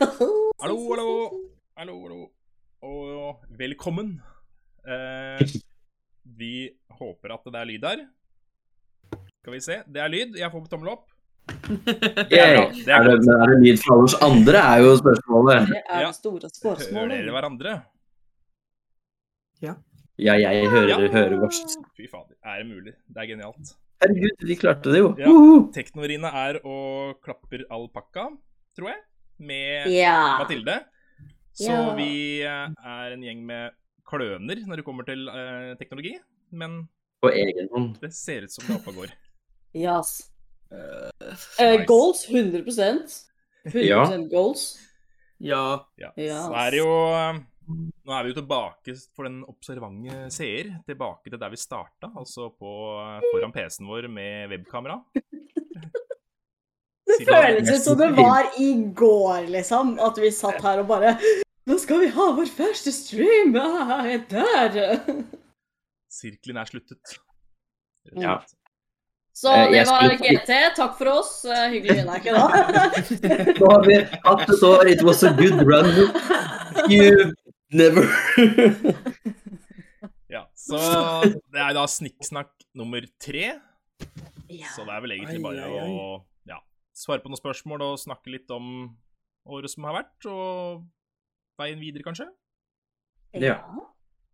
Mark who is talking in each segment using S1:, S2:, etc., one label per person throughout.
S1: Hallo, hallo. Hallo, hallo. Og velkommen. Eh, vi håper at det er lyd her. Skal vi se. Det er lyd. Jeg får tommel opp. Det er bra. Det
S2: Er
S1: er
S2: det,
S1: godt.
S2: men er det lyd fra oss andre, er jo spørsmålet.
S3: Det er
S1: Ja.
S3: det store
S1: Hører dere
S3: spørsmålet.
S1: hverandre?
S2: Ja, jeg hører, hører verst.
S1: Fy fader. Er det mulig? Det er genialt.
S2: Herregud, vi klarte det jo.
S1: Ja.
S2: Uhu.
S1: Teknorine er og klapper alpakka, tror jeg, med
S3: Ja.
S1: Mathilde. Så
S3: Ja.
S1: vi eh, er en gjeng med kløner når det kommer til eh, teknologi. Men
S2: På egen hånd.
S1: det ser ut som det er oppe og går.
S3: Yes. Eh,
S1: Nice.
S3: goals 100 100 goals.
S4: Ja.
S3: Ja.
S1: Så er det jo eh, Nå er vi jo tilbake for den observante seer. Tilbake til der vi starta, altså på, foran PC-en vår med webkamera.
S3: Det
S1: Siden-
S3: føles ut som det var i går, liksom. At vi satt her og bare Nå skal vi ha vår første stream! Ah, jeg dør!
S1: Sirkelen er sluttet. Rett og
S2: Ja.
S1: slett.
S3: Så
S2: Eh,
S3: det
S2: jeg
S3: var
S2: skulle-
S3: GT. Takk for oss. Eh, Hyggelig å ikke da.
S2: Nå har vi hatt det så It was a good run. You never
S1: Ja, så det er da snikksnakk nummer tre. Så det er vel egentlig
S4: Ai,
S1: bare
S4: ai, ai.
S1: å ja, svare på noen spørsmål og snakke litt om året som har vært, og veien videre, kanskje.
S2: Ja.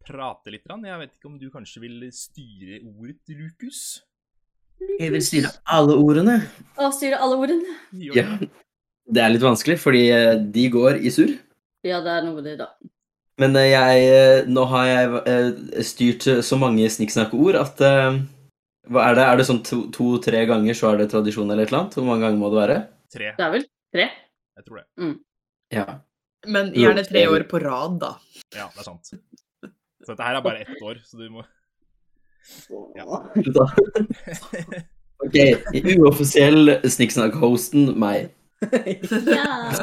S1: Prate litt. grann. Jeg vet ikke om du kanskje vil styre ordet, Lukus?
S2: Jeg vil styre alle ordene.
S3: Og styre alle ordene.
S1: Gjør
S2: Ja.
S1: det.
S2: Det er litt vanskelig, fordi eh, de går i surr.
S3: Ja, det er noe med det, da.
S2: Men eh, jeg, eh, nå har jeg eh, styrt eh, så mange snikksnakkeord at eh, hva er det? Er det sånn to- to-tre ganger så er det tradisjon eller et eller annet? Hvor mange ganger må det være?
S1: Tre.
S3: Det er vel tre?
S1: Jeg tror det.
S2: Ja.
S4: Men gjerne tre år på rad, da.
S1: Ja, det er sant. Så dette her er bare ett år, så du må
S2: Da- Ok, uoffisiell snikksnakk-hosten meg.
S3: Ja.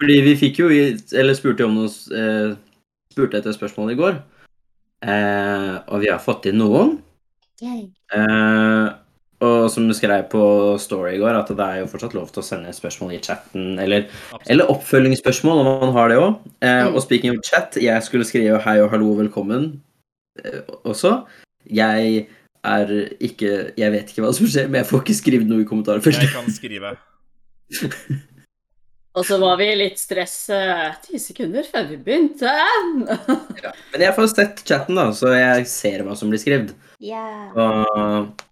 S2: Fordi vi fikk jo, i- eller spurte jo om noe, s- eh, spurte etter spørsmål i går. Eh, og vi har fått inn noen. Eh, og som du skrev på Story i går, at det er jo fortsatt lov til å sende spørsmål i chatten. Eller,
S1: Absolutt.
S2: eller oppfølgingsspørsmål, om man har det òg. Eh,
S3: Mm.
S2: og speaking of chat, jeg skulle skrive hei og hallo og velkommen eh, også. Jeg er ikke Jeg vet ikke hva som skjer, men jeg får ikke skrevet noe i kommentarfeltet.
S1: Jeg kan skrive.
S3: Og så var vi litt stress eh, ti sekunder før vi begynte.
S2: Men jeg får sett chatten, da, så jeg ser hva som blir skrevet. Og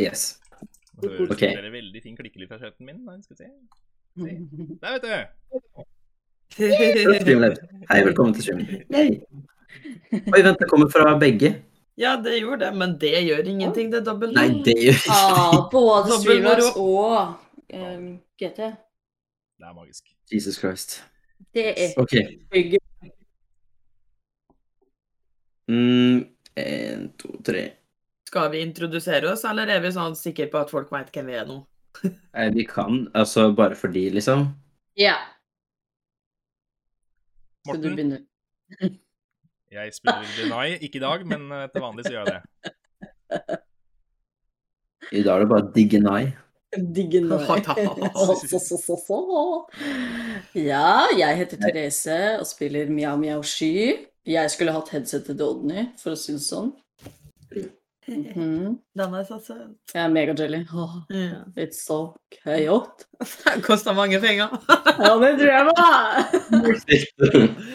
S2: Yes.
S1: Det høres
S2: Ok.
S1: ut som dere veldig fin klikkelyd fra chatten min. Nei, skal vi se. Der, vet du!
S2: Streamlab. Hei, velkommen til streamen. Yay. Oi, vent, det kommer fra begge.
S4: ja, det gjorde det, men det gjør ingenting. Det er dobbelt
S2: Nei, det gjør ikke
S3: Ah, både
S2: Sånn
S4: Dobbel
S3: Streamlabs
S4: moro.
S3: og eh, GT.
S1: Det er magisk.
S2: Jesus Christ.
S3: Det er
S2: OK.
S3: bygg.
S2: Mm, en, to, tre
S4: Skal vi introdusere oss, eller er vi sånn sikre på at folk vet hvem vi er nå?
S2: Nei, Vi kan altså bare fordi, liksom.
S3: Ja, skal du
S1: Morten,
S3: begynne?
S1: jeg spiller Denai. Ikke i dag, men eh, til vanlig så gjør jeg det.
S2: I dag er det bare digge nei.
S3: Digge nå. Så, så, så, så, så. Ja, jeg heter Therese og spiller Mjau Mjau Sky. Jeg skulle hatt headsetet til Odny, for å si det sånn. Mhm.
S4: Den er så søt.
S3: Jeg er megajelly. Oh,
S4: Ja.
S3: it's so chaos.
S4: Kosta mange penger.
S3: Ja, det tror jeg var!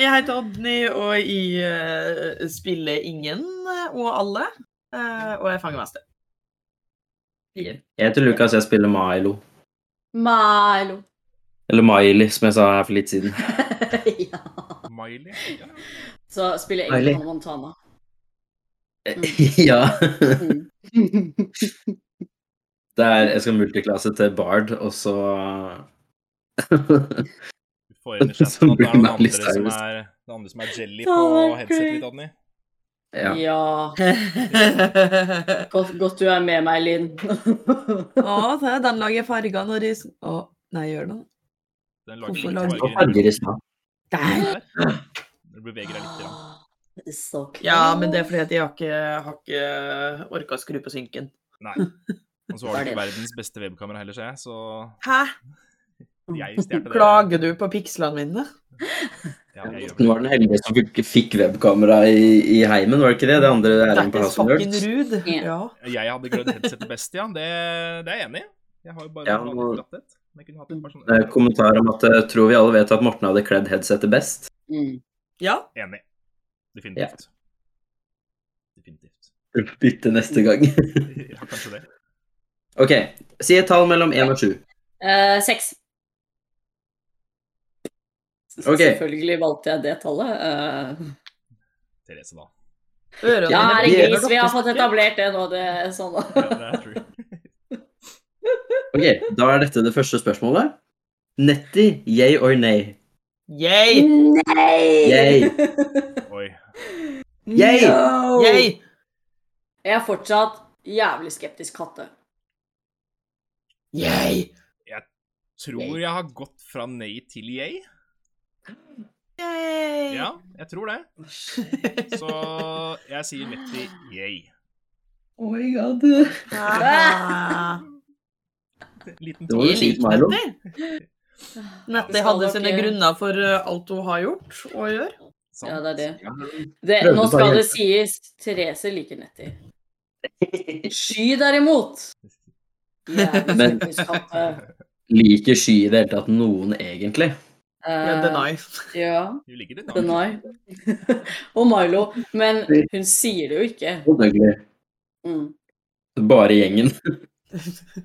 S4: Jeg heter Odny, og jeg eh, spiller ingen og alle. eh, og jeg fanger mester.
S2: Jeg heter Lukas, jeg spiller Milo.
S3: Milo.
S2: Eller Miley, som jeg sa her for litt siden.
S3: ja.
S1: Miley? Ja.
S3: Så spiller jeg
S2: Deilig.
S3: Hannah Montana.
S2: ja.
S3: Mm.
S2: Det er, jeg skal multiklasse til Bard, og så
S1: Du får inn i chatten
S2: Som
S1: at det er noen
S2: Bjørnar
S1: andre
S2: Listhaug.
S1: som er, det er andre som er jelly
S3: Ja,
S1: på
S3: det er
S1: headsetet
S3: gøy.
S1: ditt, Adny.
S2: ja.
S3: ja.
S4: Å,
S3: Godt, godt du er med meg, Linn.
S4: se, den lager farger når jeg s- Å, nei, gjør den?
S1: Den
S4: Hvorfor
S1: lager
S4: lager-
S1: litt
S2: Og farger i smak.
S4: Der!
S1: Du beveger deg litt. grann.
S3: So
S4: eh, Ja, men det er fordi at jeg har ikke, har ikke orka å skru på synken.
S1: Nei. Og så har du ikke verdens beste webkamera heller, ser jeg, så
S4: Hæ?
S1: jeg stjal det.
S4: Klager du på pikslene mine?
S1: Ja, jeg gjør
S2: Hun
S1: vel
S2: var den heldige som fikk, fikk webkamera i, i heimen, var det ikke det? Det andre er en
S4: That is fucking
S2: personhørt.
S4: rude.
S3: Ja.
S4: Ja.
S1: det. Jeg hadde grønn headset best, ja. Det, det er jeg enig i. Jeg har jo bare
S2: Ja,
S1: hatt
S2: og-
S1: glatt et. Men jeg kunne hatt et par sånne-
S2: Det er en kommentar om at jeg tror vi alle vet at Morten hadde kledd headsetet best.
S3: Mm.
S4: ja.
S1: Enig. Definitivt. Definitivt.
S2: Bytte neste gang.
S1: Ja, kanskje det.
S2: Ok, si et tall mellom 1 og 7.
S3: Eh, seks. Så
S2: Ok.
S3: Selvfølgelig valgte jeg det tallet. eh.
S1: Therese, da.
S4: Ørene
S3: ja,
S4: mine
S3: er det
S2: det er
S4: blir
S3: gris? Vi har fått
S4: dokkesmykker.
S3: etablert det nå. Det er sånn da.
S1: Ja, det er true.
S2: Ok, Da er dette det første spørsmålet. Netty, yay or nay?
S4: Yay!
S3: Nei!
S2: Yay.
S1: Oi.
S2: Yay!
S3: No!
S4: Yay!
S3: Jeg er fortsatt jævlig skeptisk katte.
S4: Yay!
S1: Tror jeg har gått fra nei til yay.
S4: Yay!
S1: Ja, jeg tror det. Så jeg sier Netty yay.
S2: Oh my god.
S4: Ah.
S1: Liten
S2: Det var
S1: tår.
S2: jo
S4: Jeg
S2: sykt,
S4: liker
S2: Milo.
S4: Nettie
S3: Skal
S4: hadde
S3: dere-
S4: sine grunner for eh, alt hun har gjort og gjør.
S1: Sant.
S3: Ja, det er det. det
S2: Prøvde
S3: nå
S2: bare å
S3: skal det
S2: hjelpe.
S3: sies Therese liker Nettie. Sky derimot Jævlig
S2: Men-
S3: skeptisk katte.
S2: Liker Sky i det hele tatt noen, egentlig?
S3: Eh,
S4: Ja, deny.
S3: Ja,
S1: Du ligger litt nær.
S3: deny. Og Milo. Men hun sier det jo ikke.
S2: Selvfølgelig.
S3: Mm.
S2: Bare gjengen.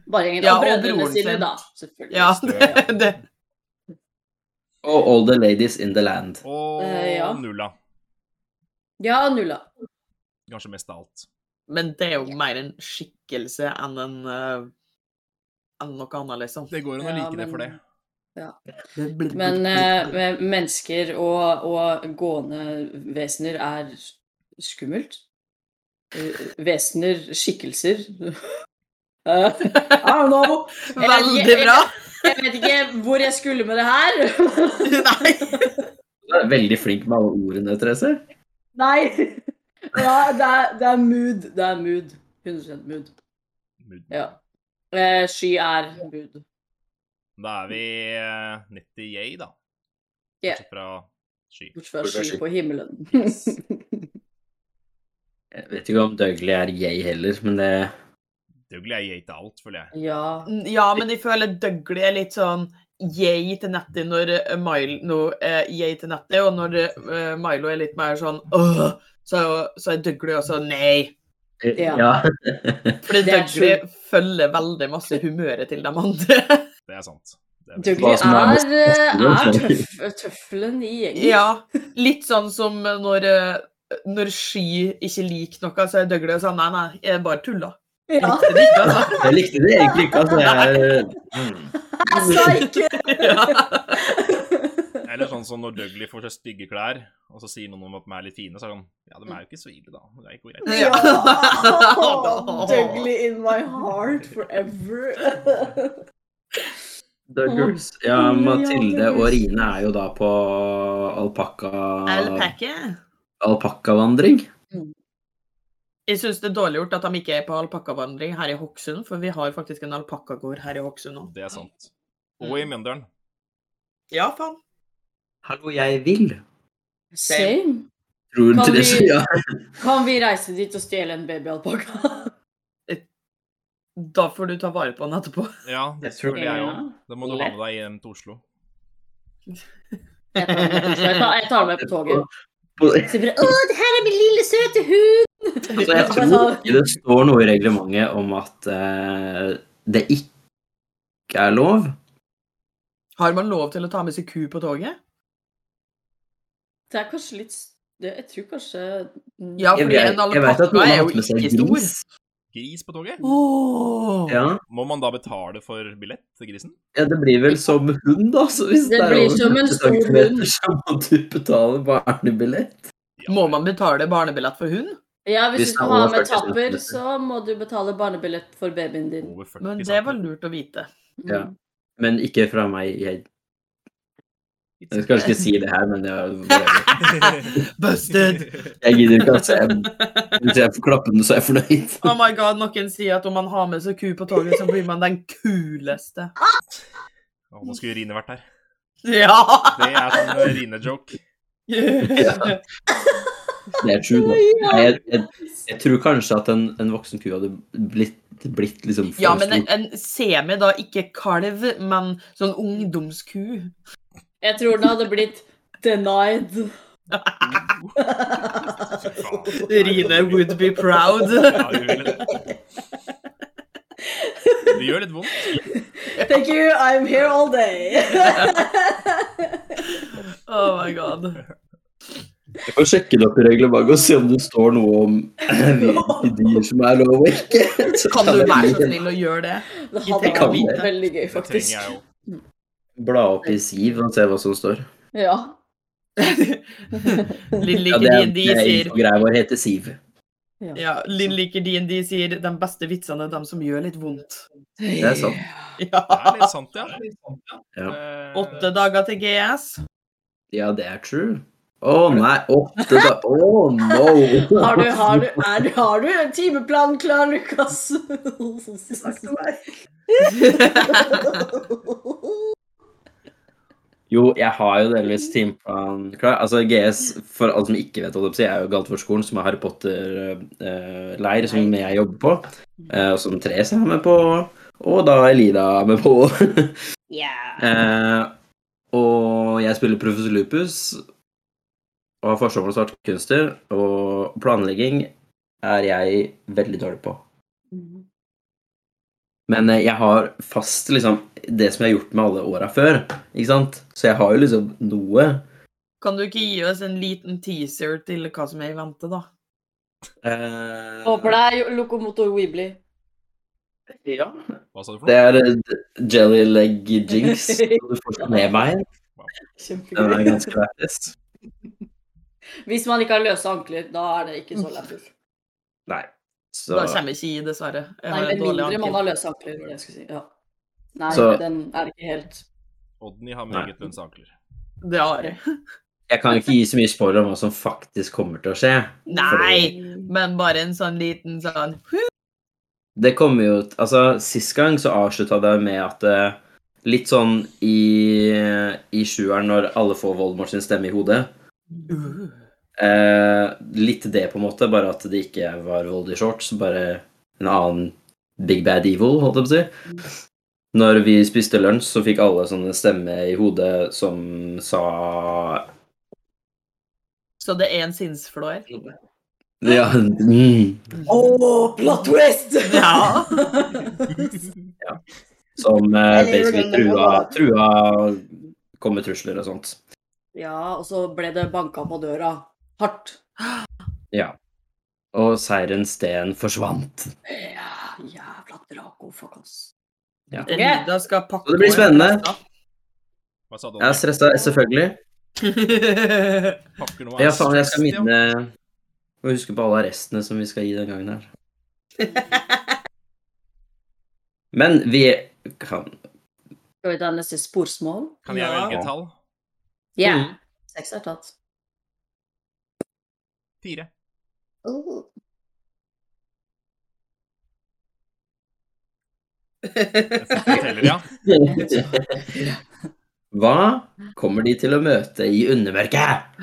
S3: Bare gjengen.
S4: Ja,
S3: og
S4: og
S3: brødrene
S4: broren
S3: sine,
S4: sin.
S3: da. Selvfølgelig.
S4: Ja,
S1: Stø.
S4: det, det.
S2: Og all the ladies in the land.
S1: Og
S3: Eh, ja.
S1: nulla.
S3: Ja, Nulla.
S1: Kanskje mest av alt.
S4: Men det er jo mer en skikkelse enn en eh, enn noe annet, liksom.
S1: Det går an å
S3: Ja,
S1: like det
S3: men-
S1: for det.
S3: Men eh, men mennesker og, og gående vesener er skummelt. Eh, Vesener, skikkelser Eh, I don't know.
S4: Ah, Veldig bra!
S3: Jeg vet ikke hvor jeg skulle med det her.
S4: Nei!
S2: Du er veldig flink med alle ordene, Therese.
S3: Nei. Ja, det, er, det er mood. Det er mood. 100 mood.
S1: Mood.
S3: Ja. Eh, sky er mood.
S1: Da er vi eh, Netty yay, da.
S3: Ja.
S1: Bortsett fra sky.
S3: Bortsett fra sky på himmelen.
S2: Jeg vet ikke om Dougley er yay heller, men det
S1: Dougley er yay til alt, føler jeg.
S3: Ja.
S4: Ja, men jeg føler Dougley er litt sånn yay til Nettie når eh, Milo no, eh, yay til Nettie, og når eh, Milo er litt mer sånn åh, så, er jo- så er Dougley også nei.
S3: Ja.
S2: ja.
S4: Fordi
S3: Det er
S4: Dougley følger veldig masse humøret til de andre.
S1: Det er sant. Det er
S3: Dougley
S2: Hva som er
S3: er,
S2: mest
S3: eh, er
S2: neste,
S3: tøff, tøffelen i gjengen.
S4: Ja, litt sånn som når, eh, når Sky ikke liker noe, så er Dougley sånn Nei, nei, jeg bare tuller.
S3: Ja.
S4: Det er ikke, altså.
S2: Jeg likte det egentlig ikke. Altså, jeg, hmm.
S3: Jeg sa ikke
S4: Ja.
S1: Eller sånn som når Dougley får seg stygge klær, og så sier noen om at de er litt fine, så er det sånn Ja, de er jo ikke så ille, da. Det er ikke greit.
S4: Ja.
S3: Dougley in my heart forever.
S2: The Girls. Ja, Mathilde og Rine er jo da på alpakka...
S4: Alpaca.
S2: Alpakkavandring.
S4: Jeg syns det er dårlig gjort at de ikke er på alpakkavandring her i Hokksund, for vi har faktisk en alpakkagård her i Hokksund nå.
S1: Det er sant. Og i Mjøndalen.
S4: Ja, faen.
S2: Hallo, jeg vil.
S3: Same.
S2: Tror
S3: Kan
S2: Therese
S3: vi-
S2: ja.
S3: Kan vi reise dit og stjele en babyalpakka?
S4: Da får du ta vare på den etterpå.
S1: Ja, det
S2: Jeg tror
S1: tror jeg
S3: Ja.
S1: òg. Da må du ha med deg hjem til Oslo.
S3: Jeg tar den med på- jeg tar- jeg tar den med på toget.
S2: På-
S3: Så blir det, Å, det her er min lille søte hund!
S2: Altså, jeg tror ikke det står noe i reglementet om at eh, det ikke er lov.
S4: Har man lov til å ta med seg ku på toget?
S3: Det er kanskje litt s- det, Jeg tror kanskje mm,
S4: Ja,
S2: Jeg
S4: fordi
S2: vet,
S4: en
S2: jeg vet at
S4: alpakka
S2: noen
S4: er
S2: har
S4: jo
S2: hatt med seg
S4: ikke stor.
S2: gris.
S1: Gris på toget?
S4: Åh.
S2: Ja.
S1: Må man da betale for billett til grisen?
S2: ja, det blir vel som hund, da. Så hvis
S3: Det
S2: det, er
S3: blir
S2: over
S3: som en
S2: 40
S3: stor
S2: centimeter,
S3: hund.
S2: Så må du betale barnebillett.
S1: Ja,
S4: Må man betale barnebillett for hund?
S3: ja, hvis du
S2: Hvis det
S3: skal
S2: er
S3: ha
S2: over
S3: med
S2: 40
S3: tapper,
S2: centimeter.
S3: så må du betale barnebillett for babyen din.
S1: Over 40
S4: Men det
S1: centimeter.
S4: var lurt å vite.
S3: Mm.
S2: Ja. Men ikke fra meg. Jeg Jeg skal kanskje ikke si det her, men det er,
S4: Busted!
S2: jeg gidder ikke. Altså. Jeg, hvis jeg får klappe den, så er jeg fornøyd.
S4: Oh my god, noen sier at om man har med seg ku på toget, så blir man den kuleste.
S1: Å, nå skulle Rine vært her.
S4: Ja!
S1: Det er sånn eh, Rine-joke.
S2: Det er true. da. Nei, Jeg, jeg, jeg tror kanskje at en, en voksen ku hadde blitt, blitt liksom for
S4: Ja, men en,
S2: stor.
S4: en semi, da. Ikke kalv, men sånn ungdomsku.
S3: Jeg tror den hadde blitt denied.
S1: Faen.
S4: Rine would be proud.
S1: Ja, du ville det. Det gjør litt vondt.
S3: Thank you, I'm here all day.
S4: Oh my god.
S2: Jeg får sjekke det opp i reglementet og se om det står noe om hvilke dyr som er lov og ikke. Så
S4: Kan du
S2: jeg
S4: være så snill og gjøre det?
S3: Det
S4: Ikke
S3: hadde
S4: tenk
S2: om
S3: vært
S2: det.
S3: veldig gøy,
S1: Det trenger
S3: faktisk.
S1: jeg jo.
S2: Bla opp i Siv og se hva som står.
S3: Ja.
S4: Lill
S2: Ja,
S4: liker
S2: det er,
S4: D&D
S2: det er
S4: sier
S2: infogreia vår heter Siv.
S4: ja, Lill liker D&D sier de beste vitsene er de som gjør litt vondt.
S2: Det er sant.
S1: Det er
S4: Ja.
S1: litt sant, ja.
S2: Ja.
S1: Eh,
S4: Åtte dager til GS.
S2: Ja, det er true. Å nei, åtte da. Å no!
S3: Har du, har, du, er, du- har du en timeplan klar, Lukas?
S2: Jo, jeg har jo delvis timeplan klar. Altså, GS, for alle som ikke vet hva det er, er jo Galtvort-skolen, som er Harry Potter-leir, som jeg jobber på. eh, Og som Therese er med på. Og da Elida er med på. Eh, og jeg spiller Professor Lupus. Og har forsommers artkunster. Og planlegging er jeg veldig dårlig på. Men eh, jeg har fast liksom det som jeg har gjort med alle åra før. Ikke sant? Så jeg har jo liksom noe.
S4: Kan du ikke gi oss en liten teaser til hva som er i vente, da?
S2: Eh,
S3: Håper det er lokomotor Weebly.
S2: ja.
S1: Hva sa du for
S2: Det
S1: noe?
S2: er eh, Jelly Leg Jinx. og Du får ikke med meg. Den er
S3: Kjempegøy.
S2: ganske lættis.
S3: Hvis man ikke har løse ankler, da er det ikke så lættis.
S2: Nei. Så
S4: Da kommer jeg ikke i, dessverre. Jeg
S3: Nei,
S4: har en
S3: med
S4: dårlig
S3: mindre man
S4: ankel.
S3: har løse ankler. var det Jeg skulle si. ja. Nei,
S2: Så-
S3: den er ikke helt
S1: Odny har meget lønnse ankler.
S4: Det har jeg.
S2: jeg kan ikke gi så mye spoiler om hva som faktisk kommer til å skje.
S4: Nei! Men bare en sånn liten sånn
S2: Det kommer jo Altså, sist gang så avslutta det med at eh, Litt sånn i, i sjueren, når alle får Voldemort sin stemme i hodet.
S4: uh,
S2: Eh, litt det, på en måte, bare at det ikke var Voldy Shorts, bare en annen Big Bad Evil, holdt jeg på å si. Når vi spiste lunsj, så fikk alle sånne stemme i hodet som sa
S4: Så det er en sinnsflår.
S2: Ja, mm,
S3: Åh, plot twist!
S4: Ja.
S2: som eh, basically trua, trua kom med trusler og sånt.
S3: ja, og så ble det banka på døra. Hardt.
S2: Og Seiren Steen forsvant.
S3: Ja, jævla Draco, fuck oss.
S2: Ja.
S4: Elida skal pakke
S2: Så det blir spennende.
S1: Hva sa du?
S2: Jeg er
S1: Odny?
S2: stressa, selvfølgelig.
S1: Pakker noe
S2: Ja,
S1: av
S2: faen, jeg skal
S1: stress, ja.
S2: minne Og huske på alle arrestene som vi skal gi den gangen her. Men vi kan
S3: Skal vi ta neste sporsmål?
S1: Kan jeg
S4: Ja.
S1: velge et tall?
S3: Ja.
S2: Mm.
S3: Seks er tatt.
S1: Fire.
S3: Oh,
S1: Jeg sitter og teller, ja.
S2: Hva kommer de til å møte i undermørket?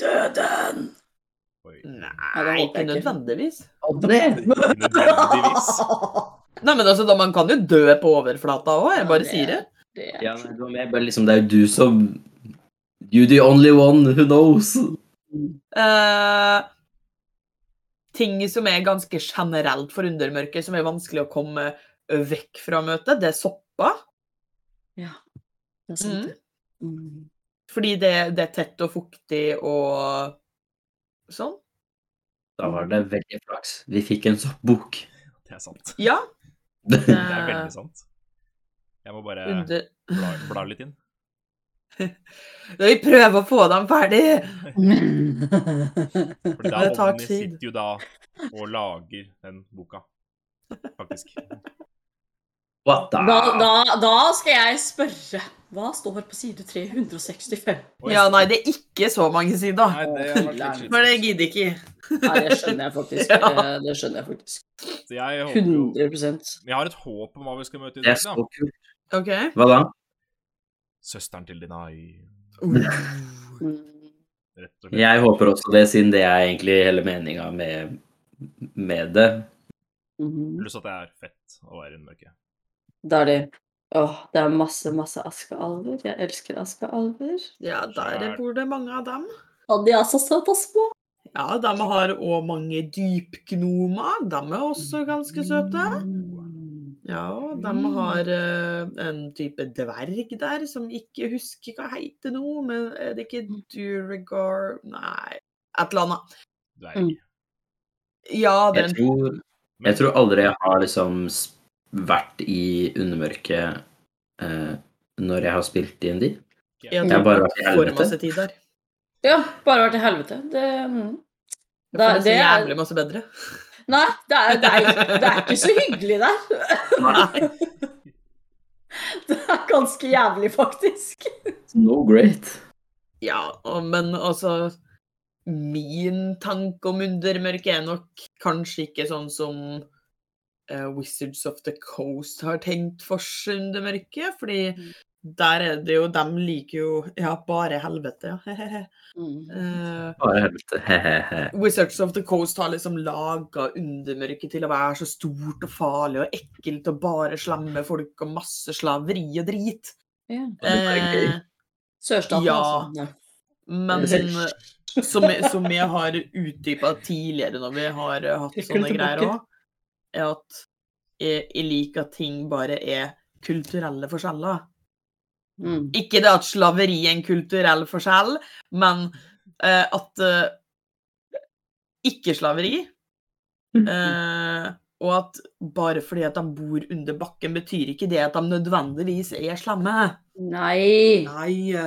S3: Døden!
S1: Oi.
S4: Nei, ikke
S3: ikke.
S4: nødvendigvis.
S2: Odny!
S1: Nødvendigvis.
S4: Nei, men altså, da, Man kan jo dø på overflata òg, jeg bare sier det.
S3: det er
S2: Ja, nei, du var med, bare liksom, det er jo du som You the only one who knows.
S4: Eh, ting som er ganske generelt for undermørket, som er vanskelig å komme vekk fra møtet, det er sopper.
S3: det er sant, det. Mm.
S4: Fordi det, det er tett og fuktig og sånn.
S2: Da var det veldig flaks. Vi fikk en sånn bok.
S1: Det er sant.
S4: Ja.
S1: Det er veldig sant. Jeg må bare
S4: Under...
S1: bla, bla litt inn.
S4: Vi prøver å få dem ferdig!
S1: For da
S4: Det tar
S1: Odny
S4: tid.
S1: sitter jo da og lager den boka, faktisk.
S2: What
S3: Da,
S2: the?
S3: da, da skal jeg spørre. Hva står på side 365?
S1: Oi.
S4: Ja, nei, det er ikke så mange sider.
S1: Nei, det har vært litt
S4: For det
S1: slitsomt.
S4: gidder ikke.
S3: Nei, det skjønner jeg faktisk.
S4: Ja.
S3: Eh, Det skjønner jeg faktisk.
S1: Så Jeg, håper jo,
S3: 100
S1: jeg har et håp om hva vi skal møte i
S2: Det er
S1: dag,
S2: så
S1: da.
S2: kult.
S4: OK.
S2: Hva da?
S1: Søsteren til Dinai.
S4: Uh.
S3: Mm.
S1: Rett og slett.
S2: Jeg håper også det, siden det er egentlig hele meninga med, med det.
S3: Mhm.
S1: Pluss at det er fett å være en mørke.
S3: Da er det Åh, det er masse, masse askealver. Jeg elsker askealver.
S4: Ja, der bor det mange av dem.
S3: Og de er så søte og små.
S4: Ja, de har òg mange dypgnomer. De er også
S3: Mm.
S4: ganske søte. Ja, de har eh, en type dverg der som ikke husker hva heter nå, men er det ikke Duregar Nei, et eller annet.
S1: Dverg.
S3: Mm.
S4: Ja,
S2: Jeg
S4: den
S2: tror, jeg tror aldri jeg har liksom s- vært i undermørket eh, når jeg har spilt D&D.
S4: ja,
S3: Jeg
S4: den
S2: bare vært i helvete.
S4: får masse tid der.
S3: Ja, bare vært i helvete. Det, mm.
S4: Det, får
S3: Det-
S4: det,
S3: det er-
S4: jævlig masse bedre.
S3: Nei, det er, det, er, det er ikke så hyggelig der.
S4: Nei.
S3: Det er ganske jævlig, faktisk.
S2: No great.
S4: Ja, og, men altså Min tanke om undermørket er nok kanskje ikke sånn som eh, Wizards of the Coast har tenkt for seg undermørket, fordi
S2: Mm.
S4: der er det jo De liker jo ja, bare helvete, ja. Eh,
S2: Bare helvete. Hehehe.
S4: Wizards of the Coast har liksom laga undermørket til å være så stort og farlig og ekkelt og bare slemme folk og masse slaveri og drit.
S3: Ja.
S2: Og det er gøy.
S4: Eh,
S3: Sørstaten,
S4: Ja.
S3: altså.
S4: men som, jeg- som jeg har utdypa tidligere når vi har eh, hatt
S3: Trekk den
S4: sånne greier
S3: tilbake.
S4: òg, er at jeg, jeg liker at ting bare er kulturelle forskjeller.
S3: Mm.
S4: Ikke det at slaveri er en kulturell forskjell, men eh, at eh, ikke slaveri. Eh, og at bare fordi at de bor under bakken, betyr ikke det at de nødvendigvis er slemme.
S3: Nei.
S4: Nei.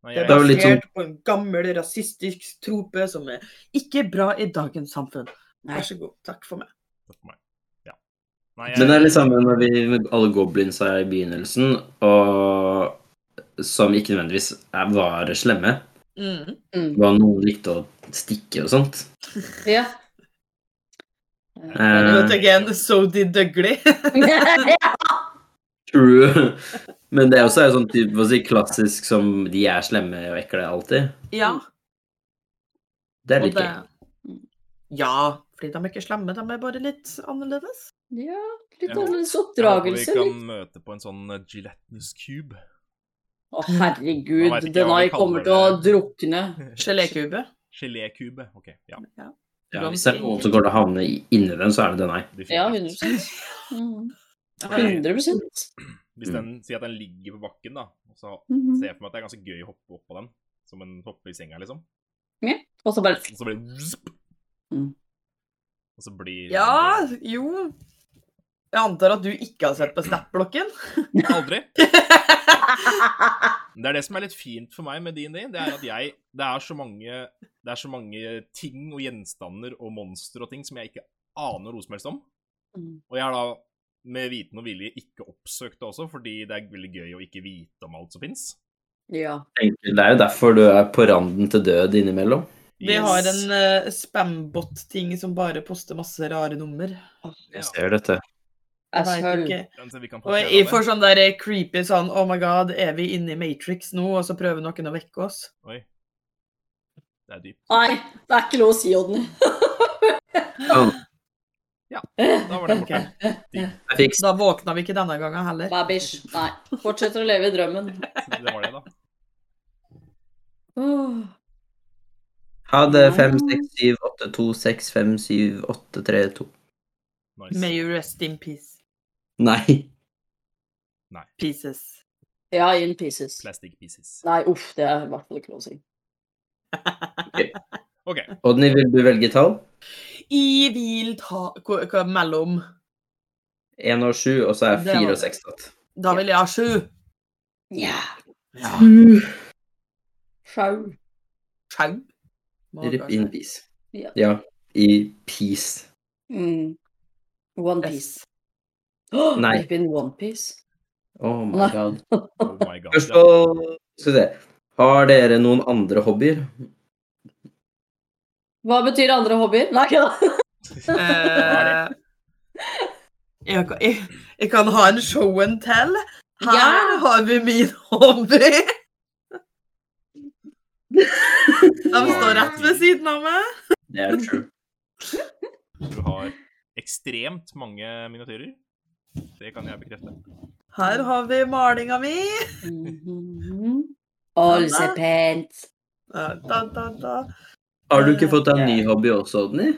S1: Nei,
S4: Det er
S2: Det er jo
S1: jeg,
S2: litt
S4: basert på en gammel rasistisk trope som er ikke bra i dagens samfunn.
S3: Nei.
S4: Vær så god. Takk for meg.
S1: Takk for meg. Ja. Nei,
S2: Men det er liksom-
S1: jeg,
S2: litt samme når vi med alle goblins er i begynnelsen, og som ikke nødvendigvis er, var slemme.
S4: Mm.
S3: Mm.
S2: Hva noen likte å stikke og sånt.
S3: Ja.
S4: Nå
S2: Eh,
S4: tenker jeg so did Dougley.
S2: true. Men det er også er sånn typ, hva skal jeg si, klassisk som de er slemme og ekle alltid.
S4: ja.
S2: Det er
S4: Og
S2: litt
S4: det...
S2: gøy.
S4: Ja, fordi de er ikke slemme, de er bare litt annerledes.
S3: ja.
S1: Jeg
S3: Litt
S1: håper-
S3: annerledes
S1: jeg håper vi
S3: oppdragelse.
S1: kan
S3: litt-
S1: møte på en sånn eh, gelatinous cube.
S3: Å,
S1: Jeg vet
S3: herregud.
S1: ikke hva
S3: Denai
S1: vi
S3: kommer
S1: kaller
S3: til å
S1: det.
S3: drukne.
S4: Gelékube.
S1: Gelékube. OK, ja.
S4: Ja.
S2: Ja, hvis det er noen som går til å havne i- inni den, så er det den her.
S3: Ja,
S1: definitivt.
S3: 100 mm.
S1: Nei,
S3: 100
S1: Hvis den sier at den ligger på bakken, da, og så
S3: Mhm.
S4: Mm.
S1: ser jeg for meg at det er ganske gøy å hoppe opp på den. Som en hopper i senga, liksom.
S3: Og så bare
S1: Og så blir det vzp.
S3: Mm.
S1: Og så blir
S4: ja, jo Jeg antar at du ikke har sett på Snap-blokken?
S1: Aldri. Men Det er det som er litt fint for meg med D&D, det er at jeg Det er så mange Det er så mange ting og gjenstander og monstre og ting som jeg ikke aner noe som helst om.
S3: Mm.
S1: Og jeg har da med viten og vilje ikke oppsøkt det også, fordi det er veldig gøy å ikke vite om alt som fins.
S3: Ja.
S2: Egentlig, Det er jo derfor du er på randen til død innimellom.
S4: Vi har en eh, spambot-ting som bare poster masse rare nummer.
S1: Ja.
S2: Jeg ser dette.
S4: Jeg
S3: As
S4: vet
S3: hell.
S4: ikke.
S1: Den som vi kan
S4: Og
S1: fortelle
S4: jeg
S1: om
S4: får
S1: det.
S4: sånn der creepy sånn Oh my god, er vi inne i Matrix nå? Og så prøver noen å vekke oss.
S1: Oi. Det er dypt.
S3: Nei, det er ikke lov å si, Odny.
S1: Da var det borte.
S2: Jeg fikk
S4: Da våkna vi ikke denne gangen heller.
S3: Babish. Nei. Fortsetter å leve i drømmen.
S1: Det var det, da.
S3: Åh.
S2: Ha det. 5, 6, 7, 8, 2, 6, 5, 7, 8, 3, 2.
S1: Nice.
S4: May you rest in peace.
S2: Nei.
S4: Pieces.
S3: Ja, in pieces.
S1: Plastic pieces.
S3: Nei, uff, det er i hvert fall ikke lov å si.
S1: OK.
S2: Odny, vil du velge tall?
S4: I vil ta hva- hva- mellom
S2: 1 og 7, og så er
S4: Det var
S2: 4 og
S4: det.
S2: 6 tatt.
S4: Da vil jeg ha sju.
S3: Nja,
S4: Ja.
S3: sjau.
S4: Sjau.
S2: Rip in peace.
S3: Ja.
S2: Ja, i peace.
S3: Mm. One Piece.
S4: Yes.
S3: Åh,
S2: Nei.
S3: Rip in One Piece.
S2: Oh my
S3: Nei.
S2: god.
S1: Oh my god.
S2: Først så Skal vi se. Har dere noen andre hobbyer?
S3: Hva betyr andre hobbyer? Nei, ikke da.
S4: Eh, jeg, kan- jeg, jeg kan ha en show and tell. Her
S3: Ja.
S4: har vi min hobby. De står rett ved siden av meg.
S2: Det er true.
S1: Du har ekstremt mange miniatyrer. Det kan jeg bekrefte.
S4: Her har vi malinga mi.
S3: Mhm. All the pent.
S4: Da, da, da, da.
S2: Har du ikke fått deg en ny hobby også, Odny?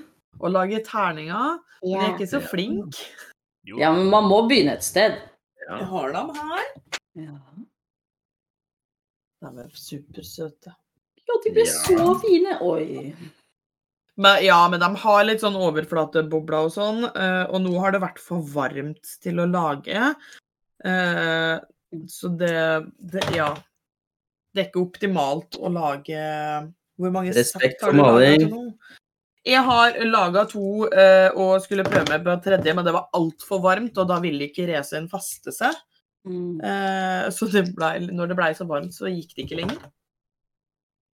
S4: Å lage terninger. Men jeg er ikke så flink.
S1: Jo,
S3: Ja, men man må begynne et sted.
S4: Jeg har dem her.
S3: Ja,
S4: De er supersøte.
S3: de ble
S2: Ja.
S3: så fine. Oi.
S4: Men, ja, men de har litt sånn overflatebobler og sånn, eh, og nå har det vært for varmt til å lage. Eh, Så det, det Ja. Det er ikke optimalt å lage Hvor mange sett
S2: Respekt
S4: har
S2: for
S4: du laget
S2: maling.
S4: til nå? Jeg har laga to eh, og skulle prøve meg på en tredje, men det var altfor varmt, og da ville ikke racen feste seg.
S3: Mm.
S4: Eh, så det ble, når det blei så varmt, så gikk det ikke lenger.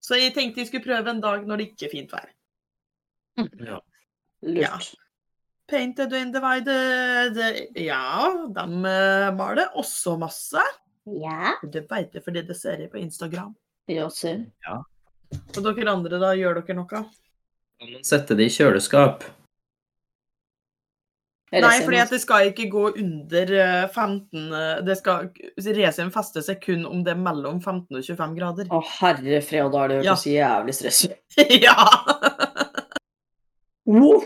S4: Så jeg tenkte jeg skulle prøve en dag når det ikke er fint vær. Ja.
S3: Lurt.
S4: Painted and divided. Ja, de eh, maler også masse.
S3: Ja.
S4: Det veit jeg fordi det ser jeg på Instagram.
S3: Ja, ser.
S4: Og dere andre, da? Gjør dere noe?
S2: Kan man sette det i kjøleskap?
S3: Eller
S4: Nei,
S3: ser
S4: fordi
S3: man-
S4: at det skal ikke gå under eh, 15 eh, det skal, Racen fester seg kun om det er mellom 15 og 25 grader.
S3: Å, herre fred, da har det
S4: Ja.
S3: hørtes jævlig stress ut.
S4: ja!
S3: Wow.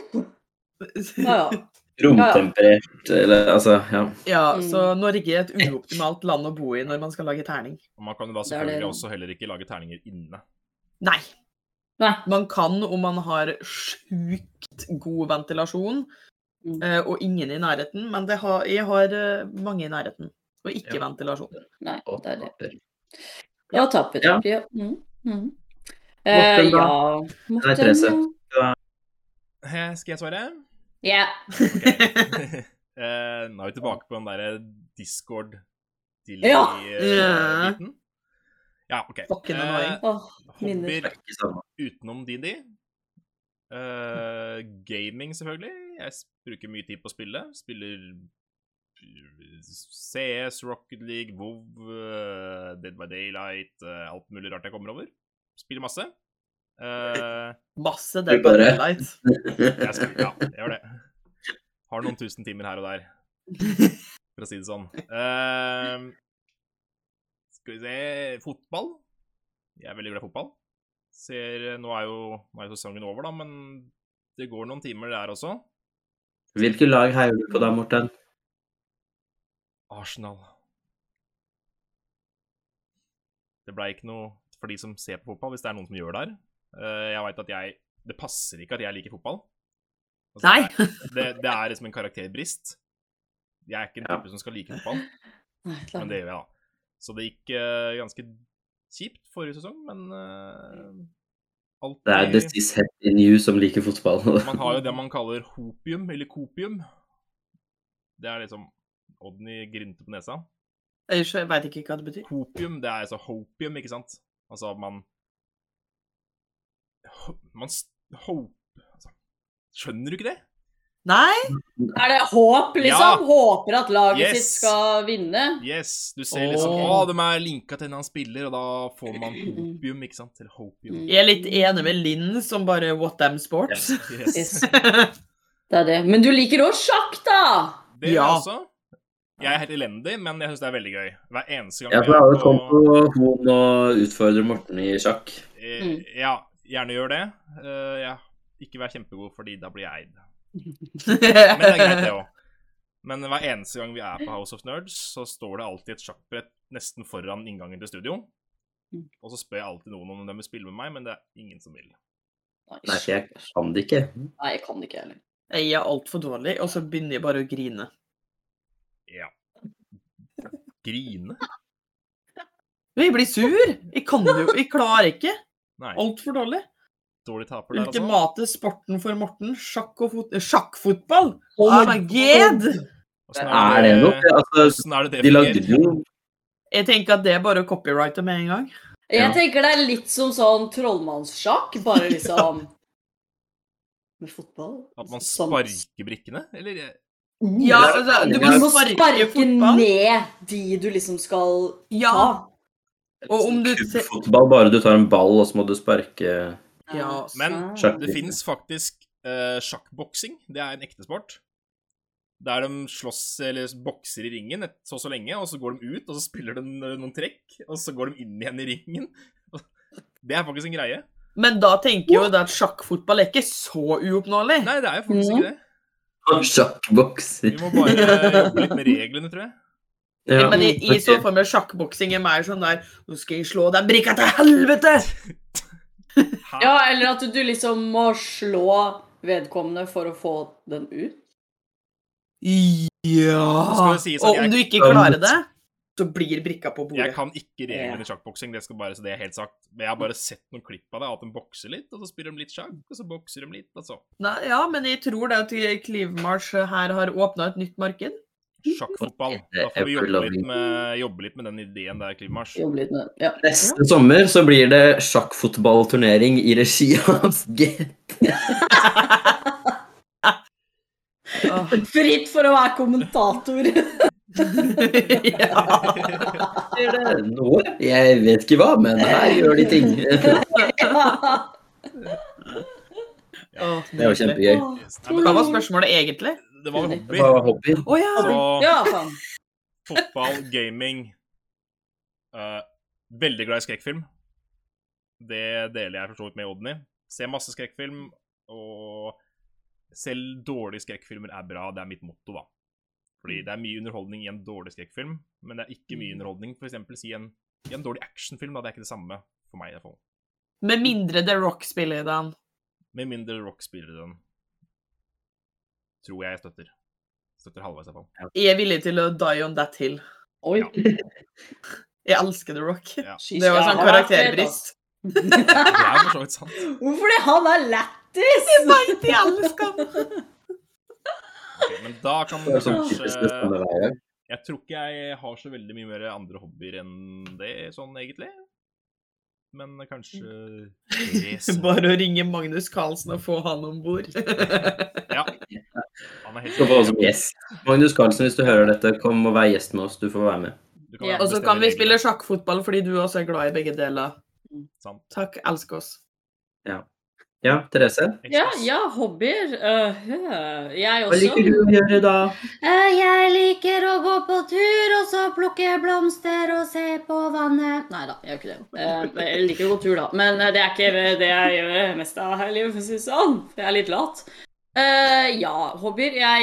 S3: Ja, ja.
S2: Romtemperert, eller altså Ja.
S4: ja,
S3: Mm.
S4: så Norge er et uoptimalt land å bo i når man skal lage terning.
S1: Og man kan jo da
S3: Det er det.
S1: selvfølgelig også heller ikke lage terninger inne.
S4: Nei.
S3: Nei.
S4: Man kan om man har sjukt god ventilasjon
S3: Mm.
S4: eh, og ingen i nærheten, men det har, jeg har eh, mange i nærheten og ikke
S2: Ja.
S4: ventilasjon.
S3: Nei,
S2: Og
S3: det er det.
S2: taper.
S3: Ja, tappet.
S2: Ja.
S3: Ja. Mm. Mm. Eh,
S2: Morten, da?
S3: ja. Morten,
S2: Therese.
S1: Eh, Skal jeg svare?
S3: Ja.
S1: Eh, nå er vi tilbake på den derre discord til
S3: Ja.
S4: Ja.
S1: biten. Ja, OK. Eh,
S4: Fucking annoying.
S3: ja. Åh, minner.
S1: hobbyer
S2: Ikke samme.
S1: utenom DND. Eh, gaming, selvfølgelig. Jeg s- bruker mye tid på å spille. Spiller CS, Rocket League, WoW, eh, Dead by Daylight, eh, alt mulig rart jeg kommer over. Spiller masse. Eh,
S4: Masse
S2: Du
S4: Dead by
S2: bare-
S4: Daylight.
S1: jeg spiller, ja, jeg gjør det. Har noen tusen timer her og der, for å si det sånn. Eh, skal vi se Fotball. Jeg er veldig glad i fotball. Ser, nå er jo nå er jo sesongen over, da, men det går noen timer der også.
S2: Hvilke lag heier du på da, Morten?
S1: Arsenal. Det blei ikke noe for de som ser på fotball, hvis det er noen som gjør det her. Eh, Jeg veit at jeg Det passer ikke at jeg liker fotball. Altså,
S4: Nei.
S1: Det, er- det, det er liksom en karakterbrist. Jeg er ikke en
S2: Ja.
S1: type som skal like fotball,
S3: Nei, la
S1: men det gjør jeg, da. Så det gikk eh, ganske kjipt forrige sesong, men eh, alt
S2: Det er
S1: i-
S2: This Is Head In You som liker fotball.
S1: Man har jo det man kaller hopium, eller kopium. Det er liksom Odny grynter på nesa.
S4: Jeg veit ikke hva det betyr.
S1: Hopium, det er altså hopium, ikke sant? Altså at man Ho- Man s- hope... Altså, skjønner du ikke det?
S4: Nei?
S3: Er det håp, liksom?
S1: Ja.
S3: Håper at laget
S1: Yes.
S3: sitt skal vinne?
S1: Yes, du ser liksom Å,
S4: Åh.
S1: de er linka til en annen spiller, og da får man hopium, ikke sant? Eller
S3: Mm.
S1: hopium.
S4: Jeg er litt enig med Linn som bare What Them Sports.
S1: Yes.
S3: Yes. Det er det. Men du liker òg sjakk, da!
S1: Det gjør jeg
S4: Ja.
S1: også. Jeg er helt elendig, men jeg syns det er veldig gøy. Hver eneste gang
S2: Ja,
S1: jeg
S2: for alle
S1: er
S2: kom
S1: på-
S2: på Hon og utfordrer Morten i sjakk.
S1: Eh,
S3: Mm.
S1: Ja, gjerne gjør det. Eh, ja. Ikke vær kjempegod, fordi da blir jeg eid. Men det er greit, det òg. Men hver eneste gang vi er på House of Nerds, så står det alltid et sjakkbrett nesten foran inngangen til studio.
S3: Mm.
S1: Og så spør jeg alltid noen om de vil spille med meg, men det er ingen som vil.
S2: Nei, for jeg kan det ikke.
S3: Nei, jeg kan det ikke heller.
S4: Jeg er altfor dårlig, og så begynner jeg bare å grine.
S1: Grine?
S4: Men jeg blir sur! Jeg kan det jo Jeg klarer ikke.
S1: Nei.
S4: Altfor dårlig.
S1: Dårlig taper der, altså.
S4: Ultimate sporten for Morten. Sjakk og fot... eh, Sjakkfotball!
S3: Oh
S4: Oh
S3: my
S4: my god!
S1: Åssen
S2: Er det nok? Altså,
S1: Åssen er det det
S2: de lagde
S1: fungerer?
S2: det jo
S4: Jeg tenker at det er bare å copyrighte med en gang.
S3: Jeg
S2: Ja.
S3: tenker det er litt som sånn trollmannssjakk, bare liksom Med fotball.
S1: At man
S3: Sånn-
S1: sparker brikkene? Eller jeg-
S4: Ja, altså, du må
S3: Du må
S4: sparke
S3: sparke
S4: fotball.
S3: ned de du liksom skal
S4: Ja,
S3: ta.
S4: og om du ser
S2: Fotball, bare du tar en ball og så må du sparke
S4: Ja,
S1: Men-
S3: sånn.
S1: Det fins faktisk eh, sjakkboksing. Det er en ekte sport. Der de slåss eller bokser i ringen et, så og så lenge, og så går de ut, og så spiller de no- noen trekk, og så går de inn igjen i ringen. Det er faktisk en greie.
S4: Men da tenker jo det at sjakkfotball er ikke så uoppnåelig.
S1: Nei, det er jo faktisk ikke det. Vi
S2: sjakkbokser.
S1: må bare jobbe litt med reglene, tror jeg.
S2: Ja.
S4: Men i, i så fall med sjakkboksing er mer sånn der Nå skal jeg slå den brikka til helvete!
S1: Hæ?
S3: Ja, eller at du liksom må slå vedkommende for å få den ut.
S4: Ja!
S1: Skal det sies at
S4: Og om
S1: jeg-
S4: du ikke klarer det, så blir brikka på bordet.
S1: Jeg kan ikke reglene i sjakkboksing, det skal bare så det er helt sagt. Men jeg har bare sett noen klipp av det, at de bokser litt, og så spiller de litt sjakk, og så bokser de litt, og så
S4: Nei, ja, men jeg tror det at Clivemarsh her har åpna et nytt marked.
S1: Sjakkfotball. Da får vi jobbe litt med, jobbe litt med den ideen der, Klimarsj.
S3: Jobbe litt med ja.
S2: Neste sommer så blir det sjakkfotballturnering i regi av G.
S4: Åh.
S3: Fritt for å være kommentator.
S4: ja.
S2: Noe? Jeg vet ikke hva, men her gjør de ting. Det
S4: Åh,
S2: var
S1: Nei,
S2: kjempegøy.
S4: Hva var
S1: men
S4: spørsmålet egentlig?
S1: Det var
S2: Det
S1: hobby.
S2: var hobby.
S4: Å ja!
S2: Altså,
S1: Så
S3: ja, faen.
S1: fotball, gaming eh, Veldig glad i skrekkfilm. Det deler jeg for så vidt med Odny. Ser masse skrekkfilm, og selv dårlige skrekkfilmer er bra. Det er mitt motto, da. Fordi
S3: Mm.
S1: det er mye underholdning i en dårlig skrekkfilm, men det er ikke mye underholdning for eksempel, si en, i en dårlig actionfilm. da, Det er ikke det samme for meg. i hvert fall.
S4: Med mindre The Rock spiller i den.
S1: Med mindre Rock spiller den. Tror jeg jeg støtter. Støtter halvveis, iallfall.
S4: Jeg er villig til å die on that hill.
S3: Oi.
S1: Ja.
S4: Jeg elsker The Rock.
S1: Ja.
S4: Det var sånn karakterbrist.
S1: Det er for så vidt sant.
S3: altså. Hvorfor det? Han er lættis!
S4: Jeg vet jeg elsker han!
S1: Ok, men da kan
S2: Det
S1: du
S2: er sånn typisk det
S1: kanskje
S2: samme hver gang.
S1: Jeg tror ikke jeg har så veldig mye mer andre hobbyer enn det, sånn egentlig. Men kanskje race.
S4: Bare å ringe Magnus Carlsen og få han om bord.
S1: Ja. Han er helt
S2: Skal få oss som gjest. Magnus Carlsen, hvis du hører dette, kom og vær gjest med oss. Du får være med.
S1: Du kan være
S4: og så
S1: bestemme
S4: kan vi
S1: reglene.
S4: spille sjakkfotball fordi du også er glad i begge deler.
S1: Sant.
S4: Takk, elsker oss.
S2: Ja, Therese?
S3: Ja, ja, hobbyer. Øh, øh, jeg
S2: Hva
S3: også.
S2: liker du å gjøre da?
S5: Eh, Jeg liker å gå på tur, og så plukke blomster og se på vannet.
S3: Nei da, jeg gjør ikke det. Eh, men Jeg liker å gå tur, da. Men eh, det er ikke det jeg gjør mest av her i livet, for å si det sånn. Jeg er litt lat. Eh, ja, hobbyer. Jeg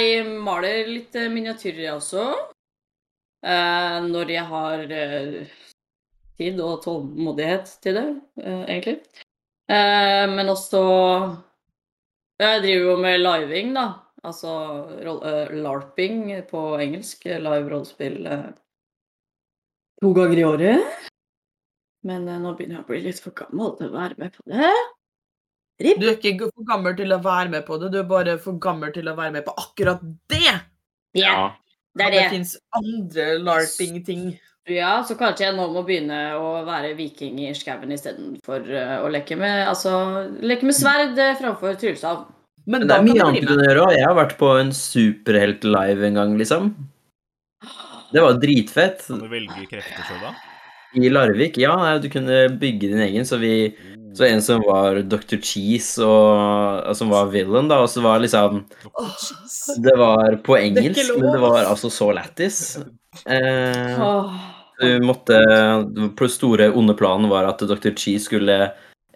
S3: maler litt eh, miniatyrer, jeg også. Eh, når jeg har eh, tid og tålmodighet til det, eh, egentlig. Eh, men også Jeg driver jo med living, da. Altså roll, eh, larping på engelsk. Live rollespill eh, to ganger i året. Men eh, nå begynner jeg å bli litt for gammel til å være med på det.
S4: Du er ikke for gammel til å være med på det, du er bare for gammel til å være med på akkurat det!
S3: det
S4: At
S3: er det.
S4: fins andre larping-ting.
S3: Ja, så kanskje jeg nå må begynne å være viking i skauen istedenfor eh, å leke med, altså, leke med sverd eh, framfor tryllestav.
S4: Men
S2: Men det
S4: da
S2: er
S4: kan
S2: mye
S4: du
S2: annet
S4: bli
S2: du kan
S4: med.
S2: gjøre òg. Jeg har vært på en superhelt-live en gang, liksom. Det var dritfett.
S1: Kan du velge krefter sjøl, da?
S2: I Larvik, ja, nei, du kunne bygge din egen, så vi Så en som var Dr. Cheese, og, og som var villain, da, og så var liksom
S1: Åh, jeez.
S2: Det var på
S4: er ikke
S2: engelsk,
S4: lov,
S2: men det var
S4: ass.
S2: altså så lættis. Eh,
S3: Åh.
S2: du måtte på den store, onde planen var at Dr. Cheese skulle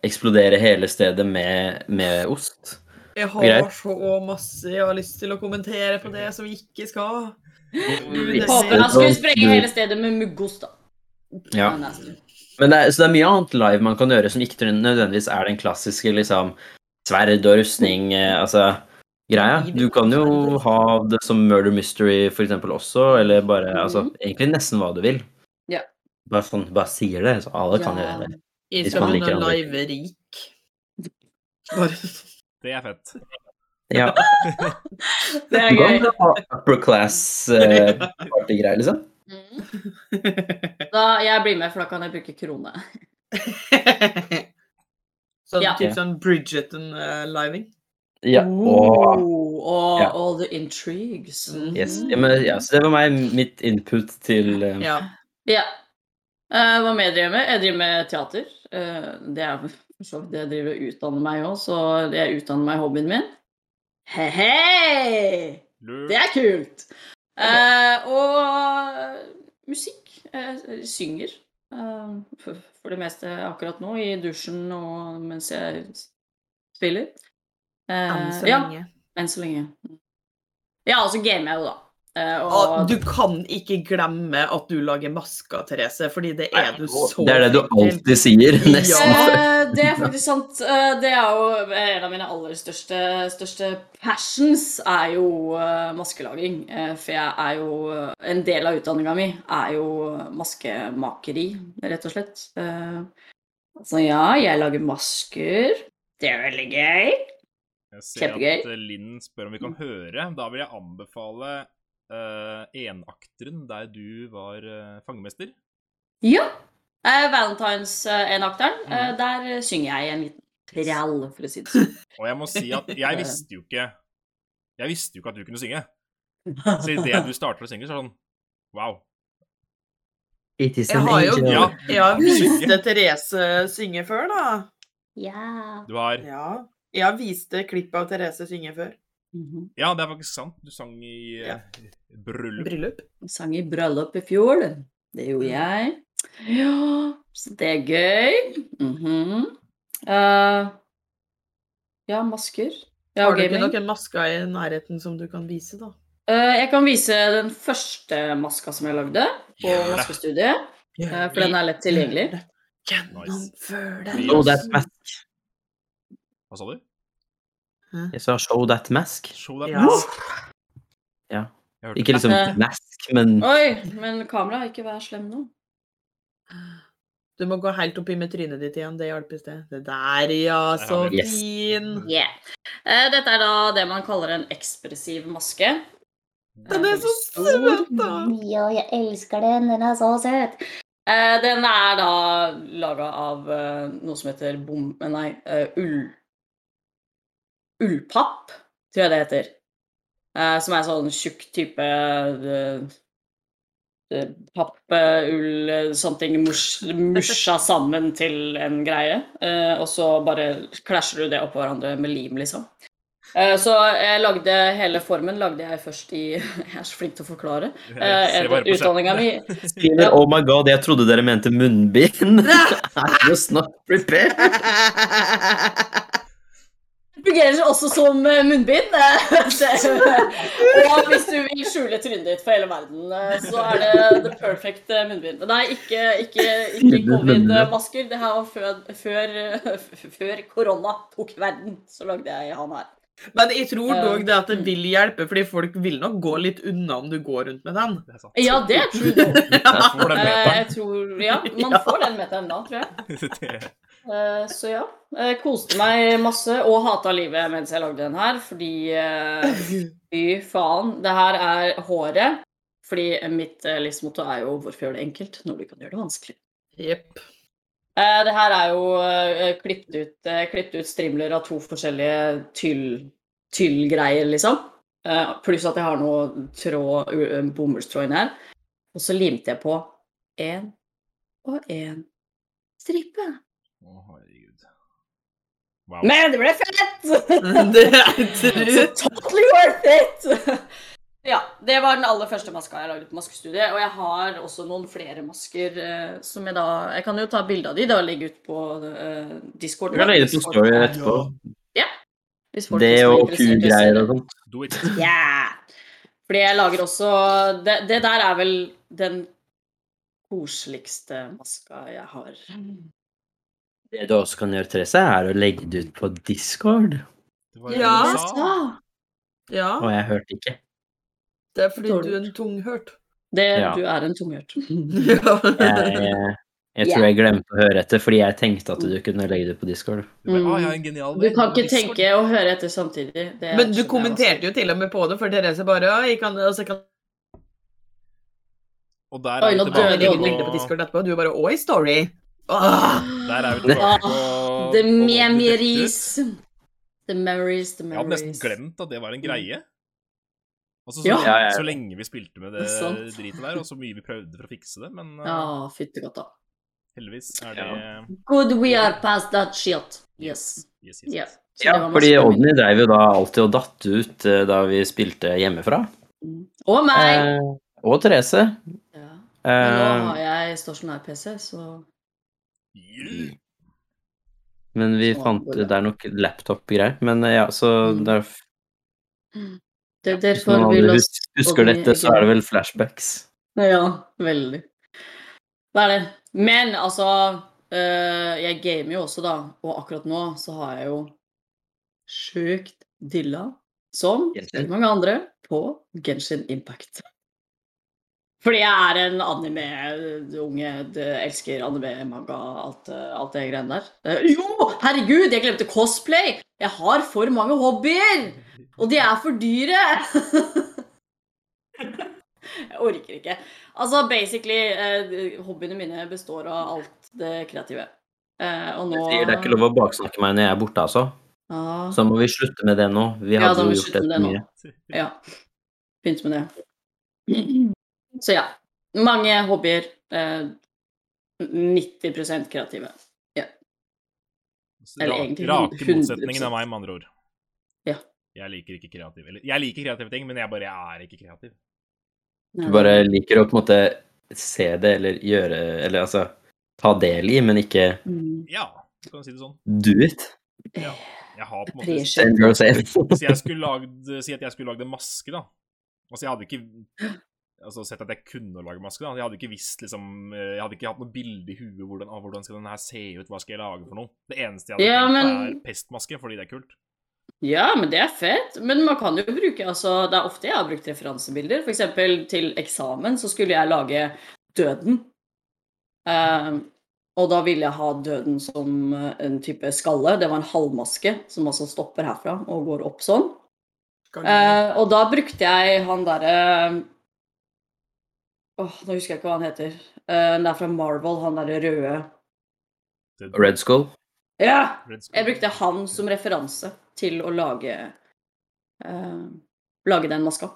S2: eksplodere hele stedet med, med ost.
S4: Jeg har
S2: Greit.
S4: så masse jeg har lyst til å kommentere på det som vi ikke skal.
S1: Oh,
S2: Hvis
S3: Håper han skulle sprenge hele stedet med muggost, da.
S2: Ja.
S3: Men, altså,
S2: Men det er, så det er mye annet live man kan gjøre som ikke nødvendigvis er den klassiske liksom, sverd og rustning, eh, altså greia. Du kan jo ha det som murder mystery for eksempel også, eller bare altså,
S4: Mhm.
S2: egentlig nesten hva du vil.
S3: Ja.
S2: Bare sånn, bare sier det, så alle kan
S3: ja.
S2: gjøre det.
S4: Jeg
S2: Hvis
S4: skal
S2: man liker
S4: begynne å
S2: andre.
S4: live rik. Bare
S1: Det er fett.
S2: Ja.
S3: Det er
S2: Du kan
S3: gøy.
S2: ha upper class-partygreier, liksom.
S3: Mm. Da, jeg blir med, for da kan jeg bruke krone.
S4: sånn
S3: Ja.
S4: typ sånn Bridgerton-living.
S2: Ja.
S3: Oh,
S2: Åh.
S3: og
S2: Ja.
S3: all the intrigues.
S4: Mm.
S2: Yes. Ja, men, ja, så det var meg, mitt input til eh,
S4: ja.
S3: Ja. Eh, hva mer driver jeg med? Jeg driver med teater. Eh, det er for så vidt det jeg driver og utdanner meg òg, så jeg utdanner meg i hobbyen min. Hei!
S1: Lurt.
S3: Det er kult! Eh, og musikk. Jeg synger. eh, for- for det meste akkurat nå, i dusjen og mens jeg spiller. Eh,
S4: Enn så
S3: ja,
S4: lenge.
S3: enn så lenge. Ja, og så gamer jeg jo, da. Eh,
S4: Og Ah, du kan ikke glemme at du lager masker, Therese, fordi det er du så
S2: Det er det du
S4: flink til.
S2: alltid sier,
S4: Ja.
S2: nesten.
S3: Eh, det er faktisk sant. Eh, Det er jo en av mine aller største, største passions, er jo eh, maskelaging. Eh, For jeg er jo eh, En del av utdanninga mi er jo maskemakeri, rett og slett. Eh, Så ja, jeg lager masker. Det er veldig gøy.
S1: Jeg ser
S3: Kjempegøy.
S1: at eh, Linn spør om vi kan høre. Da vil jeg anbefale eh, enakteren der du var eh, fangemester.
S3: Ja. Eh, Valentines-enakteren. Eh, der eh, synger jeg en liten trall, for å si det sånn.
S1: Og jeg må si at jeg visste jo ikke Jeg visste jo ikke at du kunne synge. Så idet du starter å synge, så er det sånn Wow.
S2: It is
S4: Jeg
S2: an
S4: har jo
S2: angel.
S1: Ja.
S4: Jeg har vist det Therese synge før, da.
S5: Ja.
S1: Du har
S4: Ja. Jeg har vist det klippet av Therese synge før.
S3: Mhm.
S1: Ja, det er faktisk sant. Du sang i eh, bryllup.
S4: Bryllup.
S3: sang i bryllup i fjor. Det
S4: Mm.
S3: gjorde jeg. Ja, så det er gøy. Mhm. Eh, ja, masker. Ja,
S4: Har du ikke
S3: gaming.
S4: noen masker i nærheten som du kan vise, da?
S3: Eh, jeg kan vise den første maska som jeg lagde på
S1: Ja.
S3: maskestudiet. eh, for den er lett tilgjengelig.
S4: Gjennomfør det!
S1: Nice.
S2: Show that mask.
S1: Hva sa du?
S2: Jeg sa show that mask.
S1: Show that
S4: Ja.
S1: mask.
S2: Ja.
S1: Jeg hørte
S2: Ikke liksom
S3: Eh.
S2: mask, men
S3: Oi, men kamera, ikke vær slem nå.
S4: Du må gå helt oppi med trynet ditt igjen, det hjalp i sted. Det der, ja, så
S1: har vi
S2: det. Yes.
S4: fin!
S3: Yeah. Eh, dette er da det man kaller en ekspressiv maske. Eh,
S4: Den er så
S3: veldig
S4: søt, da!
S5: Ja, jeg elsker den. Den er så søt.
S3: Eh, den er da laga av eh, noe som heter bom... Nei, eh, ull... Ullpapp, tror jeg det heter. Eh, som er sånn tjukk type eh, eh, papp, eh, ull, eh, sånne ting mus, musja sammen til en greie. Eh, og så bare klasjer du det oppå hverandre med lim, liksom. Eh, så jeg lagde hele formen lagde jeg først i Jeg er så flink til å forklare. eh,
S1: Jeg ser bare på skjermen.
S3: Utdanninga mi
S2: Skriver, Oh my god, jeg trodde dere mente munnbind. I was not prepared.
S3: fungerer også som eh, munnbind. eh, det- Og hvis du vil skjule trynet ditt for hele verden, eh, så er det the perfect eh, munnbind. Men Nei, ikke, ikke, ikke
S2: Skjule munnbind.
S3: covid-masker. Det her var før, før, eh, f- før korona tok verden, så lagde jeg han her.
S4: Men jeg tror
S3: Ja.
S4: dog det at det vil hjelpe, fordi folk vil nok gå litt unna om du går rundt med den.
S1: Det er sant.
S3: Ja, det er true. though.
S1: Jeg får den
S3: Eh,
S1: meteren.
S3: Jeg tror, ja, man får den meteren da, tror jeg.
S1: Det-
S3: Eh, Så ja. eh, Koste meg masse og hata livet mens jeg lagde den her, fordi eh, Fy faen. Det her er håret. Fordi mitt eh, livsmotto er jo 'hvorfor gjøre det enkelt når du kan gjøre det vanskelig'.
S4: Jepp.
S3: Eh, det her er jo eh, klippet ut, eh, klippet ut strimler av to forskjellige tyll- tyllgreier, liksom. Eh, pluss at jeg har noe tråd, u- eh, bomullstråd inni her. Og så limte jeg på én og én stripe.
S1: Å, herregud. Wow.
S3: Men det ble fett!
S4: Det er
S3: Så
S4: true.
S3: totally worth it! ja, det var den aller første maska jeg lagde på maskestudiet. Og jeg har også noen flere masker eh, som jeg da Jeg kan jo ta bilde av de da og legge ut på eh, Discord.
S2: Jeg kan legge det på story etterpå.
S3: Hvis folk
S2: Det
S3: som er
S2: og
S3: interessert i å se
S2: kugreier
S3: det.
S2: og sånt.
S1: Do it.
S3: Ja! Fordi jeg lager også det, det der er vel den koseligste maska jeg har.
S2: Det du også kan gjøre, Therese, er å legge det ut på Discord.
S1: Det var det
S4: Ja.
S1: du sa.
S4: Ja,
S2: Og jeg hørte ikke.
S4: det er fordi du er en tunghørt.
S3: Det,
S2: Ja.
S3: Du er en tunghørt.
S4: Ja.
S2: Jeg, Jeg tror jeg glemte å høre etter, fordi jeg tenkte at du kunne legge det på Discord.
S1: Du bare,
S3: Mm.
S1: ah, jeg er en genial
S3: Du
S1: idé».
S3: kan ikke tenke og høre etter samtidig. Det
S4: Men du
S3: skjønner altså. jeg
S4: kommenterte jo til og med på det, for Therese bare «Ja, jeg kan, altså, jeg kan
S1: Og der
S3: Oi,
S1: er
S3: nå
S1: vi
S4: ta
S3: døde
S4: med egen
S1: tilbake
S4: bilde
S1: på,
S4: på Discord etterpå, og du bare Oi, story! Ah,
S3: også.
S1: der er vi tilbake
S3: Ah,
S1: på, på
S3: The
S1: Volden
S3: memories.
S1: Detective.
S3: The memories, the
S1: Jeg hadde nesten
S3: memories. Mm.
S1: glemt at det var en greie. Altså, så,
S3: Ja.
S2: Ja, ja, ja.
S1: så lenge vi spilte med det
S3: Det er sant.
S1: dritet der, og så mye vi prøvde for å fikse det, men
S3: Ja,
S1: eh,
S3: fyttegodt, da.
S1: heldigvis er det
S3: Good we are past that shit. Yes.
S1: yes, yes,
S3: Yeah.
S1: yes.
S3: Så
S2: Ja,
S3: det var
S2: fordi
S3: masse-
S2: Odny dreiv jo da alltid og datt ut eh, da vi spilte hjemmefra.
S3: Mm. Og meg!
S2: Eh, og Therese.
S3: Ja. Men nå har
S2: Eh,
S3: jeg stasjonær PC, så
S1: Yeah.
S2: men vi
S3: Sånn,
S2: fant
S3: går det.
S2: Det er nok laptop-greier. Men eh, ja, så
S3: Mm.
S2: det er,
S3: det er
S2: Hvis noen
S3: derfor vi
S2: andre
S3: lå
S2: hus- husker
S3: Odny
S2: dette,
S3: ikke-
S2: så er det vel flashbacks.
S3: Ja, veldig. Det er det. Men altså øh, Jeg gamer jo også, da. Og akkurat nå så har jeg jo sjukt dilla, som
S2: Genshin.
S3: veldig mange andre, på Genshin Impact. Fordi jeg er en anime-unge. Elsker anime, manga, alt, øh, alt det greiene der. Eh, Jo, herregud, jeg glemte cosplay! Jeg har for mange hobbyer! Og de er for dyre! jeg orker ikke. Altså, basically, eh, hobbyene mine består av alt det kreative. Eh, og nå
S2: Jeg sier det er ikke lov å baksnakke meg når jeg er borte, altså.
S3: Ja.
S2: Så må vi slutte med det nå. Vi
S3: Ja,
S2: hadde
S3: da må
S2: jo
S3: vi
S2: gjort
S3: slutte
S2: det
S3: med det nå.
S2: mye.
S3: Ja. Begynte med det. Så ja. Mange hobbyer. Eh, 90 kreative.
S1: Så
S3: Eller
S1: Altså, ra-
S3: egentlig
S1: Rake
S3: 100%.
S1: motsetningen av meg, med andre ord.
S3: Ja.
S1: Jeg liker ikke kreativ. Eller, jeg liker kreative ting, men jeg bare er ikke kreativ.
S2: Du bare liker å på en måte se det eller gjøre Eller altså ta del i, men ikke
S3: Mm.
S1: Ja, kan du si det sånn.
S2: do it.
S1: Jeg har på en måte
S3: Appreciate.
S2: Same girl same.
S1: Hvis jeg skulle lagd, si at jeg skulle lagd en maske, da Altså, jeg hadde ikke altså, sett at jeg kunne lage maske, da. Jeg hadde ikke visst, liksom eh, Jeg hadde ikke hatt noe bilde i huet hvordan, av hvordan skal den her se ut, hva skal jeg lage for noe. Det eneste jeg hadde
S3: Ja,
S1: tenkt,
S3: men-
S1: er pestmaske, fordi det er kult.
S3: Ja, men det er fett. Men man kan jo bruke altså, Det er ofte jeg har brukt referansebilder. F.eks. til eksamen så skulle jeg lage døden. Eh, og da ville jeg ha døden som eh, en type skalle. Det var en halvmaske som altså stopper herfra og går opp sånn. Eh, og da brukte jeg han derre Åh, nå husker jeg ikke hva han heter. Eh, det er fra Marvel, han derre røde.
S1: Det-
S2: Red Skull.
S3: Ja!
S1: Red Skull.
S3: Jeg brukte han som referanse til å lage eh, Lage den maska.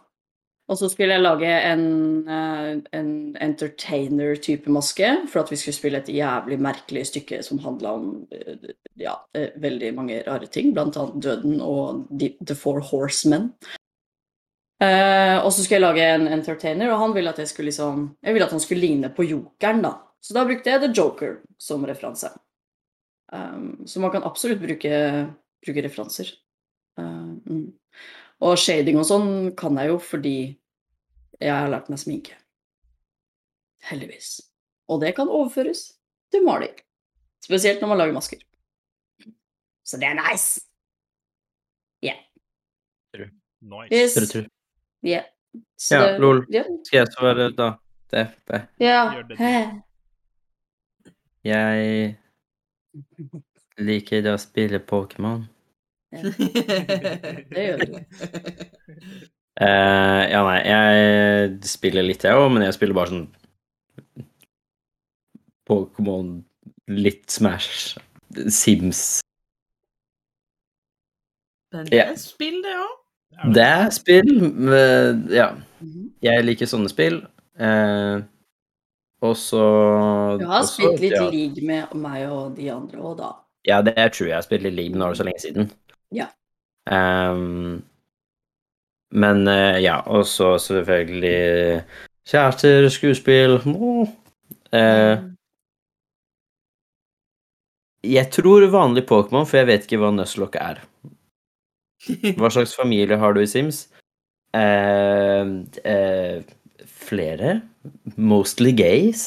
S3: Og så skulle jeg lage en, eh, en entertainer-type maske, for at vi skulle spille et jævlig merkelig stykke som handla om eh, ja, eh, veldig mange rare ting, blant annet Døden og The, the Four Horsemen. Eh, og så skulle jeg lage en entertainer, og han ville at jeg skulle liksom Jeg ville at han skulle ligne på Jokeren, da. Så da brukte jeg The Joker som referanse. Um, så man kan absolutt bruke, bruke referanser. Uh, mm. Og shading og sånn kan jeg jo fordi jeg har lært meg sminke. Heldigvis. Og det kan overføres til maling. Spesielt når man lager masker. Så det er nice!
S1: Nice.
S3: Yes.
S2: Tror, tror.
S3: Yeah. Så
S2: Ja,
S3: det-
S2: lol.
S3: Ja.
S2: Skal jeg svare da? DFB.
S3: ja.
S1: Gjør det.
S3: Hæ.
S2: Jeg liker å spille Pokémon.
S3: Det gjør du.
S2: Eh, ja, nei, jeg spiller litt, jeg òg, men jeg spiller bare sånn Pokémon, litt Smash, Sims
S4: Men
S2: Ja.
S4: det er spill, det òg.
S2: Det er spill. men, Ja.
S3: Mhm.
S2: Jeg liker sånne spill. Eh, og så
S3: Du har
S2: og så-
S3: spilt litt
S2: ja,
S3: league med meg og de andre òg, da.
S2: Ja, det er true. Jeg har spilt litt League, men nå er det så lenge siden.
S3: Ja.
S2: Ehm, men eh, ja, og så selvfølgelig kjærester, skuespill Nå. Eh,
S3: Mm.
S2: jeg tror vanlig Pokémon, for jeg vet ikke hva Nuzlocke er. Hva slags familie har du i Sims? Eh, eh, flere? Mostly gays?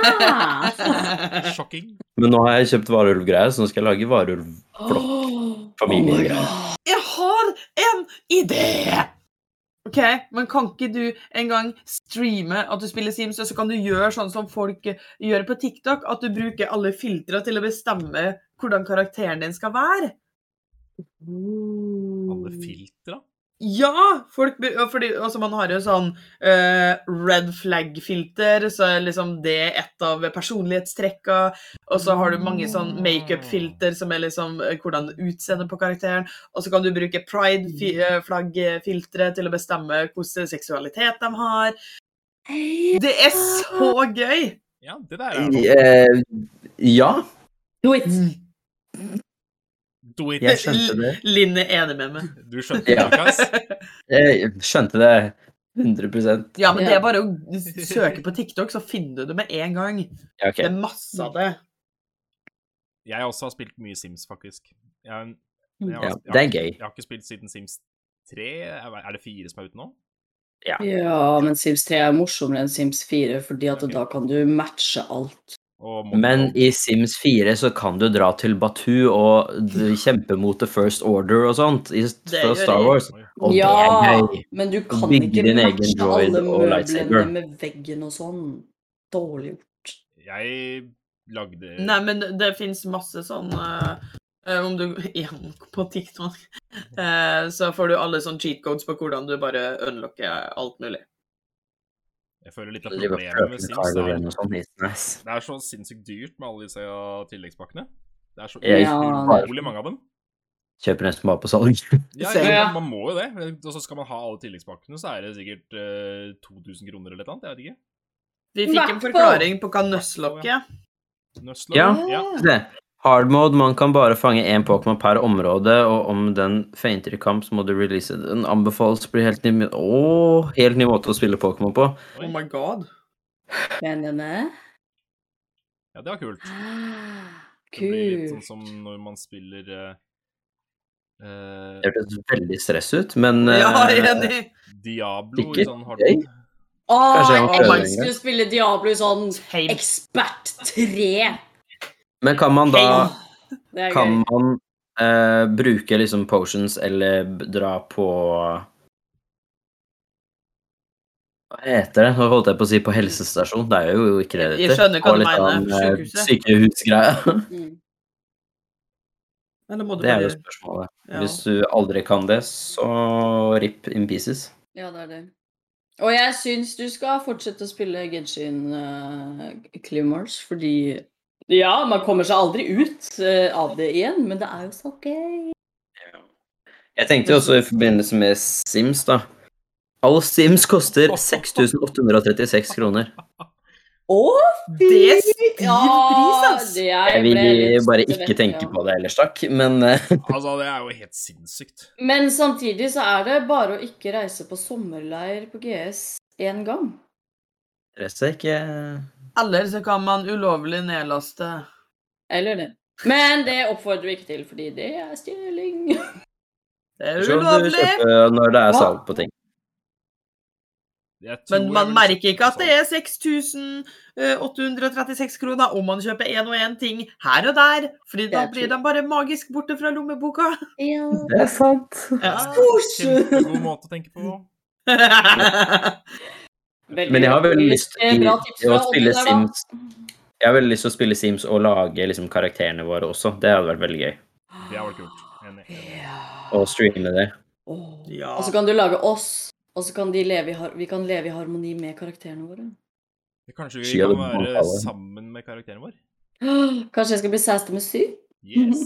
S1: Sjokking.
S2: Men nå har jeg kjøpt varulvgreier, så nå skal jeg lage varulv... Flott.
S3: Åh,
S2: Familiegreier.
S3: oh my god.
S4: Jeg har en idé! Ok, men kan ikke du en gang streame at du spiller Sims, og så kan du gjøre sånn som folk gjør på TikTok, at du bruker alle filtre til å bestemme hvordan karakteren din skal være?
S1: Alle filtra?
S4: Ja! Folk, be- ja, fordi, altså man har jo sånn eh, red flag-filter, så er liksom det er et av personlighetstrekka. Og så har du mange sånn makeup-filter, som er liksom eh, hvordan utseendet på karakteren. Og så kan du bruke pride-flagg-filtre til å bestemme hvordan seksualitet de har. Det er så gøy!
S1: Ja, det der er jo
S2: Eh, ja,
S3: Do it!
S1: Do it.
S2: jeg skjønte det.
S4: Linn er enig med meg.
S1: Du skjønte det,
S2: Ja.
S1: Lukas?
S2: Jeg Eh, skjønte det 100
S4: Ja, men det
S3: Ja.
S4: er bare å søke på TikTok, så finner du det med en gang.
S2: Ja, ok.
S4: Det er masse av det.
S1: Jeg også har spilt mye Sims, faktisk. Jeg, jeg, har,
S2: Ja,
S1: jeg,
S2: det
S1: har,
S2: er gøy.
S1: jeg har ikke spilt siden Sims 3. Er er det 4 som er ute nå?
S3: Ja, men Sims 3 er morsommere enn Sims 4, fordi at da kan du matche alt.
S1: Og Mongo.
S2: Men i Sims 4 så kan du dra til Batu og d- kjempe mot The First Order og sånt i,
S4: Det
S2: fra
S4: gjør
S2: Star
S4: jeg.
S2: Wars.
S1: Oi.
S2: Og
S3: ja,
S2: det er gøy.
S3: men du kan
S2: Bygge
S3: ikke
S2: din egen
S3: matche
S2: droid
S3: alle
S2: og
S3: møblene
S2: lightsaber.
S3: med veggen og sånn. Dårlig gjort.
S1: Jeg lagde
S2: Eh.
S4: Nei, men det fins masse sånn eh, eh, Om du igjen på TikTok, eh, så får du alle sånne cheat codes på hvordan du bare unlocker alt mulig.
S1: Jeg føler litt av
S2: Driver og
S1: problemet med
S2: prøver
S1: Sims.
S2: Tiger Wren
S1: Er,
S2: og sånn. It's nice.
S1: det er så sinnssykt dyrt med alle disse ja, tilleggspakkene. Det er så
S2: Jeg
S3: Ja,
S1: utrolig mange av dem.
S2: Kjøper nesten bare på salg.
S1: Ja,
S4: Selv-
S1: ja, man må jo det. Og så skal man ha alle tilleggspakkene, så er det sikkert eh, 2000 kroner eller noe. Jeg vet ikke.
S4: Vi fikk en
S3: Hvertfall.
S4: forklaring på hva nøsslokk er.
S1: Nøsler?
S2: Ja. Det. Hard mode, man kan bare fange én Pokémon per område, og om den feinter i kamp, så må du release den. Anbefales blir helt ny, Åh, helt ny måte å spille Pokémon på.
S1: Oi.
S4: Oh my god.
S3: Mener jeg med?
S1: ja, det var kult.
S3: Ah,
S1: Det blir litt sånn
S3: Kult.
S1: som når man spiller eh, eh,
S2: Det hørtes veldig stress ut, men
S4: Ja,
S2: eh,
S4: jeg er enig.
S1: Diablo i
S2: Sikkert
S1: sånn
S2: gøy.
S1: hardcore.
S3: Åh,
S2: Kanskje jeg må
S3: jeg
S2: prøve en
S3: elsker å spille Diablo i sånn
S4: Tame.
S3: Ekspert 3.
S2: men kan man da
S4: Tame.
S3: Det er
S2: Kan
S3: gøy.
S2: man eh, bruke liksom potions eller b- dra på Hva heter det? Nå holdt jeg på å si på helsestasjon. Det er jo ikke det det
S4: Jeg skjønner hva
S2: Og
S4: du
S2: litt
S4: mener,
S2: annen, eh,
S4: sykehuset.
S2: Sykehusgreia.
S3: Mm.
S4: Eller må du
S2: Det er jo
S4: bare
S2: spørsmålet.
S4: ja.
S2: Hvis du aldri kan det, så rip in pieces.
S3: Ja, det er det. Og jeg syns du skal fortsette å spille Genshin uh, Climmers, fordi Ja, man kommer seg aldri ut eh, av det igjen, men det er jo så gøy.
S2: Jeg tenkte jo også i forbindelse med Sims, da. All Sims koster 6836 kroner.
S3: Å,
S4: Det er stiv pris, ass!
S3: det er-
S2: Jeg
S3: ble
S2: vil
S3: litt
S2: bare
S3: svett,
S2: ikke tenke
S3: ja.
S2: på det ellers, takk. Men eh,
S1: Altså, det er jo helt sinnssykt.
S3: Men samtidig så er det bare å ikke reise på sommerleir på GS én gang.
S2: resten er ikke
S4: Eller så kan man ulovlig nedlaste.
S3: Eller det. Men det oppfordrer vi ikke til, fordi det er stjeling.
S4: Det er
S2: Så du
S4: ulovlig!
S2: kjøper når det er
S4: Hva?
S2: salg på ting.
S1: Jeg tror
S4: Men
S1: jeg
S4: man
S1: ville kjøpt
S4: merker ikke at det
S1: sånn.
S4: er 6836 kroner om man kjøper én og én ting her og der, fordi da
S3: Det er
S4: blir de bare magisk borte fra lommeboka.
S5: Ja.
S2: Det er sant.
S4: Ja.
S1: Kjempegod måte å tenke på.
S3: Veldig
S2: Men jeg har veldig
S3: bra.
S2: lyst til
S3: Bra tips
S2: å
S3: fra Odd
S2: spille
S3: der, da.
S2: Sims. Jeg har veldig lyst til å spille Sims og lage liksom, karakterene våre også. Det hadde vært veldig gøy.
S1: Det hadde vært eh, kult. Enig. enig.
S2: Å streame det.
S3: Åh.
S4: Ja.
S3: Og så kan du lage oss, og så kan de leve i, har- vi kan leve i harmoni med karakterene våre.
S1: Det Kanskje vi
S2: Skia
S1: kan
S2: det
S1: være
S2: banale.
S1: sammen med karakteren vår?
S3: Kanskje jeg skal bli sæste med syv?
S1: Yes.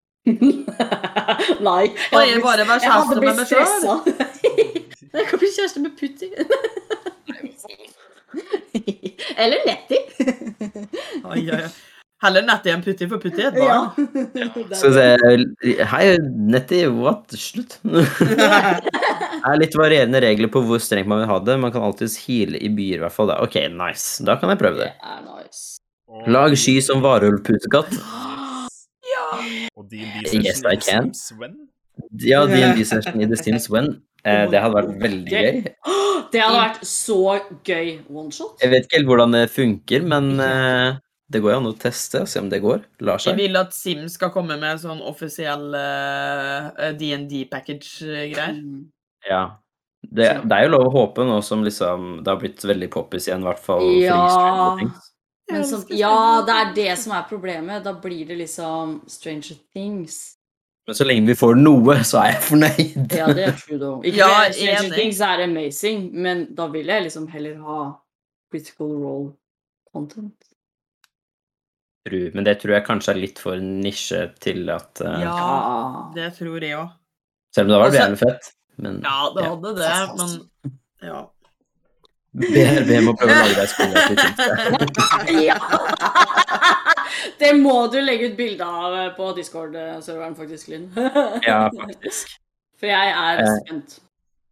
S3: Nei. Jeg
S4: Og jeg bare være
S3: jeg hadde
S4: kjæreste med
S3: blitt
S4: meg sjøl.
S3: stressa. Jeg kan bli kjæreste med Putti. Eller Letty.
S4: Heller Nettie enn Putti, for Putti er et
S3: Ja.
S4: barn.
S2: Så det, hei, Netty, what? Slutt. Det er litt varierende regler på hvor strengt man vil ha det. Man kan alltids heale i byer, i hvert fall. da. Ok, nice. Da kan jeg prøve
S3: Det
S2: det.
S3: er nice.
S1: Og-
S2: Lag sky som varulvputekatt.
S1: Og D&D
S2: Yes, I can.
S1: Sven?
S2: Ja, DND-session i The Sims When. Eh, det hadde vært veldig gøy.
S3: Det hadde vært så gøy oneshot.
S2: Jeg vet ikke helt hvordan det funker, men eh, det går jo an å teste og se om det går. Lar
S4: Jeg
S2: seg.
S4: vil at Sim eh,
S3: Mm.
S4: skal komme med sånn offisiell eh, D&D package-greier.
S2: Ja. Det, det er jo lov å håpe nå som liksom Det har blitt veldig poppis igjen, i hvert fall. freestyle og ting.
S3: Men som, ja, det er det som er problemet. Da blir det liksom Stranger Things.
S2: Men så lenge vi får noe, så er jeg fornøyd.
S3: Ja, det er true, though. Ikke
S4: Ja,
S3: det, Stranger
S4: enig.
S3: Things er amazing, men da vil jeg liksom heller ha critical role content.
S2: Tror- Men det tror jeg kanskje er litt for nisje til at eh,
S4: Ja,
S3: Ja.
S4: det tror jeg òg.
S2: Selv om det har vært
S4: Altså-
S2: jævlig fett. Men
S4: Ja, det hadde det, men ja.
S2: BRB må prøve å lage deg spillere til ting.
S3: ja. Det må du legge ut bilde av eh, på Discord-serveren, faktisk, Linn.
S2: Ja, faktisk.
S3: For jeg er
S2: Eh.
S3: spent.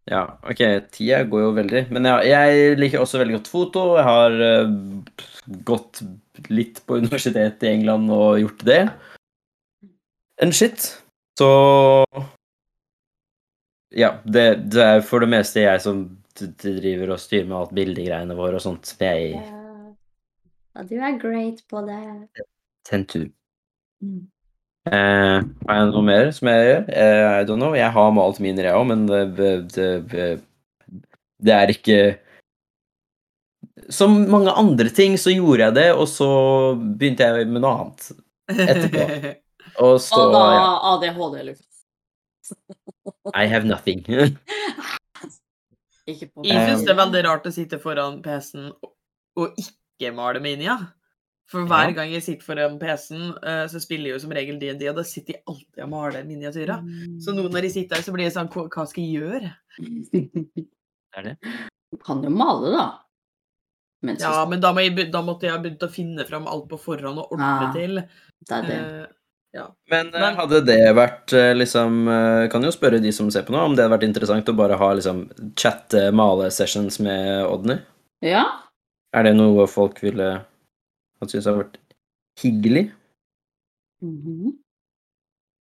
S2: Ja, ok, tida går jo veldig. Men ja, jeg liker også veldig godt foto. Jeg har eh, gått litt på universitetet i England og gjort det. En shit. Så Ja, det, det er for det meste jeg som d- d- driver og styrer med alt bildegreiene våre og sånt. Jeg
S5: Ja. Ja, du er great på det.
S2: tentu.
S3: Mm.
S2: Eh, har jeg noe mer som jeg gjør? Eh, I don't know. Jeg har malt miner, jeg òg, men det, det, det, det er ikke Som mange andre ting så gjorde jeg det, og så begynte jeg med noe annet. Etterpå. Og så
S3: Og da
S2: ja,
S3: ADHD, eller
S2: I have nothing.
S3: ikke på
S4: Jeg syns det er
S2: Um,
S4: veldig rart å sitte foran PC-en og- og ikke male med inni, ja. For hver
S2: Ja.
S4: gang jeg sitter foran PC-en, eh, så spiller jeg jo som regel D&D, og da sitter jeg alltid og maler miniatyrer. Så nå når jeg sitter her, så blir jeg sånn Hva hva skal jeg gjøre?
S2: Det er det.
S3: Du kan jo male, da. Mens du
S4: Ja, men da, må jeg, be- da måtte jeg ha begynt å finne fram alt på forhånd og ordne
S3: Ah,
S4: til.
S3: det er det.
S4: Eh,
S2: Men eh,
S4: Men-
S2: hadde det vært eh, liksom eh, Kan jo spørre de som ser på nå, om det hadde vært interessant å bare ha liksom chatte-male-sessions med Odny?
S4: eh.
S3: Ja,
S2: Er det noe folk ville Han synes har vært hyggelig?
S3: mhm.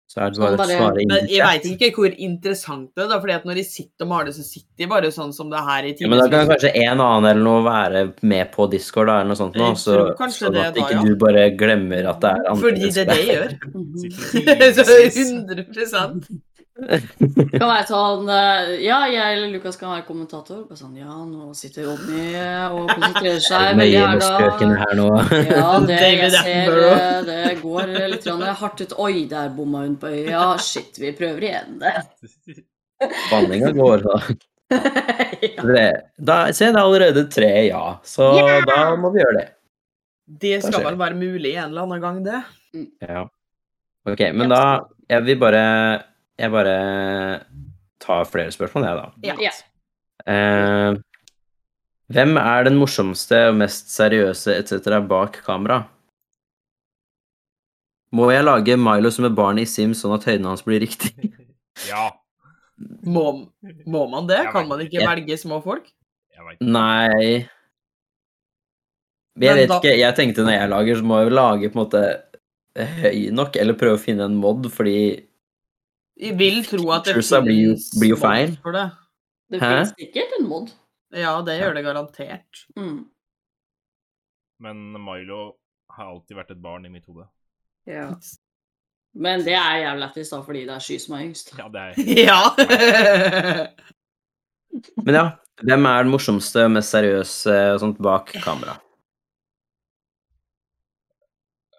S2: Så er det
S3: Så han
S2: bare å
S3: bare-
S2: svare inn
S4: Sånn Men
S2: i
S4: jeg veit
S2: chat.
S4: ikke hvor interessant det er, da, fordi at når jeg sitter og maler, så sitter jeg bare sånn som det er her i
S2: Ja, men da kan
S4: timen.
S2: kanskje en annen eller noe være med på Discord da, eller noe sånt nå,
S4: Jeg
S2: så,
S4: tror kanskje
S2: sånn
S4: det
S2: at
S4: da,
S2: ikke
S4: ja.
S2: du bare glemmer at det er andre
S4: Fordi det er det jeg gjør.
S3: Mhm.
S4: Så
S1: Sitter
S4: 100
S3: Det kan være sånn eh, Ja, jeg eller Lukas kan være kommentator. Bare sånn, ja, nå sitter Odny og konsentrerer seg. veldig
S2: Nøye
S3: her
S2: med
S3: da.
S2: strøkene her nå.
S3: Ja, det jeg
S4: David
S3: ser
S4: Attenborough.
S3: eh, det går litt grann hardt ut. Oi, der bomma hun på øya. Shit, vi prøver igjen.
S2: Banninga går, da.
S3: Ja.
S2: Det- da. Se, det er allerede tre ja, så
S5: Ja!
S2: da må vi gjøre det.
S4: Det skal
S2: Kanskje.
S4: vel være mulig en eller annen gang, det.
S2: Ja. Ok, men da Jeg vil bare Jeg bare tar flere spørsmål, jeg, da.
S4: Ja.
S3: Ja.
S2: Eh, hvem er den morsomste og mest seriøse etc. bak kamera? Må jeg lage Milo som et barn i Sims, sånn at høyden hans blir riktig?
S1: Ja,
S4: Må, må man det?
S1: Jeg
S4: Kan
S1: vet
S4: man ikke
S2: ikke.
S4: velge små folk?
S1: jeg veit.
S2: Nei Jeg
S4: Men
S2: vet
S4: da-
S2: ikke. Jeg tenkte når jeg lager, så må jeg jo lage på en måte eh, høy nok, eller prøve å finne en mod, fordi
S4: Jeg vil tro at det
S2: Features da blir jo-
S4: finnes
S2: blir jo
S4: folk
S2: feil.
S4: For det.
S3: Det
S2: Hæ?
S3: finnes sikkert en mod.
S4: Ja, det gjør det garantert.
S3: Mm.
S1: Men Milo har alltid vært et barn i mitt hode.
S3: Ja. Men det er jævlig lættis, da, fordi det er Sky som er yngst.
S1: Ja, det er
S4: Ja!
S2: Men ja. Hvem er den morsomste og mest seriøse og sånt bak kamera?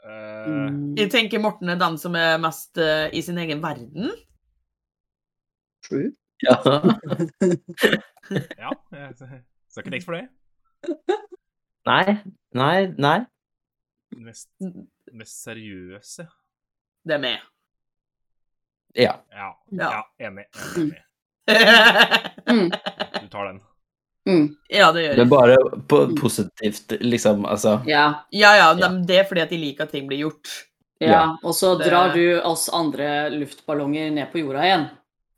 S1: Eh,
S3: Mm.
S4: Jeg tenker Morten er den som er mest eh, i sin egen verden.
S3: True.
S2: Ja.
S1: Ja, jeg skal ikke nekte for det.
S2: Nei, nei, nei.
S1: Mest,
S4: Det
S1: mest seriøse.
S4: er meg.
S2: Ja.
S1: Ja,
S4: Ja.
S1: ja enig. enig.
S3: Mm.
S1: Du tar den.
S3: Mm.
S4: Ja, det gjør
S2: Det er
S4: jeg.
S2: bare på
S4: Mm.
S2: positivt, liksom. Altså
S3: Ja.
S4: Ja, ja, dem- det er fordi at de liker at ting blir gjort.
S3: Ja, og så
S4: Det-
S3: drar du oss andre luftballonger ned på jorda igjen.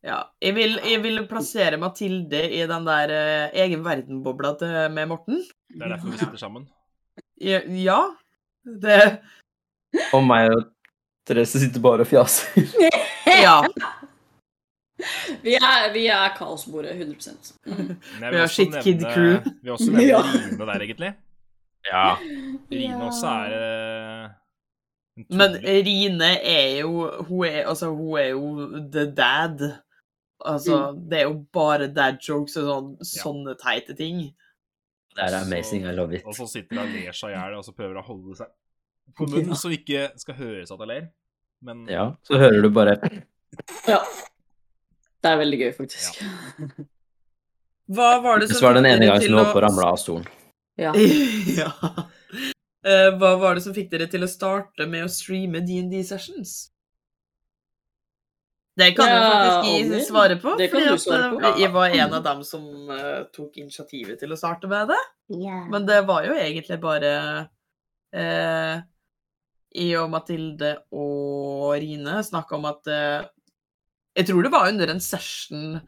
S4: Ja. Jeg vil, jeg vil plassere Mathilde i den der eh, egen verden-bobla til- med Morten.
S1: Det er derfor vi sitter sammen.
S4: Ja- Ja. Det
S2: Og meg og Therese sitter bare og fjaser.
S4: Ja.
S3: Vi er, vi er kaosbordet, 100 mm.
S1: Men jeg
S4: Vi
S1: vil
S4: har
S1: også
S4: shit kid
S1: nevne-
S4: crew.
S1: Vi har også nevne
S3: Ja.
S1: Rine der, egentlig.
S2: Ja.
S1: Rine også er eh, en
S4: Men
S1: tuller.
S4: Rine er jo Hun er, altså, hun er jo the dad.
S3: Mm.
S4: Altså, det er jo bare dad jokes og sånn, sånne teite ting.
S2: Det er amazing, I love it.
S1: Og så sitter han og ler seg i hjel, og så prøver å holde seg på munnen, så det ikke skal høres at jeg ler. Men
S2: Ja, så hører du bare
S3: Ja. Det er veldig gøy, faktisk.
S4: Hva var det som
S2: Så var det den
S4: fikk
S2: ene
S4: dere
S2: gangen
S4: til
S2: hun
S4: å-
S2: holdt på å ramle av stolen.
S3: Ja.
S4: ja. Eh, hva var det som fikk dere til å starte med å streame D&D sessions? Det kan jeg
S3: Ja,
S4: faktisk
S3: Oddny,
S4: jeg svare på.
S3: det kan
S4: fordi
S3: du
S4: at,
S3: svare på.
S4: eh, Jeg var en av dem som eh, tok initiativet til å starte med det.
S5: Yeah.
S4: Men det var jo egentlig bare eh, jeg og Mathilde og Rine snakka om at eh, Jeg tror det var under en session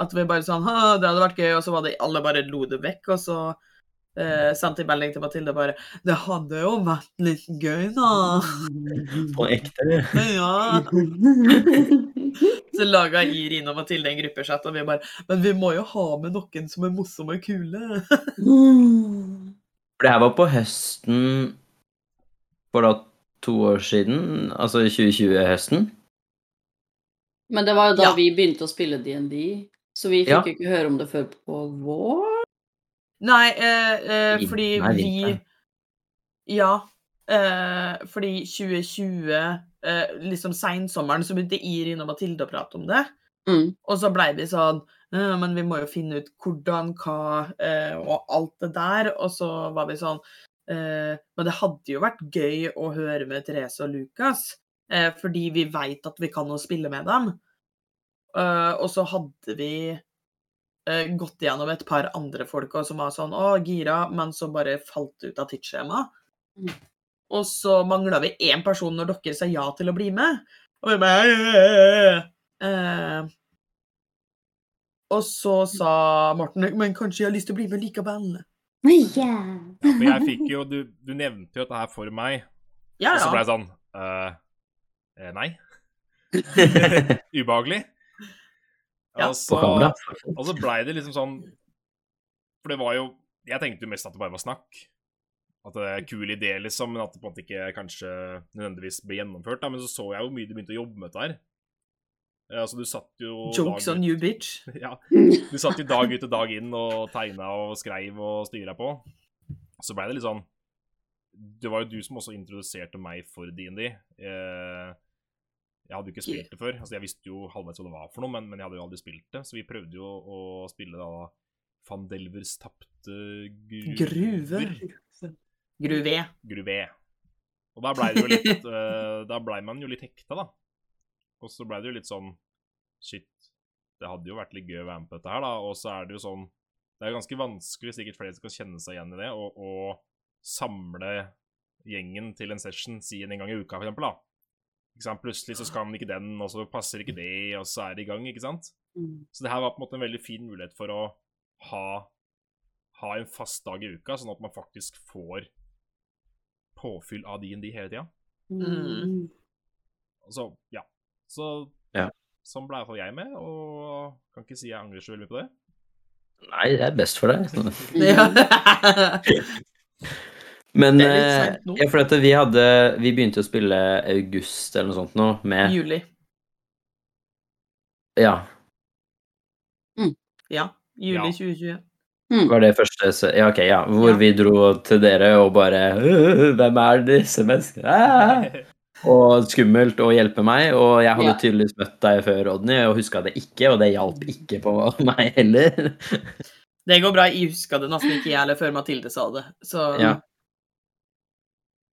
S4: at vi bare sånn «Ha, Det hadde vært gøy, og så var det alle bare lo det vekk, og så eh, sendte jeg melding til Mathilde og bare Det hadde jo vært litt gøy, da.
S2: På ekte, eller?
S4: Ja. Så laga jeg, Rine og Mathilde en gruppechat, og vi bare Men vi må jo ha med noen som er morsomme og kule.
S3: Mm.
S2: For det her var på høsten For da to år siden, altså 2020-høsten.
S3: Men det var jo da
S4: Ja.
S3: vi begynte å spille DND, så vi fikk
S2: Ja.
S3: jo ikke høre om det før på vår.
S4: Nei, eh, eh,
S2: Vin-
S4: fordi
S2: nei,
S4: vi
S2: vinteren.
S4: Ja. Eh, fordi 2020, eh, liksom seinsommeren, så begynte Irin og Mathilde å prate om det.
S3: Mm.
S4: Og så blei vi sånn «Eh, Men vi må jo finne ut hvordan, hva eh, og alt det der. Og så var vi sånn eh, Men det hadde jo vært gøy å høre med Therese og Lukas. Eh, fordi vi veit at vi kan å spille med dem. Eh, og så hadde vi eh, gått gjennom et par andre folk også, som var sånn å, gira, men så bare falt ut av tidsskjema.
S3: Mm.
S4: Og så mangla vi én person når dere sa ja til å bli med. Og vi bare «Øh, øh, øh». eh, Og så sa Morten men kanskje jeg har lyst til å bli med likevel.
S5: Yeah.
S1: Ja, for jeg fikk jo Du, du nevnte jo dette her for meg,
S4: Ja,
S1: og så ble
S4: ja.
S1: jeg sånn eh, eh, Nei. Ubehagelig.
S4: Ja.
S1: Og
S2: På
S1: så,
S2: kamera.
S1: og så blei det liksom sånn For det var jo Jeg tenkte jo mest at det bare var snakk. At det er en kul idé, liksom, men at det på en måte ikke kanskje nødvendigvis ble gjennomført. Da. Men så så jeg jo hvor mye du begynte å jobbe med dette her. Eh, Altså, du satt jo
S4: Jokes
S1: dag
S4: on
S1: ut-
S4: you, bitch.
S1: Ja, du satt jo dag ut og dag inn og tegna og skreiv og styra på. Så blei det litt sånn Det var jo du som også introduserte meg for DND. Eh, Jeg hadde jo ikke spilt det før. Altså, jeg visste jo halvveis hva det var for noe, men, men jeg hadde jo aldri spilt det. Så vi prøvde jo å spille da Van Delvers tapte
S4: Gruve.
S1: gruver.
S4: Gruve.
S1: Gruve. Og da blei det jo litt eh, Da blei man jo litt hekta, da. Og så blei det jo litt sånn Shit, det hadde jo vært litt gøy å være med på dette her, da. Og så er det jo sånn Det er jo ganske vanskelig, sikkert flere skal kjenne seg igjen i det, å- å samle gjengen til en session, si en gang i uka, for eksempel, da. Ikke sant? Plutselig så skal man ikke den, og så passer ikke det, og så er det i gang, ikke sant?
S3: Mm.
S1: Så det her var på en måte en veldig fin mulighet for å ha, ha en fast dag i uka, sånn at man faktisk får påfyll av D&D hele tida.
S4: Mm.
S1: Og Så, ja. Så
S2: Ja.
S1: sånn ble iallfall jeg med, og kan ikke si jeg angrer så veldig mye på det.
S2: Nei, det er best for deg.
S4: Ja.
S2: Men
S4: Det er litt
S2: eh,
S4: sent nå.
S2: ja, for at vi hadde Vi begynte å spille august eller noe sånt nå, med
S4: Juli.
S2: Ja.
S4: Ja. Juli
S1: Ja.
S4: 2020.
S2: Var det første se- Ja, ok, ja. Hvor
S4: Ja.
S2: vi dro til dere og bare «Øh, Hvem er disse menneskene? Ah! Og skummelt å hjelpe meg. Og jeg hadde
S3: Ja.
S2: tydeligvis møtt deg før, Odny, og huska det ikke, og det hjalp ikke på meg heller.
S4: Det går bra. Jeg huska det nesten ikke jeg heller før Mathilde sa det. Så
S2: Ja.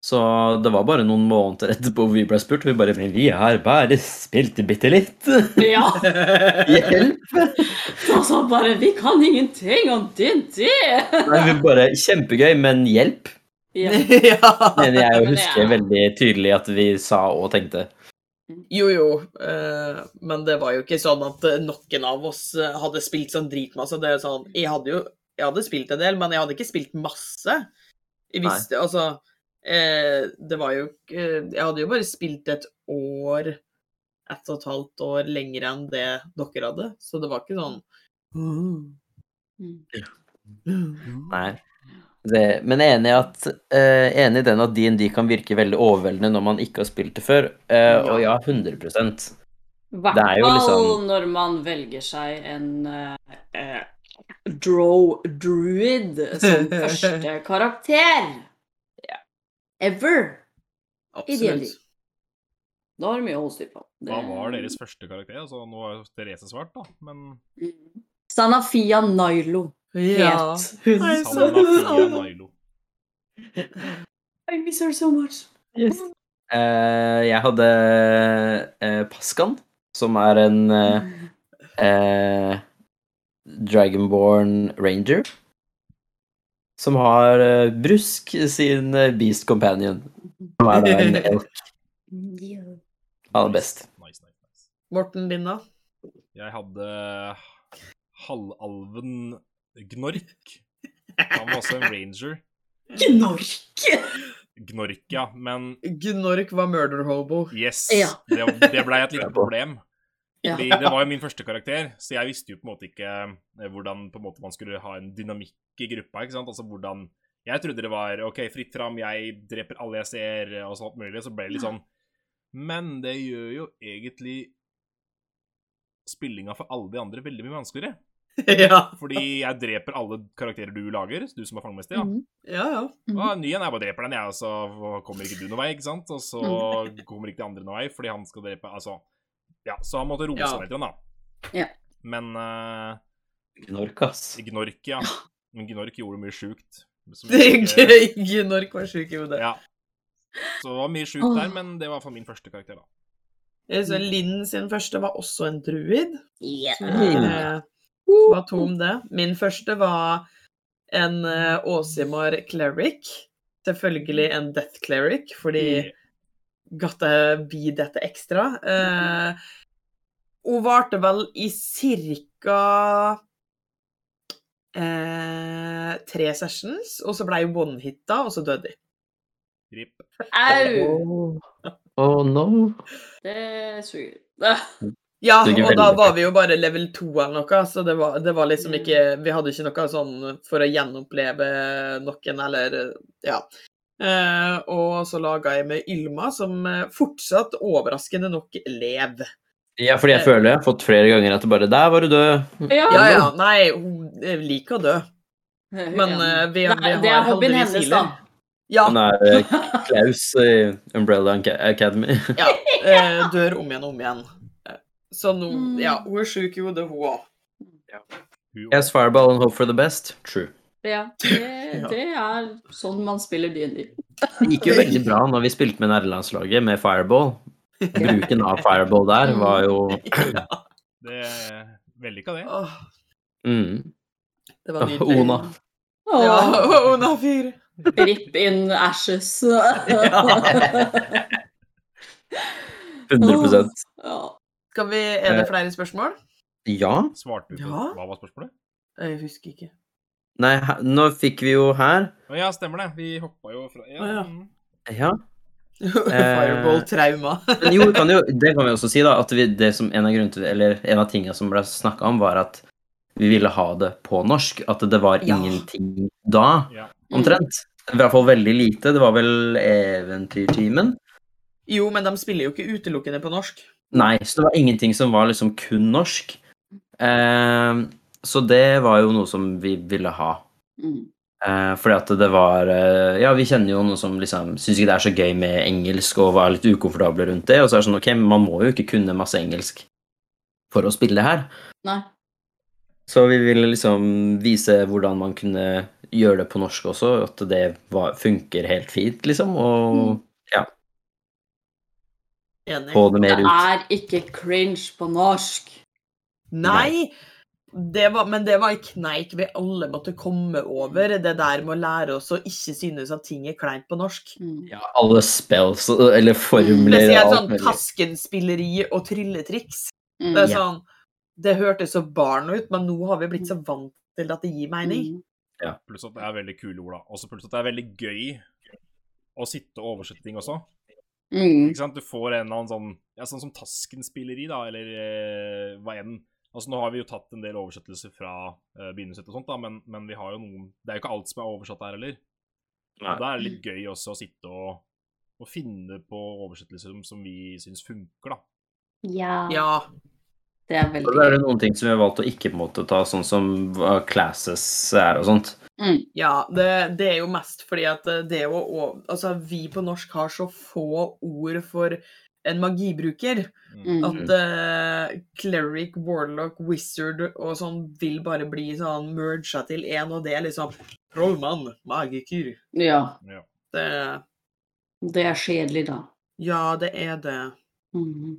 S2: Så det var bare noen måneder etterpå hvor vi ble spurt. Vi bare Men vi har bare spilt bitte litt.
S3: Ja!
S2: Hjelp!
S3: Altså bare Vi kan ingenting om DND!
S2: Nei, vi bare Kjempegøy, men hjelp.
S3: Ja.
S4: ja.
S2: Mener jeg å
S3: Men det
S2: huske
S3: er-
S2: veldig tydelig at vi sa og tenkte.
S4: Jo, jo. eh, men det var jo ikke sånn at eh, noen av oss eh, hadde spilt sånn dritmasse. Det er jo sånn, jeg hadde jo jeg hadde spilt en del, men jeg hadde ikke spilt masse. Jeg
S2: Nei.
S4: visste, altså eh, Det var jo ikke- Jeg hadde jo bare spilt et år, ett og et halvt år lenger enn det dere hadde. Så det var ikke sånn
S2: Nei. Det, men jeg er enig i at, eh, enig i den at D&D kan virke veldig overveldende når man ikke har spilt det før. eh, Og ja, 100
S3: I hvert
S2: Det er jo
S3: fall
S2: liksom-
S3: når man velger seg en eh, eh, dro druid som første karakter. Ever. I D&D.
S4: Absolutt.
S3: Da har du mye å holde styr på. Det-
S1: Hva var deres første karakter? Altså, nå har jo Therese svart, da, men
S3: Mm. Sanafia Nailo
S4: Ja.
S3: het hun.
S4: Nei, så-
S1: Sanna Fia Nailo.
S3: I miss her so much.
S2: Eh, jeg hadde eh, Paskan, som er en eh, eh, Dragonborn Ranger. Som har eh, Brusk, sin eh, Beast Companion. Som er da en elk aller best.
S1: Nice, nice, nice.
S4: Morten, din, da?
S1: Jeg hadde halvalven Gnork. Han var også en ranger.
S3: Gnork!
S1: Gnork, ja. Men
S4: Gnork var murder hobo.
S1: yes,
S3: Ja.
S1: det, det blei et lite problem.
S3: Ja.
S1: Fordi det var jo min første karakter, så jeg visste jo på en måte ikke eh, hvordan på en måte man skulle ha en dynamikk i gruppa. ikke sant? Altså hvordan Jeg trodde det var OK, fritt fram, jeg dreper alle jeg ser, eh, og sånt mulig. Så ble det litt sånn Men det gjør jo egentlig spillinga for alle de andre veldig mye vanskeligere.
S4: ja.
S1: Fordi jeg dreper alle karakterer du lager, du som er fangemester. Ja.
S3: Mhm.
S4: ja, ja.
S1: Og en ny en, jeg bare dreper den, jeg, og så kommer ikke du noen vei, ikke sant? Og så
S4: Mm.
S1: kommer ikke de andre noen vei, fordi han skal drepe Altså, ja, så han måtte roe
S4: Ja.
S1: seg litt, grann, da.
S3: Ja.
S1: Men eh,
S2: Gnork, ass.
S1: Gnork, ja. Men Gnork gjorde mye sjukt. som jeg ikke-
S4: Gnork var sjuk i hodet.
S1: Ja. Så det var mye sjukt der, men det var for min første karakter, da.
S4: Så Linn sin første var også en druid.
S3: Yeah.
S4: Eh, Hva to om det? Min første var en eh, Åsimar cleric. Selvfølgelig en death cleric, fordi
S1: Mm.
S4: gotta be dette ekstra. Eh, hun varte vel i cirka eh, tre sessions, og så blei hun one-hitta, og så døde de.
S1: Grip.
S3: Au!
S2: Oh no.
S3: Det suger. Ah,
S4: Ja,
S2: Det er
S4: og
S2: ikke
S4: da
S2: veldig
S4: var vi jo bare level 2 eller noe, så det var, det var liksom ikke Vi hadde ikke noe sånn for å gjenoppleve noen, eller Ja. Eh, og så laga jeg med Ylma, som eh, fortsatt overraskende nok lever.
S2: Ja, fordi jeg føler jeg har fått flere ganger at det bare Der var du død.
S4: Ja,
S3: Ja,
S4: ja, nei, hun liker å dø. Men eh, vi, vi
S3: det,
S4: har
S3: er, det er hobbyen hennes,
S4: heldigvis
S3: da.
S4: healer. Ja,
S2: Han er eh, Klaus i Umbrella Ac- Academy.
S4: ja. eh, dør om igjen og om igjen. Eh, Så nå Ja, hun er sjuk i hodet, hun òg.
S1: Hun
S2: Yes, fireball and hope for the best. True.
S3: Ja, det, det er sånn man spiller DND.
S2: Det gikk jo veldig bra når vi spilte med nærlandslaget med fireball. Bruken av fireball der var jo
S4: Ja.
S1: Det Vellykka, det.
S4: Åh,
S2: mm.
S4: det var nydelig.
S2: Ona.
S4: Ja,
S3: Åh,
S4: Ona fyr.
S3: Rip in ashes. ja.
S4: Ja.
S2: 100
S4: Skal vi, er
S2: Eh.
S4: det flere spørsmål?
S2: Ja.
S1: Svarte du på
S4: Ja.
S1: Hva var spørsmålet?
S4: Jeg husker ikke.
S2: Nei, he- nå fikk vi jo her
S1: Å, Ja, stemmer det. Vi hoppa jo fra
S4: Å, ja.
S1: mm.
S2: Ja. Eh,
S4: Fireball-trauma.
S2: Men jo, kan jo, det kan vi også si, da. At vi, det som en av grunnene til Eller en av tingene som ble snakka om, var at vi ville ha det på norsk. At det var
S4: Ja.
S2: ingenting da,
S1: Ja.
S2: omtrent. I hvert fall veldig lite. Det var vel Eventyrtimen.
S4: Jo, men de spiller jo ikke utelukkende på norsk.
S2: Nei, så det var ingenting som var liksom kun norsk. Eh, så det var jo noe som vi ville ha.
S3: Mm.
S2: Eh, fordi at det var eh, Ja, vi kjenner jo noen som liksom syns ikke det er så gøy med engelsk og var litt ukomfortable rundt det, og så er det sånn ok, men man må jo ikke kunne masse engelsk for å spille her.
S3: Nei.
S2: Så vi ville liksom vise hvordan man kunne gjøre det på norsk også, at det var, funker helt fint, liksom,
S3: Mm.
S2: og
S4: Enig.
S2: få
S3: Det
S2: det mer ut.
S3: er ikke cringe på norsk.
S4: Nei! Det var, men det var en kneik vi alle måtte komme over. Det der med å lære oss å ikke synes at ting er kleint på norsk.
S3: Mm.
S2: Ja, alle spells eller formler
S4: Spesielt
S2: og
S4: sånn
S2: alt mulig.
S4: taskenspilleri og trylletriks.
S3: Mm.
S4: Det er
S2: Ja.
S4: sånn Det hørtes så barn ut, men nå har vi blitt så vant til at det gir mening.
S3: Mm.
S1: Pluss at det er veldig kule ord, da. Også pluss at det er veldig gøy å sitte og oversette ting også.
S3: Mm.
S1: Ikke sant? Du får en eller annen sånn Ja, sånn som Tasken-spilleri, da, eller eh, hva enn. Altså, nå har vi jo tatt en del oversettelser fra eh, begynnelsen og sånt, da, men, men vi har jo noen Det er jo ikke alt som er oversatt her heller.
S2: Nei.
S1: Og Da er det litt gøy også å sitte og, og finne på oversettelser som, som vi syns funker, da.
S5: Ja.
S4: Ja.
S3: Det er
S2: Og da er
S3: veldig
S2: det noen ting som vi har valgt å ikke på en måte ta, sånn som hva classes er og sånt.
S3: mm.
S4: Ja, det, det er jo mest fordi at eh, det er jo å- Altså, vi på norsk har så få ord for en magibruker
S1: Mm.
S3: Mm.
S4: at eh, cleric, warlock, wizard og sånn vil bare bli sånn merga til én, og det er liksom trollmann, magiker.
S3: Ja.
S4: Det
S3: Det er kjedelig, da.
S4: Ja, det er det.
S3: Mm.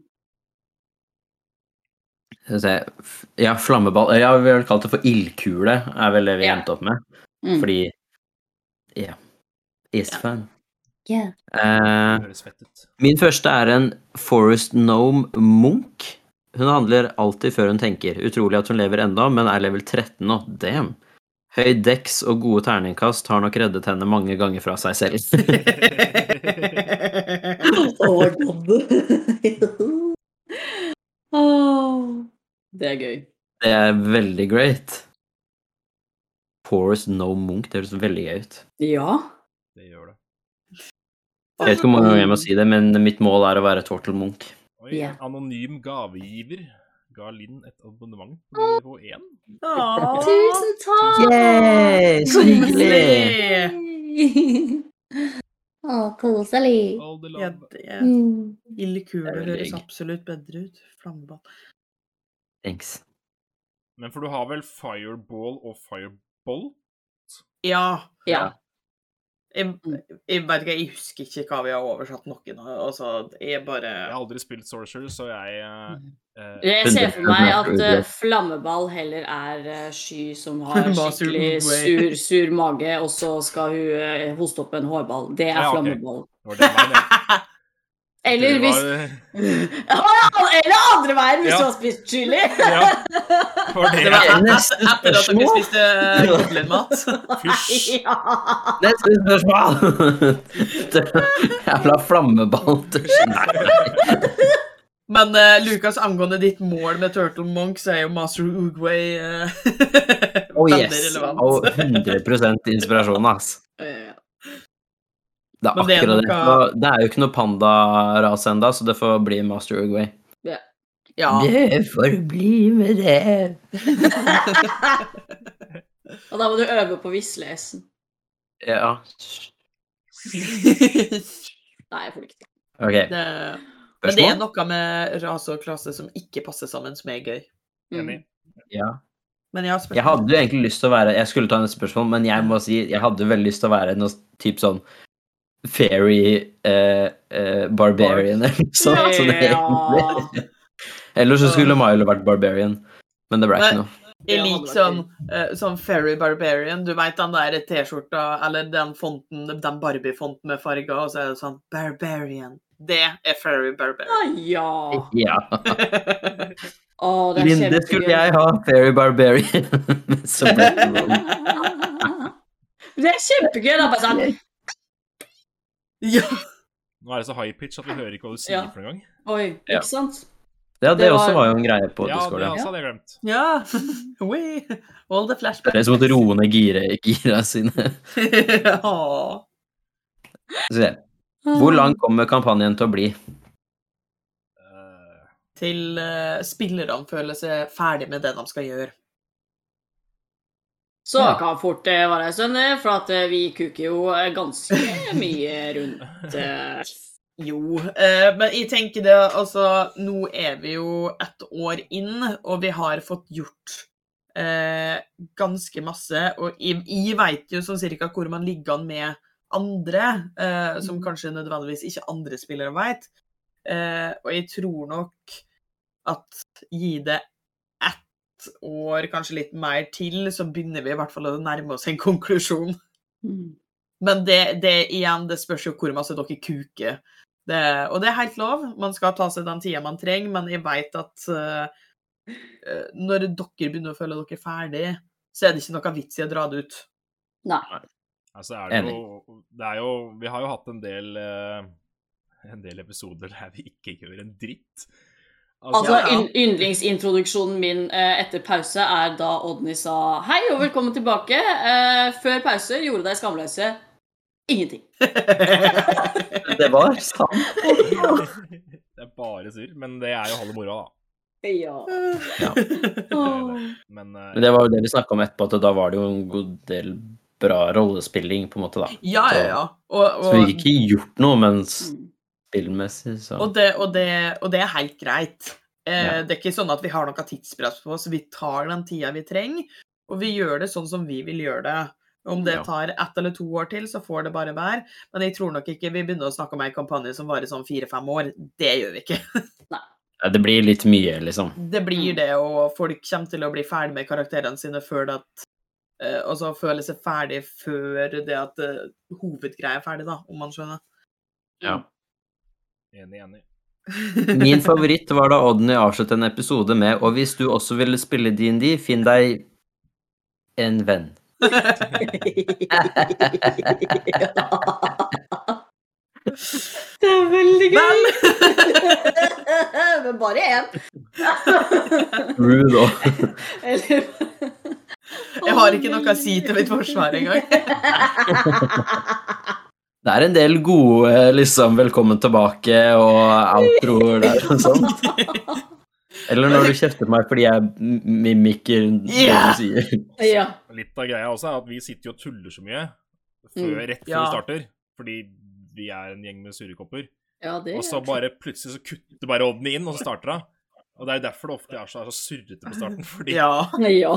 S2: Skal vi se. F- Ja, flammeball Ja, vi har kalt det for ildkule, er vel det vi
S3: Ja.
S2: endte opp med.
S3: Mm.
S2: Fordi Ja. Eastfan.
S5: Yeah.
S1: Det
S2: Eh,
S1: høres fett ut.
S2: min første er en Forest Gnome Munch. Hun handler alltid før hun tenker. Utrolig at hun lever enda, men er level 13 nå. Damn. Høy dex og gode terningkast har nok reddet henne mange ganger fra seg selv.
S3: Å, Dobbe. Åh, Det er gøy.
S2: Det er veldig great. Forest No Munch, det høres veldig gøy ut.
S3: Ja.
S1: Det gjør det.
S2: Jeg vet ikke hvor mange ganger jeg må si det, men mitt mål er å være Tortle Munch.
S1: Oi,
S3: Ja.
S1: Anonym gavegiver ga Linn et abonnement på nivå 1.
S4: Åh,
S5: Tusen takk!
S2: Så hyggelig!
S4: koselig.
S5: Å, koselig.
S1: All the
S4: Ja,
S1: love.
S4: det er
S5: Mm.
S4: Ildkule
S2: Det er veldig
S4: høres
S2: digg.
S4: absolutt bedre ut. Flammeball.
S2: Thanks.
S1: Men for du har vel fireball og firebolt?
S4: Ja.
S3: ja.
S4: Jeg, jeg vet ikke, jeg husker ikke hva vi har oversatt noen av. Altså, jeg bare
S1: Jeg har aldri spilt Sorcerer, så jeg eh, eh,
S3: Jeg ser for meg at eh, flammeball heller er eh, sky som har
S4: Bare sur
S3: skikkelig
S4: way.
S3: sur, sur mage, og så skal hun eh, hoste opp en hårball. Det er
S1: Ja, ok.
S3: flammeball.
S1: det var den veien, jeg.
S3: Eller
S1: Det
S3: hvis
S1: var-
S3: Eller andre veien, hvis
S1: Ja.
S3: du har spist chili!
S1: Ja. For det
S4: Det var
S2: er
S4: etter,
S2: nesten
S4: etter at dere
S2: spørsmål.
S4: spiste goblin-mat.
S1: Fysj.
S3: Ja.
S2: Neste spørsmål! Jævla flammeball. Nei.
S4: Men eh, Lukas, angående ditt mål med Turtle Monk, så er jo Master Oogway eh,
S2: Oh
S4: veldig
S2: yes. Oh,
S4: relevant.
S2: Og 100 inspirasjon, ass.
S3: Eh,
S2: Det er
S4: Men det er
S2: akkurat det.
S4: noe-
S2: Og Det er jo ikke noe pandarase ennå, så det får bli Master Uruguay.
S4: Ja.
S2: Det får bli med det.
S3: Og da må du øve på visleesen.
S2: Ja.
S3: Nei, jeg får det ikke til.
S2: Ok,
S4: det, men det er
S2: spørsmål?
S4: noe med rase og klasse som ikke passer sammen, som er gøy.
S3: Mm.
S1: Enig.
S2: Ja.
S4: Men jeg har spørsmål.
S2: Jeg hadde jo egentlig lyst til å være Jeg skulle ta neste spørsmål, men jeg må si jeg hadde veldig lyst til å være noe typ sånn fairy eh, eh, barbarian eller noe sånt. så det egentlig- Eller så skulle Milo vært barbarian, men det ble ikke
S4: Nei.
S2: noe.
S4: Jeg
S3: Det hadde
S4: liker
S3: vært
S4: sånn, eh, sånn Fairy Barbarian. Du veit den der T-skjorta eller den fonten, den Barbie-fonten med farger, og så er det sånn Barbarian. Det er Fairy Barbarian.
S3: Ah, ja.
S2: Ja.
S3: Å, det er
S2: Linde
S3: kjempegøy.
S2: skulle jeg ha fairy barbarian, men så ble det noe.
S3: Det er kjempegøy. Da, bare sånn
S4: ja.
S1: Nå er det så high pitch at vi hører ikke hva du sier
S3: Ja.
S1: for en gang.
S3: Oi,
S2: Ja.
S3: ikke sant?
S2: Ja, det
S3: Det var-
S2: også var jo en greie på
S1: Ja,
S2: Discord.
S1: det
S2: Ja.
S1: altså hadde jeg glemt.
S4: ja. Oi. All the flashbacks.
S2: Det er som måtte roe ned gire- gira sine.
S4: Åh.
S2: Så det. Hvor lang kommer kampanjen til å bli?
S1: Eh,
S4: Til eh, spillerne føler seg ferdig med det de skal gjøre.
S3: Så
S2: Ja.
S3: kan fort det være en stund, det, for at eh, vi kuker jo eh, ganske mye rundt eh,
S4: Jo, eh, men jeg tenker det Altså, nå er vi jo ett år inn, og vi har fått gjort eh, ganske masse. Og jeg, jeg veit jo sånn cirka hvor man ligger an med andre, eh, som kanskje nødvendigvis ikke andre spillere veit. Eh, og jeg tror nok at gi det ett år, kanskje litt mer til, så begynner vi i hvert fall å nærme oss en konklusjon.
S3: mm.
S4: Men det, det igjen, det spørs jo hvor masse dere kuker. Det, og det er helt lov. Man skal ta seg den tida man trenger, men jeg veit at eh, eh, når dere begynner å føle dere ferdig, så er det ikke noe vits i å dra det ut.
S1: altså er det, jo, det er jo Vi har jo hatt en del eh, En del episoder der vi ikke gjør en dritt.
S3: Altså,
S4: Ja, ja.
S3: ynd- Yndlingsintroduksjonen min eh, etter pause er da Odny sa hei og velkommen tilbake. Eh, før pause gjorde deg skamløse ingenting.
S2: Det var sant.
S1: det er Bare surr. Men det er jo halve moroa, da.
S3: Ja.
S2: Ja.
S1: Det er jo det. Men eh,
S2: Men det var jo det vi snakka om etterpå, at da var det jo en god del bra rollespilling, på en måte, da.
S4: Ja, ja, ja. Og,
S2: Så vi
S4: og,
S2: fikk ikke gjort noe, men
S3: Mm.
S2: spillmessig, så
S4: og, det, og, det, og det er helt greit. Eh,
S2: Ja.
S4: Det er ikke sånn at vi har noe tidspress på oss. Vi tar den tida vi trenger, og vi gjør det sånn som vi vil gjøre det. Om det
S2: Ja.
S4: tar ett eller to år til, så får det bare være. Men jeg tror nok ikke vi begynner å snakke om ei kampanje som varer sånn fire-fem år. Det gjør vi ikke.
S2: Ja, det blir litt mye, liksom.
S4: Det blir det, og folk kommer til å bli ferdig med karakterene sine før det at eh, Altså føle seg ferdig før det at eh, hovedgreia er ferdig, da, om man skjønner.
S2: Ja.
S1: enig, enig.
S2: Min favoritt var da Odny avsluttet en episode med Og hvis du også ville spille D&D, finn deg en venn.
S3: Det er veldig gøy.
S4: Vel!
S3: Men bare én.
S2: Rude og
S3: Eller
S4: Jeg har ikke noe å si til mitt forsvar engang.
S2: Det er en del gode liksom 'velkommen tilbake' og outroer der og sånn. Eller når du kjefter på meg fordi jeg m- mimikker
S4: Ja!
S2: det du sier.
S3: ja.
S1: Og Litt av greia også er at vi sitter jo og tuller så mye før,
S3: Mm.
S1: rett før
S4: Ja.
S1: vi starter. Fordi vi er en gjeng med surrekopper.
S3: ja, det
S1: Og så bare plutselig så kutter bare Odny inn, og så starter hun. Og det er jo derfor det ofte er så, er så surrete på starten. Fordi
S4: Ja.
S3: Ja.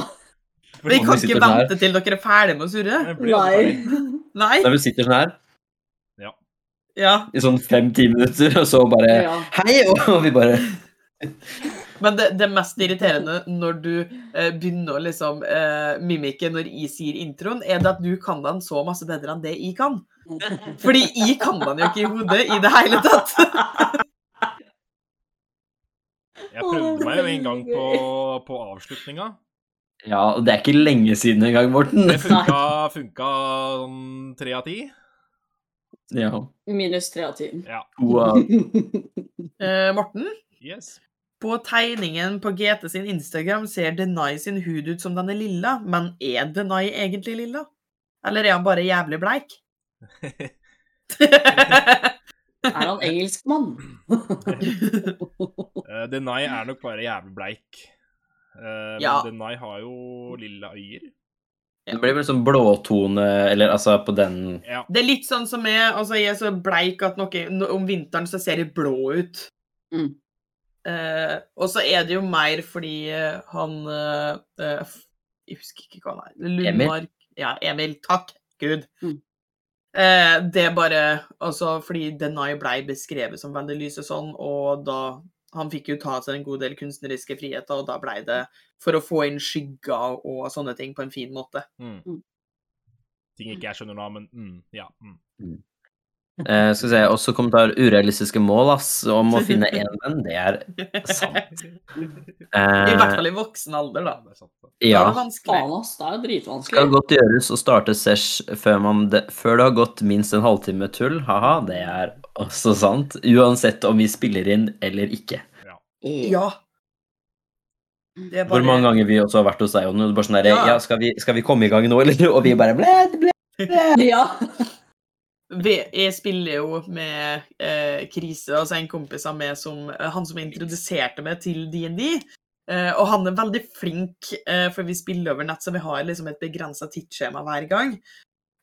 S4: Vi kan
S2: Om vi
S4: ikke
S2: sitter her.
S4: vente til dere er ferdig med å surre.
S1: Det blir aldri
S3: Nei.
S1: ferdig.
S4: Nei?
S2: Når vi sitter sånn her
S4: Ja.
S2: i sånn fem-ti minutter, og så bare
S3: Ja.
S2: Hei! Og vi bare
S4: Men det, det mest irriterende når du eh, begynner å liksom eh, mimike når jeg sier introen, er det at du kan den så masse bedre enn det jeg kan. Fordi jeg kan den jo ikke i hodet i det hele tatt.
S1: Jeg
S3: Å, det
S1: prøvde
S3: er
S1: meg jo en gang
S3: veldig
S1: på,
S3: gøy.
S1: på avslutninga.
S2: Ja, og det er ikke lenge siden engang, Morten.
S1: Det funka, funka sånn tre av ti.
S2: Ja,
S3: Minus tre av ti.
S2: to av
S4: Eh, Morten,
S1: Yes.
S4: på tegningen på GT sin Instagram ser Denai sin hud ut som den er lilla, men er Denai egentlig lilla? Eller er han bare jævlig bleik?
S3: Er han engelskmann?
S1: Eh, Denai er nok bare jævlig bleik. Eh,
S4: Ja.
S1: Men Denai har jo lilla øyer.
S2: Det blir vel sånn blåtone, eller altså på den
S1: Ja.
S4: det er litt sånn som jeg, altså jeg er så bleik at noe, no- om vinteren så ser jeg blå ut.
S3: Mm.
S4: Eh, og så er det jo mer fordi eh, han eh, eh, f- Jeg husker ikke hva han er. Lundmark. Ja, Emil. Takk Gud.
S3: Mm.
S4: Eh, det er bare Altså, fordi Denai blei beskrevet som veldig lys og sånn, og da Han fikk jo ta seg en god del kunstneriske friheter, og da blei det for å få inn skygger og sånne ting på en fin måte.
S1: Mm.
S3: Mm.
S1: Ting ikke jeg skjønner nå, men mm, ja. Mm.
S2: eh, Skal vi se, også kommentar 'urealistiske mål', ass, om å finne én venn. Det er sant.
S4: I hvert
S2: Eh,
S4: fall i voksen alder, da.
S1: Ja, det er sant. det.
S4: Da
S2: ja.
S4: er det vanskelig.
S3: Faen, ass. Det er jo
S2: skal
S3: dritvanskelig.
S2: godt gjøres å starte sesh før, man de, før det har gått minst en halvtime tull. Haha, det er også sant. Uansett om vi spiller inn eller ikke.
S4: Ja. Det er
S2: Hvor mange ganger vi også har vært hos deg, Jonny. og du Bare sånn der,
S4: Ja.
S2: ja, skal vi, skal vi komme i gang nå, eller? Og vi bare ble, ble.
S3: Ja.
S4: vi, jeg spiller jo med eh, Krise, altså en kompis av meg som eh, Han som introduserte meg til DND. Eh, og han er veldig flink, eh, for vi spiller over nett, så vi har liksom et begrensa tidsskjema hver gang.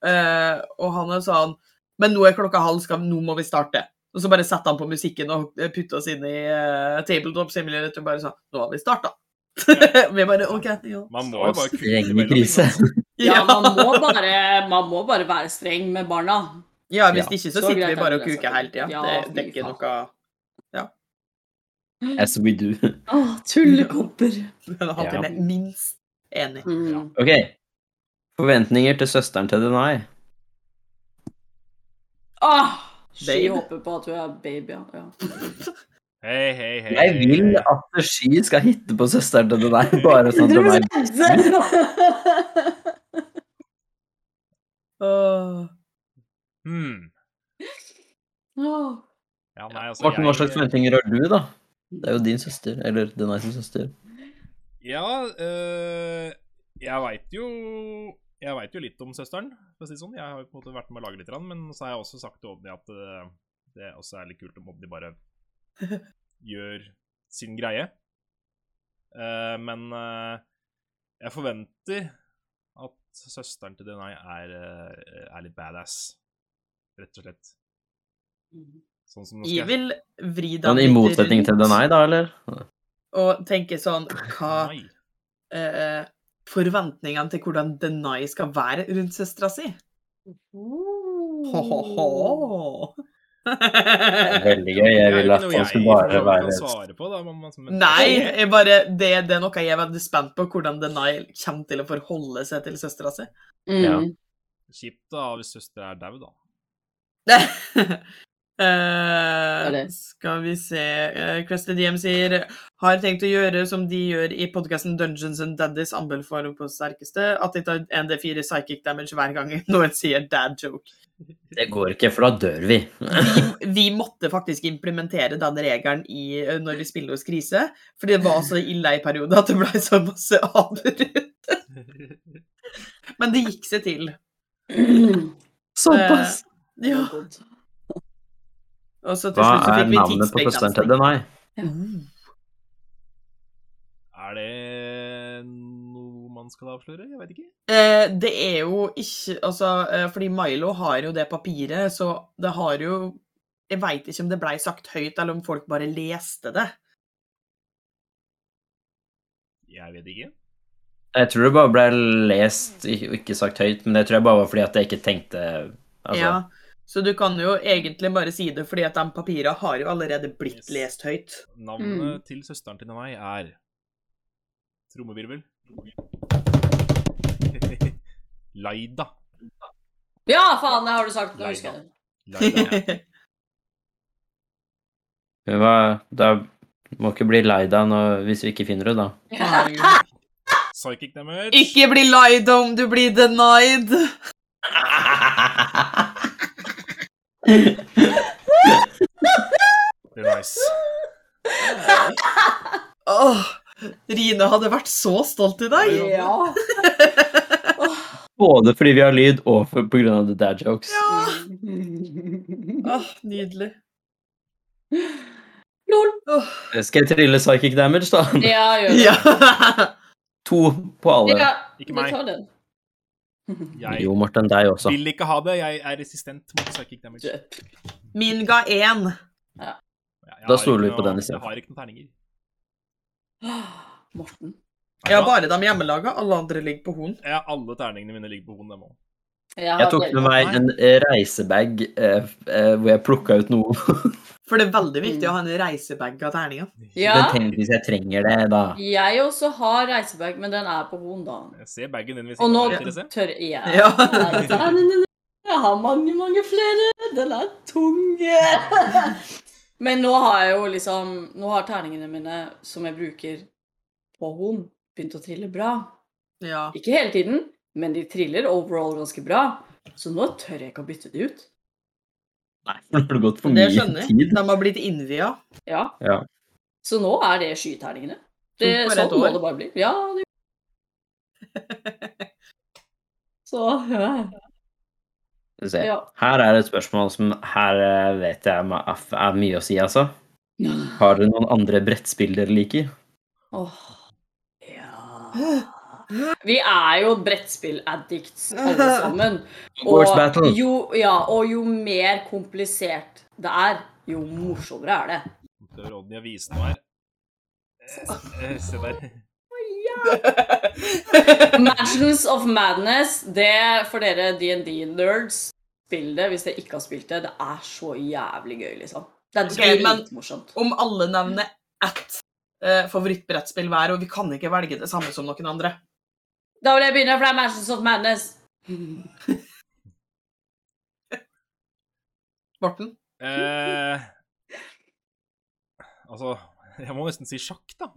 S4: Eh, og han er sånn Men nå er klokka halv, skal, nå må vi starte. Og så bare setter han på musikken og eh, putter oss inn i eh, tabletop simulator og bare sånn Nå har vi starta. vi bare OK. Ja.
S1: Man må jo bare kutte
S2: Streng
S1: imellom,
S2: krise.
S1: ikke sant?
S3: ja, man må, bare, man må bare være streng med barna.
S4: Ja, hvis
S2: Ja.
S4: ikke så
S3: Så
S4: sitter
S3: greit
S4: vi
S3: er
S4: bare
S3: det
S4: og
S3: det,
S4: kuker
S3: sant?
S4: hele tida.
S3: Ja,
S4: det, det er
S3: fy
S4: ikke
S3: faen.
S4: noe
S2: As we do.
S3: Åh, tullekopper.
S4: En halvtime.
S2: Ja.
S4: Minst. Enig.
S1: Ja.
S3: Mm.
S2: Ok. Forventninger til søsteren til Denai.
S3: Ah, Sky
S4: Babe.
S3: håper på at du er baby, ja. ja.
S1: Hei, hei, hei.
S2: Jeg
S1: hei,
S2: vil
S1: hei.
S2: at Sky skal hitte på søsteren til Denai, bare sånn at Denai
S3: 100
S1: Hmm.
S3: Åh.
S1: Ja, nei, altså,
S2: Morten, hva
S1: jeg-
S2: slags forventninger har du, da? Det er jo din søster, eller Denai sin søster.
S1: Ja, eh, jeg veit jo Jeg vet jo litt om søsteren, for å si det sånn. Jeg har jo på en måte vært med å lage litt, grann, men så har jeg også sagt til Odny at eh, det også er litt kult om Odny bare gjør sin greie. Eh, men eh, jeg forventer at søsteren til Denai er, eh, er litt badass, rett og slett.
S3: Mm.
S1: Sånn som nå skal jeg-
S4: Evil vrir
S2: Men
S4: deg
S2: I
S4: litt
S2: motsetning til
S4: rundt
S2: Denai, da, eller?
S4: Og tenker sånn Hva
S1: Nei.
S4: eh, Forventningene til hvordan Denai skal være rundt søstera si. Ho-ho-ho.
S2: Veldig gøy. Jeg
S1: Det er jo
S2: ville
S1: ikke
S2: at
S1: noe
S2: han
S1: jeg
S2: skulle bare
S1: kan
S2: være
S1: svare på, da. men- men- men-
S4: Nei, jeg bare, det, det er noe jeg er veldig spent på. Hvordan Denai kommer til å forholde seg til søstera si.
S3: Mm.
S2: Ja.
S1: Kjipt da, hvis søster er dau, da.
S4: Eh,
S3: det.
S4: skal vi se uh, Crested DM sier Har tenkt å gjøre som de gjør i podkasten Dungeons and Daddies anbefaler på sterkeste, at de tar 1D4 psychic damage hver gang noen sier dad joke.
S2: Det går ikke, for da dør vi.
S4: Vi, vi måtte faktisk implementere den regelen i, eh, når vi spiller hos Krise, fordi det var så ille i perioder at det ble så masse avbrudd. Men det gikk seg til.
S3: Mm.
S4: Såpass. Ja. Og så til
S2: Hva
S4: slutt så
S2: er
S4: fikk vi
S2: navnet på søsteren til
S1: altså.
S4: tidsbegrensning.
S2: Denai?
S1: Er det noe man skal avsløre? Jeg vet ikke.
S4: Eh, det er jo ikke Altså, eh, fordi Milo har jo det papiret, så det har jo Jeg veit ikke om det blei sagt høyt, eller om folk bare leste det.
S1: Jeg vet ikke.
S2: Jeg tror det bare ble lest, ikke ikke sagt høyt, men det tror jeg bare var fordi at jeg ikke tenkte altså,
S4: Ja. Så du kan jo egentlig bare si det, fordi at de papirene har jo allerede blitt
S1: Yes.
S4: lest høyt.
S1: Navnet til søsteren til meg er Trommevirvel. Laida.
S3: ja, faen, det har du sagt. Nå
S1: Nei,
S3: husker jeg det.
S1: Laida.
S2: men Hva, da må ikke bli lei deg nå hvis vi ikke finner det, da.
S4: Herregud.
S1: Psychic damage.
S4: ikke bli lied om du blir denied!
S1: Det er nice.
S4: Åh, Rine hadde vært så stolt i dag.
S3: Ja.
S2: Både fordi vi har lyd, og for, på grunn av the dad jokes.
S3: Mm.
S4: Åh, nydelig.
S3: Lol.
S4: Åh,
S2: Skal jeg trille psychic damage, da?
S3: Ja, gjør det.
S4: ja.
S2: To på alle.
S3: Ja,
S1: Ikke
S3: du
S1: meg.
S3: tar den.
S1: Jeg
S2: Jo, Morten, deg også.
S1: vil ikke ha det. Jeg er resistent mot psychic damage. Jeg-
S4: Min ga én.
S1: jeg
S2: Da
S1: har
S2: stoler
S1: ikke
S2: vi på
S1: noe-
S2: den i stedet.
S1: Jeg har ikke noen terninger.
S3: Ah, Morten.
S1: Er
S4: Ja,
S1: det bra?
S4: bare de hjemmelaga. Alle andre ligger på horn.
S1: Ja, alle terningene mine ligger på hoden, dem òg.
S2: Jeg tok med meg en eh, reisebag eh, f- eh, hvor jeg plukka ut noe.
S4: For det er veldig viktig å ha en reisebag av terninger.
S2: Men
S3: Ja,
S2: tenk hvis jeg trenger det, da.
S3: jeg også har reisebag, men den er på Hoen, da.
S1: Jeg ser bagen din ved
S3: Og
S1: siden
S3: nå
S1: av deg, Therese.
S3: tør jeg
S4: Ja.
S3: Nei, nei, nei, nei. Jeg har mange, mange flere. Den er tung. Men nå har jeg jo liksom Nå har terningene mine, som jeg bruker på Hoen, begynt å trille bra.
S4: Ja.
S3: Ikke hele tiden, men de triller overall ganske bra. Så nå tør jeg ikke å bytte det ut.
S2: Nei, for det har gått for
S4: Det
S2: mye
S4: skjønner jeg.
S2: tid.
S4: De har blitt innvia.
S3: Ja.
S2: Ja.
S3: Så nå er det skyterningene. Det,
S4: Som for et
S3: sånn må
S4: år.
S3: det bare bli. Ja, det... Så ja.
S2: Skal vi se.
S3: ja.
S2: Her er et spørsmål som her eh, vet jeg ma- aff- er mye å si, altså. Har dere noen andre brettspill dere liker?
S3: Åh. Ja Vi er jo brettspill-addicts alle sammen.
S2: Words battle.
S3: jo, ja, og jo mer komplisert det er, jo morsommere er det.
S1: Det er Rodney og viste meg her. Eh, eh, Se der.
S3: Mansions of Madness, det for dere DND-nerds, spill det hvis dere ikke har spilt det. Det er så jævlig gøy, liksom. Det er
S4: Ok, men-
S3: dritmorsomt.
S4: Om alle nevner ett eh, favorittbrettspill hver, og vi kan ikke velge det samme som noen andre.
S3: Da vil jeg begynne, for det er Mansions of Madness.
S4: Morten?
S1: Eh, altså Jeg må nesten si sjakk, da.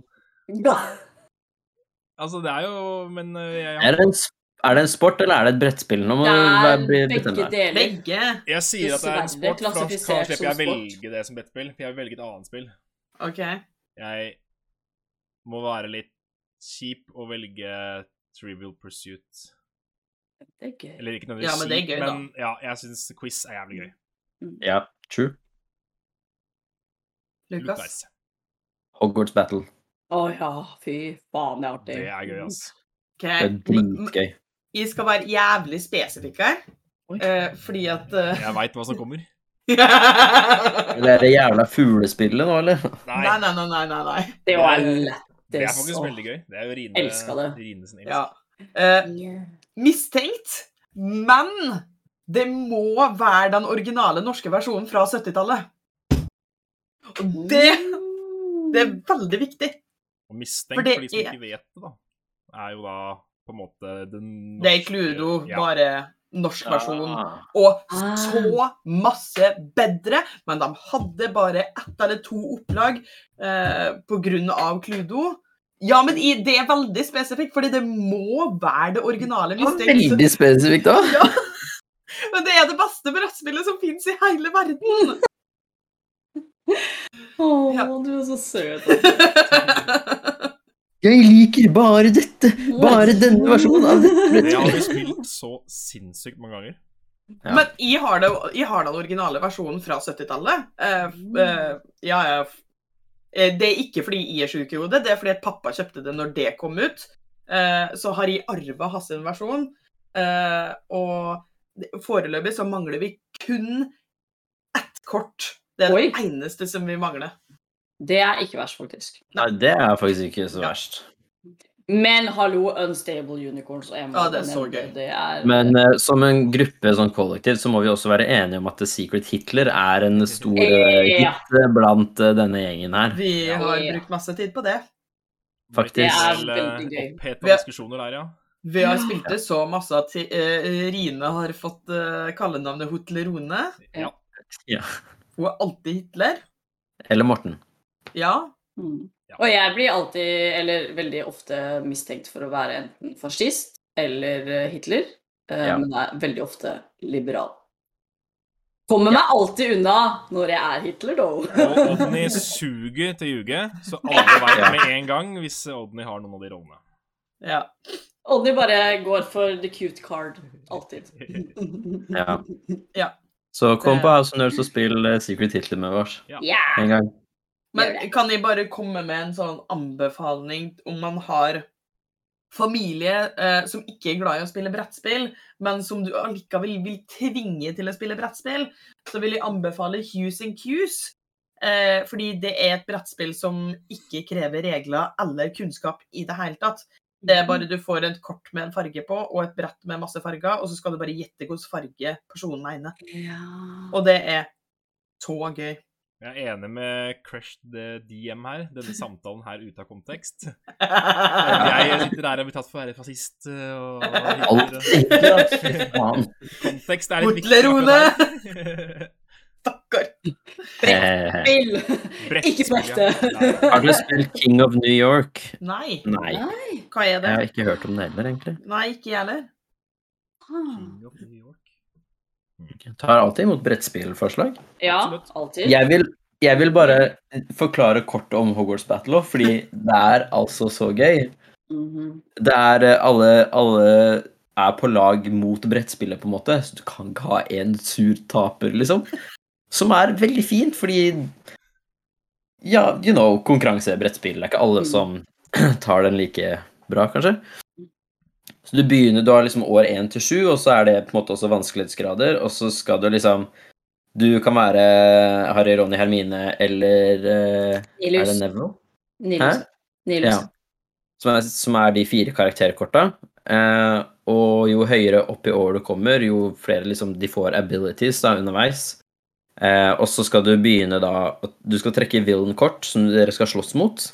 S1: Altså, det er jo Men eh, jeg,
S2: Er det en, sp- er det en sport, eller er det et brettspill? Nå må
S3: Det
S2: du
S3: er
S2: være- bli-
S3: begge
S2: bestemme deg.
S3: deler.
S4: Begge.
S1: Jeg sier at det er en
S3: Dessverre
S1: sport, for da
S3: klassifisert
S1: slipper jeg
S3: som sport.
S1: velge det som brettspill. For jeg vil velge et annet spill.
S4: OK.
S1: Jeg må være litt kjip og velge Trivial Pursuit.
S3: Det er gøy.
S1: Eller ikke
S4: Ja, men det er
S1: kjip,
S4: gøy, da.
S1: men ja, jeg syns quiz er jævlig gøy.
S2: Ja, true.
S4: Lukas?
S1: Lukas.
S2: Hogwarts Battle.
S3: Å ja, fy faen, det er artig.
S1: Det er gøy, ass.
S4: Ok,
S2: Det er dritgøy.
S4: Vi skal være jævlig spesifikke her.
S3: Oi.
S4: eh, fordi at eh,
S1: Jeg veit hva som kommer.
S2: Det er det jævla fuglespillet nå, eller?
S1: Nei,
S4: Nei, nei, nei, nei. nei, nei.
S3: Det var lættis.
S1: det er faktisk
S3: Åh.
S1: veldig gøy. Det er jo Rine,
S3: Elsker det.
S1: Rine sin
S4: Ja. Eh,
S3: Yeah.
S4: mistenkt, men det må være den originale norske versjonen fra 70-tallet. Og det, det er veldig viktig.
S1: Og mistenkt
S4: For
S1: for,
S4: det
S1: de som
S4: er-
S1: ikke vet det, da, er jo da på en måte den norske
S4: Det er Cluedo,
S1: ja.
S4: bare norsk versjon.
S2: Ah.
S4: Og
S3: Ah.
S4: så masse bedre, men de hadde bare ett eller to opplag eh, pga. Cluedo. Ja, men i, det er veldig spesifikt, fordi det må være det originale
S2: Det var
S4: mistenkt.
S2: Veldig spesifikt, da.
S4: Ja. Men det er det beste brettspillet som fins i hele verden!
S3: Å,
S4: Ja.
S3: du er så søt. altså.
S2: Jeg liker bare dette. Bare denne versjonen av dette
S1: Det har
S2: brettspillet.
S1: vi spilt så sinnssykt mange ganger.
S2: Ja.
S4: Men jeg har, det, jeg har den originale versjonen fra 70-tallet. Eh,
S5: Mm.
S3: Mm.
S4: f- eh, ja, ja. f- eh, Det er ikke fordi jeg er sjuk i hodet, det er fordi at pappa kjøpte det når det kom ut. Eh, så har jeg arva hans sin versjon. Eh, og det- foreløpig så mangler vi kun ett kort. Det er det
S3: Oi.
S4: eneste som vi mangler.
S3: Det er ikke verst, faktisk.
S2: Nei, det er faktisk ikke så
S4: Ja.
S2: verst.
S3: Men hallo, Unstable Unicorns. og jeg må
S4: Ja, det er så
S3: nevne,
S4: gøy.
S3: Det er,
S2: Men eh, som en gruppe, sånn kollektiv, så må vi også være enige om at The Secret Hitler er en stor eh,
S3: Ja.
S2: hit eh, blant eh, denne gjengen her.
S4: Vi har
S3: Ja.
S4: brukt masse tid på det.
S2: Faktisk.
S1: Det er
S3: Det er veldig gøy.
S1: eh, Oppheta
S4: Vi er-
S1: diskusjoner der, ja.
S4: Vi har
S3: Ja.
S4: spilt det så masse at eh, Rine har fått eh, kallenavnet Hotlerone.
S1: ja.
S4: Hun er alltid Hitler.
S2: Eller Morten.
S4: Ja,
S3: Mm.
S1: Ja.
S3: Og jeg blir alltid, eller veldig ofte, mistenkt for å være enten fascist eller eh, Hitler. eh,
S2: Ja.
S3: Men er veldig ofte liberal. Kommer meg alltid unna når jeg er Hitler, dog.
S1: Og Odny suger til å ljuge, så alle veit med en gang hvis Odny har noen av de rollene.
S4: Ja.
S3: Odny bare går for the cute card. Alltid.
S2: Ja.
S4: Ja.
S2: Så kom
S4: Det-
S2: på House of Nerds og spill eh, Secret Hitler med oss
S3: Ja!
S2: en gang.
S3: Gjør
S4: Men kan jeg bare komme med en sånn anbefaling om man har familie eh, som ikke er glad i å spille brettspill, men som du allikevel vil tvinge til å spille brettspill, så vil jeg anbefale Hughes and Cues. Eh, fordi det er et brettspill som ikke krever regler eller kunnskap i det hele tatt. Det er bare du får et kort med en farge på, og et brett med masse farger, og så skal du bare gjette hvilken farge personen mener.
S3: Ja.
S4: Og det er så gøy.
S1: Jeg er enig med Crush the DM her, denne samtalen her ute av kontekst. Jeg sitter der og blir tatt for å være fascist og
S2: Alt. Faen.
S1: Kontekst er litt viktig.
S4: Hotlerone!
S1: akkurat der.
S4: Stakkar.
S2: Eh,
S3: Spill! Ikke på
S1: Brettspill, ja.
S3: ekte.
S1: Nei.
S2: Har dere spilt King of New York?
S4: Nei.
S2: Nei.
S4: Hva er
S2: Jeg
S4: det?
S2: har ikke hørt om det heller, egentlig.
S4: Nei, ikke jeg heller.
S1: King of New York.
S2: Jeg tar alltid imot brettspillforslag.
S3: Ja,
S1: Absolutt.
S3: alltid.
S2: Jeg vil, jeg vil bare forklare kort om Hogwarts Battle òg, fordi det er altså så gøy.
S3: Mhm.
S2: Det er eh, alle, alle er på lag mot brettspillet, på en måte, så du kan ikke ha en sur taper, liksom. Som er veldig fint, fordi Ja, you know, konkurranse, brettspill. Det er ikke alle
S3: Mm.
S2: som tar den like bra, kanskje. Så du begynner, du har liksom år én til sju, og så er det på en måte også vanskelighetsgrader, og så skal du liksom Du kan være Harry, Ronny, Hermine eller eh, Er
S3: Nilus.
S2: det Neville?
S3: Nilus.
S2: Hæ?
S3: Nilus.
S2: Ja. som er, som er de fire karakterkorta. Eh, og jo høyere opp i år du kommer, jo flere liksom, de får abilities da, underveis. Eh, og så skal du begynne da Du skal trekke villain-kort som dere skal slåss mot.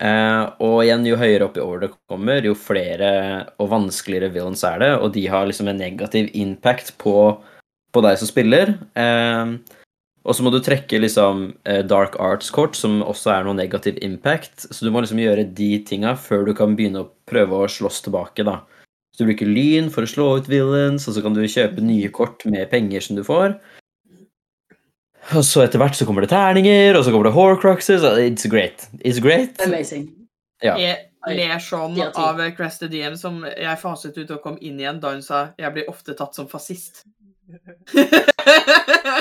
S2: Eh, og igjen, jo høyere opp i år du kommer, jo flere og vanskeligere villains er det, og de har liksom en negativ impact på, på deg som spiller. Eh, og så må du trekke liksom eh, dark arts-kort, som også er noe negativ impact. Så du må liksom gjøre de tinga før du kan begynne å prøve å slåss tilbake, da. Så du bruker lyn for å slå ut villains, og så kan du kjøpe nye kort med penger som du får. Og så etter hvert så kommer det terninger, og så kommer det horcruxes. og It's great. It's great.
S3: Amazing.
S2: Ja.
S4: Jeg ler sånn
S3: Ja, ti.
S4: av Crest the DM som jeg faset ut og kom inn igjen da hun sa jeg blir ofte tatt som fascist.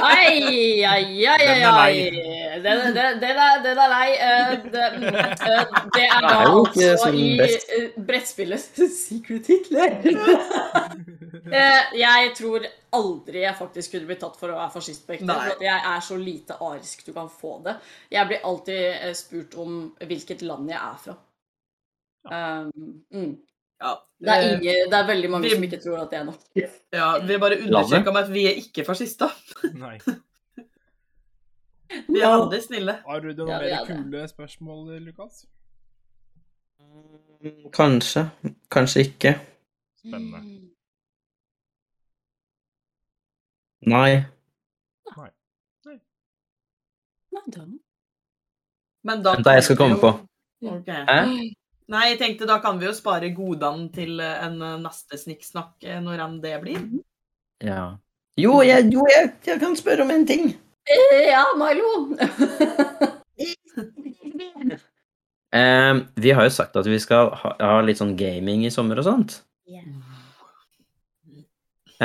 S3: Ai, ai, ai,
S1: Den
S3: ai,
S1: er
S3: ai. Den, den, den, er, den er lei. Eh, den, eh, det er da
S2: Det er jo ikke
S3: altså
S2: som
S3: i
S2: best.
S3: eh, brettspillet Secret Hitler. Eh, jeg tror aldri jeg faktisk kunne blitt tatt for å være fascist på ekte.
S4: Nei.
S3: For at jeg er så lite arisk du kan få det. Jeg blir alltid eh, spurt om hvilket land jeg er fra. Um, mm.
S4: Ja,
S3: det, er
S4: eh,
S3: ingen, det er veldig mange
S4: vi-
S3: som ikke tror at jeg er norsk.
S4: ja, vi bare understreka med at vi er ikke fascister.
S1: Nei.
S4: Vi er
S3: No.
S4: veldig snille.
S1: Har du noen
S3: Ja, vi
S1: mer
S3: er det.
S1: kule spørsmål, Lukas?
S2: Kanskje. Kanskje ikke.
S1: Spennende.
S2: Nei.
S3: Nei, da.
S4: Men da
S2: Vent da, jeg skal
S4: kan vi
S2: komme på.
S4: jo- Ok.
S2: Hæ?
S4: Nei, jeg tenkte da kan vi jo spare godene til eh, en eh, neste snikksnakk, eh, når enn det blir.
S2: Ja. Jo, jeg, jo jeg, jeg kan spørre om en ting.
S3: Eh, Ja, Milo!
S2: Eh, vi har jo sagt at vi skal ha, ha litt sånn gaming i sommer og sånt.
S5: Ja.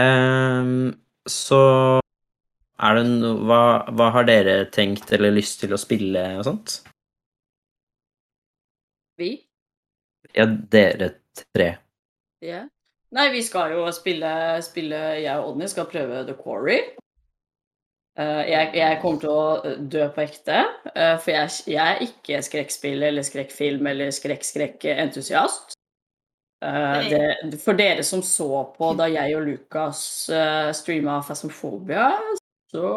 S2: Eh, så er det no, hva, hva har dere tenkt eller lyst til å spille og sånt?
S3: Vi?
S2: Ja, dere tre.
S3: Ja. Nei, vi skal jo spille, spille Jeg og Odny skal prøve The Quarry. Eh, jeg, jeg kommer til å eh, dø på ekte, eh, for jeg, jeg er ikke skrekkspill eller skrekkfilm eller skrekk-skrekk-entusiast. Eh, det- for dere som så på da jeg og Lukas uh, streama Phasmophobia, så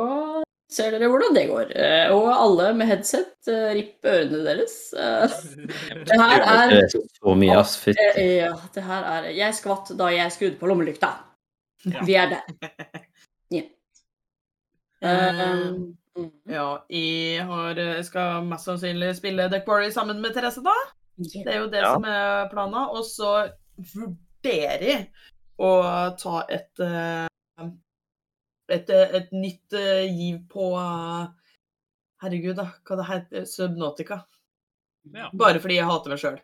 S3: ser dere hvordan det går. Eh, og alle med headset, uh, ripp ørene deres. Eh, det her er
S2: Det er så mye, ass.
S3: Eh,
S2: Fytti.
S3: Ja, det her er Jeg skvatt da jeg skrudde på lommelykta.
S1: Ja.
S3: Vi er der. Ja.
S4: Eh,
S3: Um, mm.
S4: Ja, jeg har, eh, skal mest sannsynlig spille The Quarry sammen med Therese, da. Det er jo det
S2: Ja.
S4: som er plana. Og så vurderer jeg å ta et eh, et, eh, et nytt eh, giv på eh, Herregud, da. Hva det heter Subnotica.
S1: Ja.
S4: Bare fordi jeg hater meg sjøl.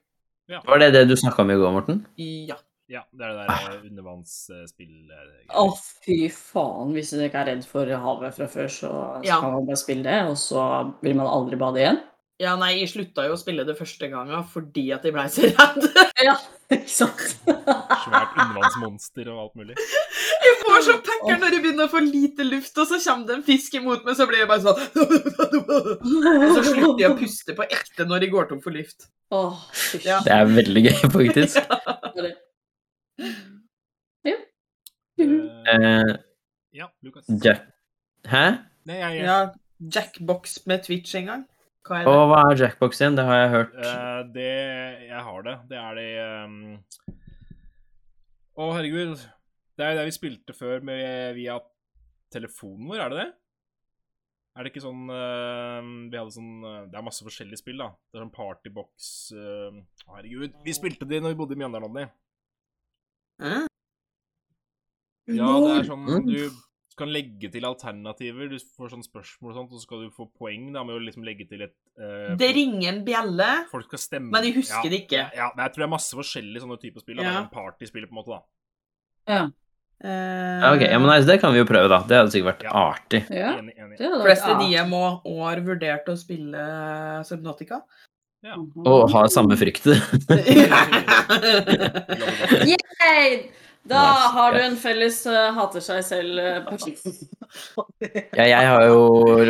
S2: Var det det du snakka om i går, Morten?
S4: Ja.
S1: ja, det er det der eh, undervannsspill... eh,
S3: Å, fy faen. Hvis du ikke er redd for havet fra før, så skal
S4: Ja.
S3: man bare spille det, og så vil man aldri bade igjen.
S4: ja, nei, jeg slutta jo å spille det første gangen fordi at jeg blei så redd.
S3: Ja, ikke sant?
S1: Svært undervannsmonster og alt mulig.
S4: Jeg får så pekker når jeg begynner å få lite luft, og så kommer det en fisk imot meg, så blir jeg bare sånn Og så slutter jeg å puste på ekte når de går tom for luft.
S3: Åh, fy
S4: Ja.
S2: Det er veldig gøy, faktisk.
S3: faen.
S1: Eh,
S2: Eh,
S1: ja, Lukas.
S2: Jack Hæ?
S1: Nei, jeg, jeg,
S4: Ja, Jackbox med Twitch en gang. Hva er
S2: Og
S4: det?
S2: hva er Jackbox igjen? Det har jeg hørt.
S1: Eh, det Jeg har det. Det er det ehm, Å, herregud. Det er jo det vi spilte før med, via telefonen vår, er det det? Er det ikke sånn ehm, Vi hadde sånn eh, Det er masse forskjellige spill, da. Det er sånn partybox ehm, Å, Herregud. Vi spilte de når vi bodde i Mjøndalen, Anni.
S4: Hæ?
S1: Ja, det er sånn du kan legge til alternativer. Du får sånn spørsmål og sånt, og så skal du få poeng da med å liksom legge til et eh,
S4: Det ringer en bjelle.
S1: Folk skal stemme.
S4: Men de husker
S1: ja.
S4: det ikke.
S1: Ja, men jeg tror det er masse forskjellige sånne typer spill. da. Det
S4: Ja.
S1: er en Partyspill, på en måte, da.
S4: Eh,
S2: Ja, ok, ja, men nei, så Det kan vi jo prøve, da. Det hadde sikkert vært
S1: Ja.
S2: artig.
S3: Ja,
S1: Enig, enig.
S3: det er det.
S4: fleste de jeg må og har vurdert å spille Subnotica.
S3: Mhm.
S2: Å ha samme frykt.
S1: Lover
S3: Yay! Da
S2: Nice.
S3: har du en felles eh, hater seg eh, selv-person.
S2: Ja, jeg har jo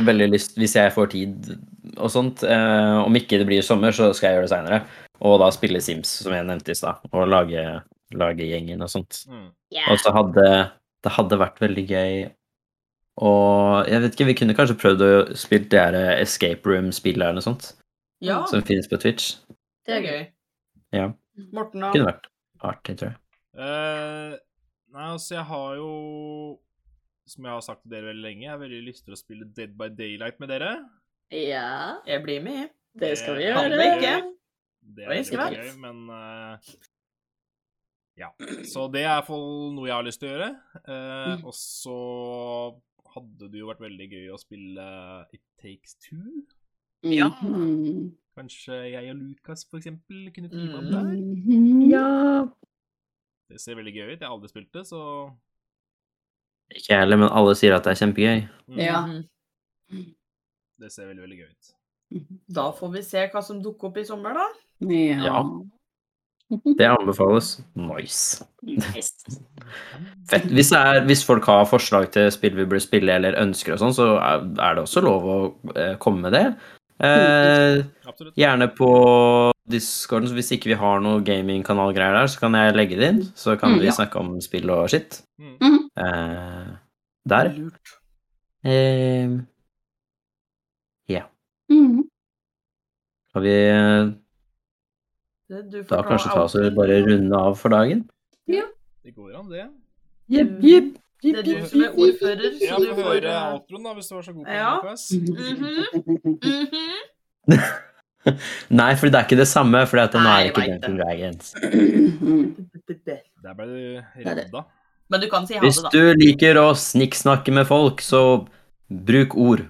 S2: veldig lyst, hvis jeg får tid og sånt eh, Om ikke det blir sommer, så skal jeg gjøre det seinere. Og da spille Sims, som jeg nevnte i stad. Og lage, lage gjengen og sånt.
S1: det. Mm.
S2: Og så hadde det hadde vært veldig gøy og jeg vet ikke, Vi kunne kanskje prøvd å spille det her eh, Escape Room-spillet eller noe sånt.
S4: ja,
S2: Som finnes på Twitch.
S4: det er gøy.
S2: Ja.
S4: Morten, da?
S2: Kunne vært artig, tror jeg.
S1: Eh, nei, altså, jeg har jo Som jeg har sagt til dere veldig lenge, jeg har veldig lyst til å spille Dead by Daylight med dere.
S3: Ja,
S4: Jeg blir med.
S3: det skal vi
S1: Kan
S3: gjøre.
S1: vi
S4: Kan vi
S1: ikke?
S4: ikke?
S1: Det
S4: Og
S1: er
S4: jeg skal
S1: veldig gøy, men eh, Ja. Så det er i hvert fall noe jeg har lyst til å gjøre. Eh,
S4: Mm.
S1: Og så hadde det jo vært veldig gøy å spille It Takes Two.
S3: Ja.
S1: Kanskje jeg og Lukas for eksempel kunne drive om
S4: Mm.
S1: der.
S3: ja.
S1: Det ser veldig gøy ut. Jeg har aldri spilt det, så
S2: Ikke jeg heller, men alle sier at det er kjempegøy.
S1: mm.
S3: Ja.
S4: Mhm.
S1: Det ser veldig, veldig gøy ut.
S4: Da får vi se hva som dukker opp i sommer, da.
S3: Ja.
S2: Det anbefales. Nice.
S3: Nice.
S2: Fett. Hvis, det er, hvis folk har forslag til spill vi burde spille eller ønsker og sånn, så er er det også lov å eh, komme med det. Eh,
S1: Absolutt.
S2: gjerne på discorden, så hvis ikke vi har noe gamingkanalgreier der, så kan jeg legge det inn. Så kan
S3: Mm,
S2: vi
S3: ja.
S2: snakke om spill og skitt
S1: Mm.
S2: eh, der.
S4: Lurt.
S2: Eh,
S5: Mhm.
S2: skal vi eh,
S4: Det, du får
S2: da kanskje ta oss og
S4: outro.
S2: bare runde av for dagen?
S1: Det går an, det.
S2: Jepp, jepp.
S4: Det er du som er ordfører,
S1: Ja,
S4: så du
S1: få
S4: får
S1: høre
S4: eh,
S1: outroen, da, hvis du var så god på det.
S4: Ja.
S1: Lukas.
S3: Mm-hmm.
S4: mhm.
S2: Nei, for det er ikke det samme, for
S4: Nei,
S2: nå er det
S4: jeg
S2: ikke
S4: vet
S2: Dungeon Dragons.
S1: Der ble du
S3: er det.
S1: redda.
S4: Men du kan si ha
S2: Hvis
S4: det, da.
S2: du liker å snikksnakke med folk, så bruk ord.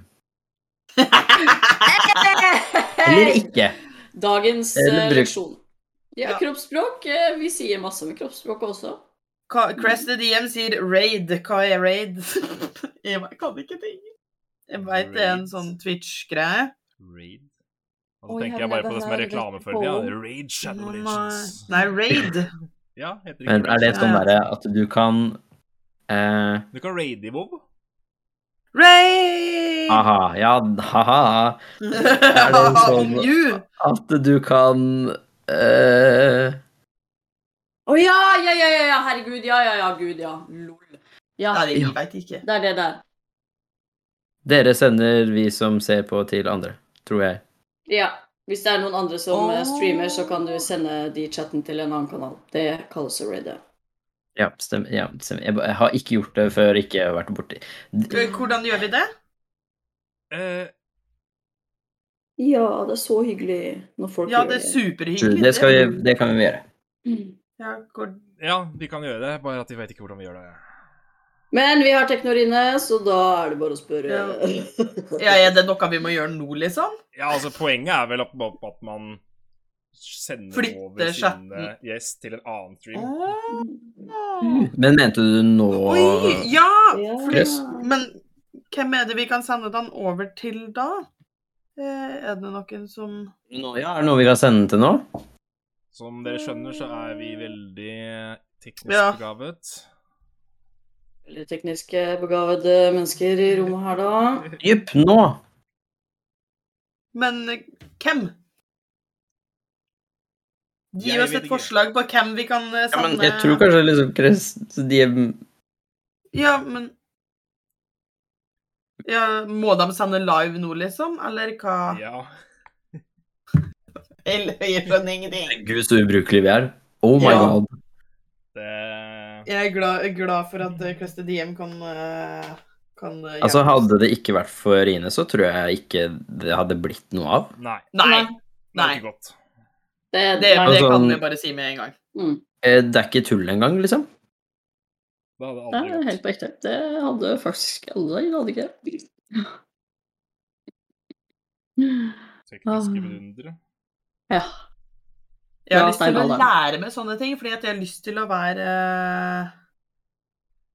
S2: Eller ikke.
S3: Mm-hmm. Dagens
S2: Eller
S3: eh,
S2: bruk-
S3: leksjon. Ja,
S4: Ja.
S3: kroppsspråk. eh, Vi sier masse om kroppsspråk også.
S4: Hva- Crest the DM sier raid. Hva er raid? jeg vet- kan ikke ting. Jeg veit det er en
S1: Raid.
S4: sånn Twitch-greie.
S1: Raid. Og så
S3: Oi,
S1: tenker
S3: jeg
S1: jeg bare
S3: har
S1: på det som er
S3: never heard
S1: reklame
S3: it
S1: for det. Ja.
S3: before.
S1: Raid Shadow Legends.
S4: Nei, raid.
S1: Ja, heter det
S2: Men
S1: ikke
S2: er det
S1: Raid?
S2: sånn derre at du kan eh,
S1: Du kan raide i WoW.
S4: Raid!
S2: Aha, ja, haha.
S4: er
S2: det en sånn-
S4: Om you!
S2: At du kan eh,
S3: Å ja, ja, ja, ja, ja, herregud. Ja, ja, ja, gud, ja. Lol. Ja,
S4: Nei, jeg veit ikke.
S3: det er det der.
S2: Dere sender vi som ser på, til andre, tror jeg.
S3: Ja. Hvis det er noen andre som eh,
S4: Åh.
S3: streamer, så kan du sende de chatten til en annen kanal. Det kalles å raide.
S2: Ja, stemmer. Ja, stemmer. Jeg, ba- jeg har ikke gjort det før, ikke vært borti
S4: K- Hvordan gjør vi det?
S1: Eh,
S3: Ja, det er så hyggelig når folk
S4: Ja,
S3: gjør
S4: det er superhyggelig.
S2: Det, skal vi, det kan vi gjøre.
S3: Mm.
S4: Ja, hvor-
S1: ja, vi kan gjøre det, bare at vi vet ikke hvordan vi gjør det.
S3: Men vi har teknor inne, så da er det bare å spørre.
S4: ja, er det noe vi må gjøre nå, liksom?
S1: Ja, altså, poenget er vel at, at man sender
S4: Flytter
S1: over
S4: chatten.
S1: sine yes til en annen stream.
S4: Åh.
S2: Men mente du nå
S4: Oi! Ja!
S3: Ja.
S4: fordi-
S2: Yes.
S4: Men hvem er det vi kan sende den over til da? Eh, Er det noen som
S2: Nå, ja, er det noe vi kan sende til nå?
S1: Som dere skjønner, så er vi veldig teknisk
S4: Ja.
S1: begavet.
S3: Veldig tekniske, begavede mennesker i rommet her, da.
S2: Jupp, nå!
S4: Men eh, hvem? Gi
S1: Jeg
S4: oss
S1: vet
S4: et
S1: ikke.
S4: forslag på hvem vi kan eh,
S2: Ja,
S4: sende
S2: men jeg tror kanskje liksom Chris de
S4: Ja, men ja, Må de sende live nå, liksom? Eller hva?
S1: Ja.
S4: Eller jeg skjønner ingenting.
S2: Gud, så ubrukelige vi er. Oh my
S4: Ja.
S2: god.
S1: Det
S4: Jeg er glad, glad for at eh, Cluster DM kan, eh, kan eh, hjelpe
S2: Altså,
S4: oss.
S2: hadde det ikke vært for Rine, så tror jeg ikke det hadde blitt noe av.
S1: Nei.
S4: Nei.
S1: Det er
S4: Nei.
S1: ikke godt.
S3: Det, Mm. nei,
S4: Det, det
S2: Altså,
S4: kan
S2: han-
S4: vi bare si med en gang.
S2: Eh, Det er ikke tull engang, liksom.
S1: Det hadde
S3: det
S1: aldri
S3: er
S1: gått.
S3: helt på ekte. Det hadde faktisk alle hadde ikke det.
S1: Tekniske
S3: Ah.
S1: beundrere.
S3: Ja.
S4: Jeg har
S3: Ja,
S4: lyst til å
S3: steinalderen.
S4: lære meg sånne ting, fordi at jeg har lyst til å være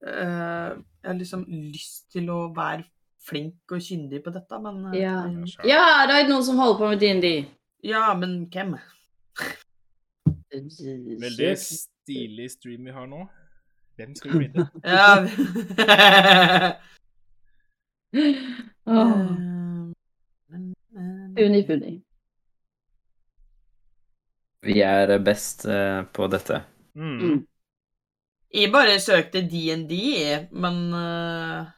S4: eh, eh, Jeg har liksom lyst til å være flink og kyndig på dette, men eh,
S3: Ja.
S1: Ja,
S4: men-
S1: sjæl.
S3: ja, det er noen som holder på med DND.
S4: ja, men hvem?
S1: Veldig stilig stream vi har nå. Hvem skal vi raide?
S4: Ja.
S3: Åh, Uni, uni.
S2: Vi er best eh, på dette.
S1: Mm.
S4: jeg bare søkte DND, men eh,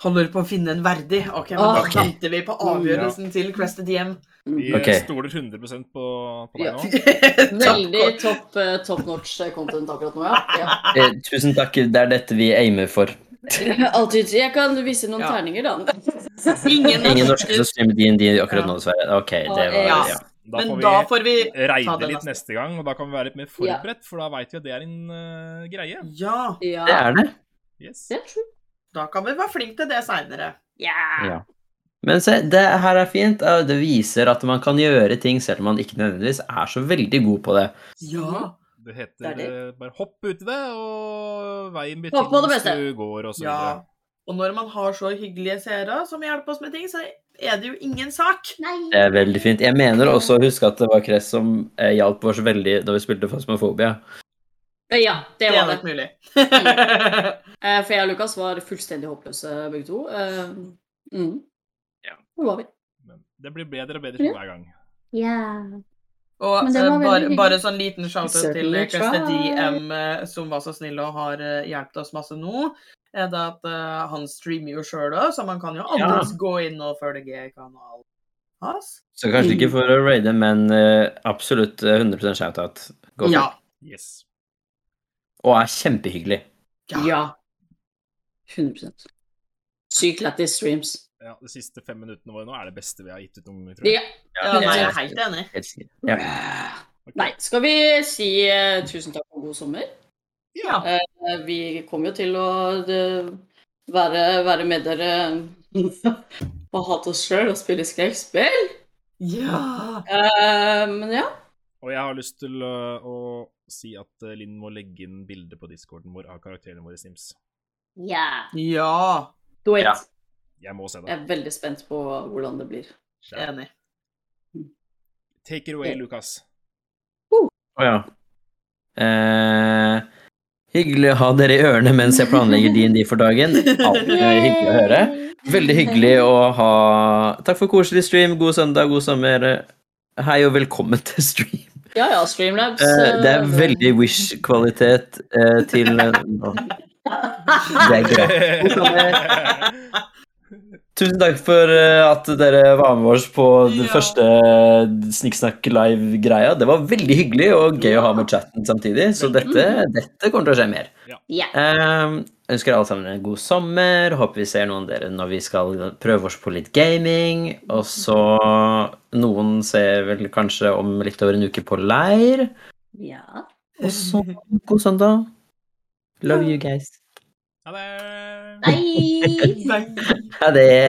S4: Holder på å finne en verdig. Ok, men da
S3: Ok.
S4: venter vi på avgjørelsen til Crest DM.
S1: Vi eh,
S2: Ok.
S1: stoler 100 på, på deg
S3: Ja.
S1: nå.
S4: Veldig
S3: Veldig topp, eh, top notch content akkurat nå, ja.
S2: Eh, tusen takk, det er dette vi aimer for.
S3: ja. Alltid. Jeg kan vise noen
S4: Ja.
S3: terninger, da.
S4: Ingen,
S2: Ingen norske som streamer D&D akkurat nå, dessverre. Ok, det var
S4: Ja.
S2: ja.
S1: Da
S4: Men
S1: får
S4: da
S1: vi
S4: får vi ta
S1: reide
S4: det
S1: litt neste gang, og da kan vi være litt mer forberedt, for da veit vi at det er en eh, greie.
S4: Ja,
S3: Ja.
S2: Det er det.
S1: Yes.
S3: Det er sjukt.
S4: da kan vi være flinke til det seinere.
S2: Ja. Men se, det her er fint. Eh, Det viser at man kan gjøre ting selv om man ikke nødvendigvis er så veldig god på det.
S4: Ja.
S1: Det
S3: Det
S1: heter
S3: er det.
S1: eh, bare hopp uti det, og veien blir
S3: Hopp på det
S1: tyngst
S3: beste.
S1: du går, og så
S4: ja.
S1: videre.
S4: Og når man har så hyggelige seere som hjelper oss med ting, så er det jo ingen sak.
S5: Nei.
S2: Det er veldig fint. Jeg mener også å huske at det var Kress som eh, hjalp oss veldig da vi spilte Fasmofobia.
S3: Eh, Ja, det
S4: Det
S3: var
S4: er
S3: det. Mm.
S4: nok mulig.
S3: Eh, For jeg og Lukas var fullstendig håpløse begge to. Eh, Mm.
S2: Ja.
S3: Hvor var vi?
S1: Men det blir bedre og bedre for hver gang.
S5: Ja.
S4: Og
S5: Men det
S4: eh,
S5: var veldig
S4: bare,
S5: hyggelig.
S4: bare sånn liten shout-out til
S3: Certainly try.
S4: Kreste DM, eh, som var så snill og har eh, hjulpet oss masse nå. Er det at eh, han streamer jo sjøl òg, så man kan jo alltids gå inn og følge kanalen hans.
S2: Så kanskje ikke for å raide, men eh, absolutt eh, 100 shout-out. Gå for
S4: Ja.
S2: det.
S1: Yes.
S2: Og er kjempehyggelig.
S4: Ja.
S3: Ja. 100 Sykt lættis streams.
S1: Ja, De siste fem minuttene våre nå er det beste vi har gitt ut noen gang, tror jeg.
S3: Ja.
S4: ja nei, jeg er
S2: helt
S4: helt enig.
S2: sikker. Ja.
S3: Nei, skal vi si eh, tusen takk og god sommer?
S4: Ja.
S3: Eh, Vi kommer jo til å eh, være, være med dere og hate oss sjøl og spille skrekkspill.
S4: Ja.
S3: Eh, Men ja.
S1: Og jeg har lyst til ø, å si at ø, Linn må legge inn bilde på discorden vår av karakterene våre i Sims.
S5: Ja.
S4: ja.
S3: Do it.
S2: Ja.
S1: Jeg må se
S3: Jeg
S1: det.
S3: er veldig spent på hvordan det blir.
S4: Enig.
S1: Take it away, Lukas.
S2: Å ja. Eh, hyggelig å ha dere i ørene mens jeg planlegger D&D for dagen. Alltid hyggelig å høre. Veldig hyggelig å ha Takk for koselig stream. God søndag, god sommer. Hei og velkommen til stream.
S3: Ja ja, Streamlabs.
S2: Eh, det er
S3: eh,
S2: veldig Wish-kvalitet eh, til nå. Det er greit. Tusen takk for eh, at dere var med oss på den
S4: Ja.
S2: første Snikksnakk live-greia. Det var veldig hyggelig og gøy å ha med chatten samtidig, så dette, dette kommer til å skje mer.
S1: Ja.
S5: Ja.
S2: Eh, ønsker alle sammen en god sommer. Håper vi ser noen av dere når vi skal prøve oss på litt gaming. Og så Noen ser vel kanskje om litt over en uke på leir.
S5: Ja.
S2: Og så god søndag. Love you guys.
S1: Ha det.
S5: Nei.
S4: Nei.
S2: Ha det.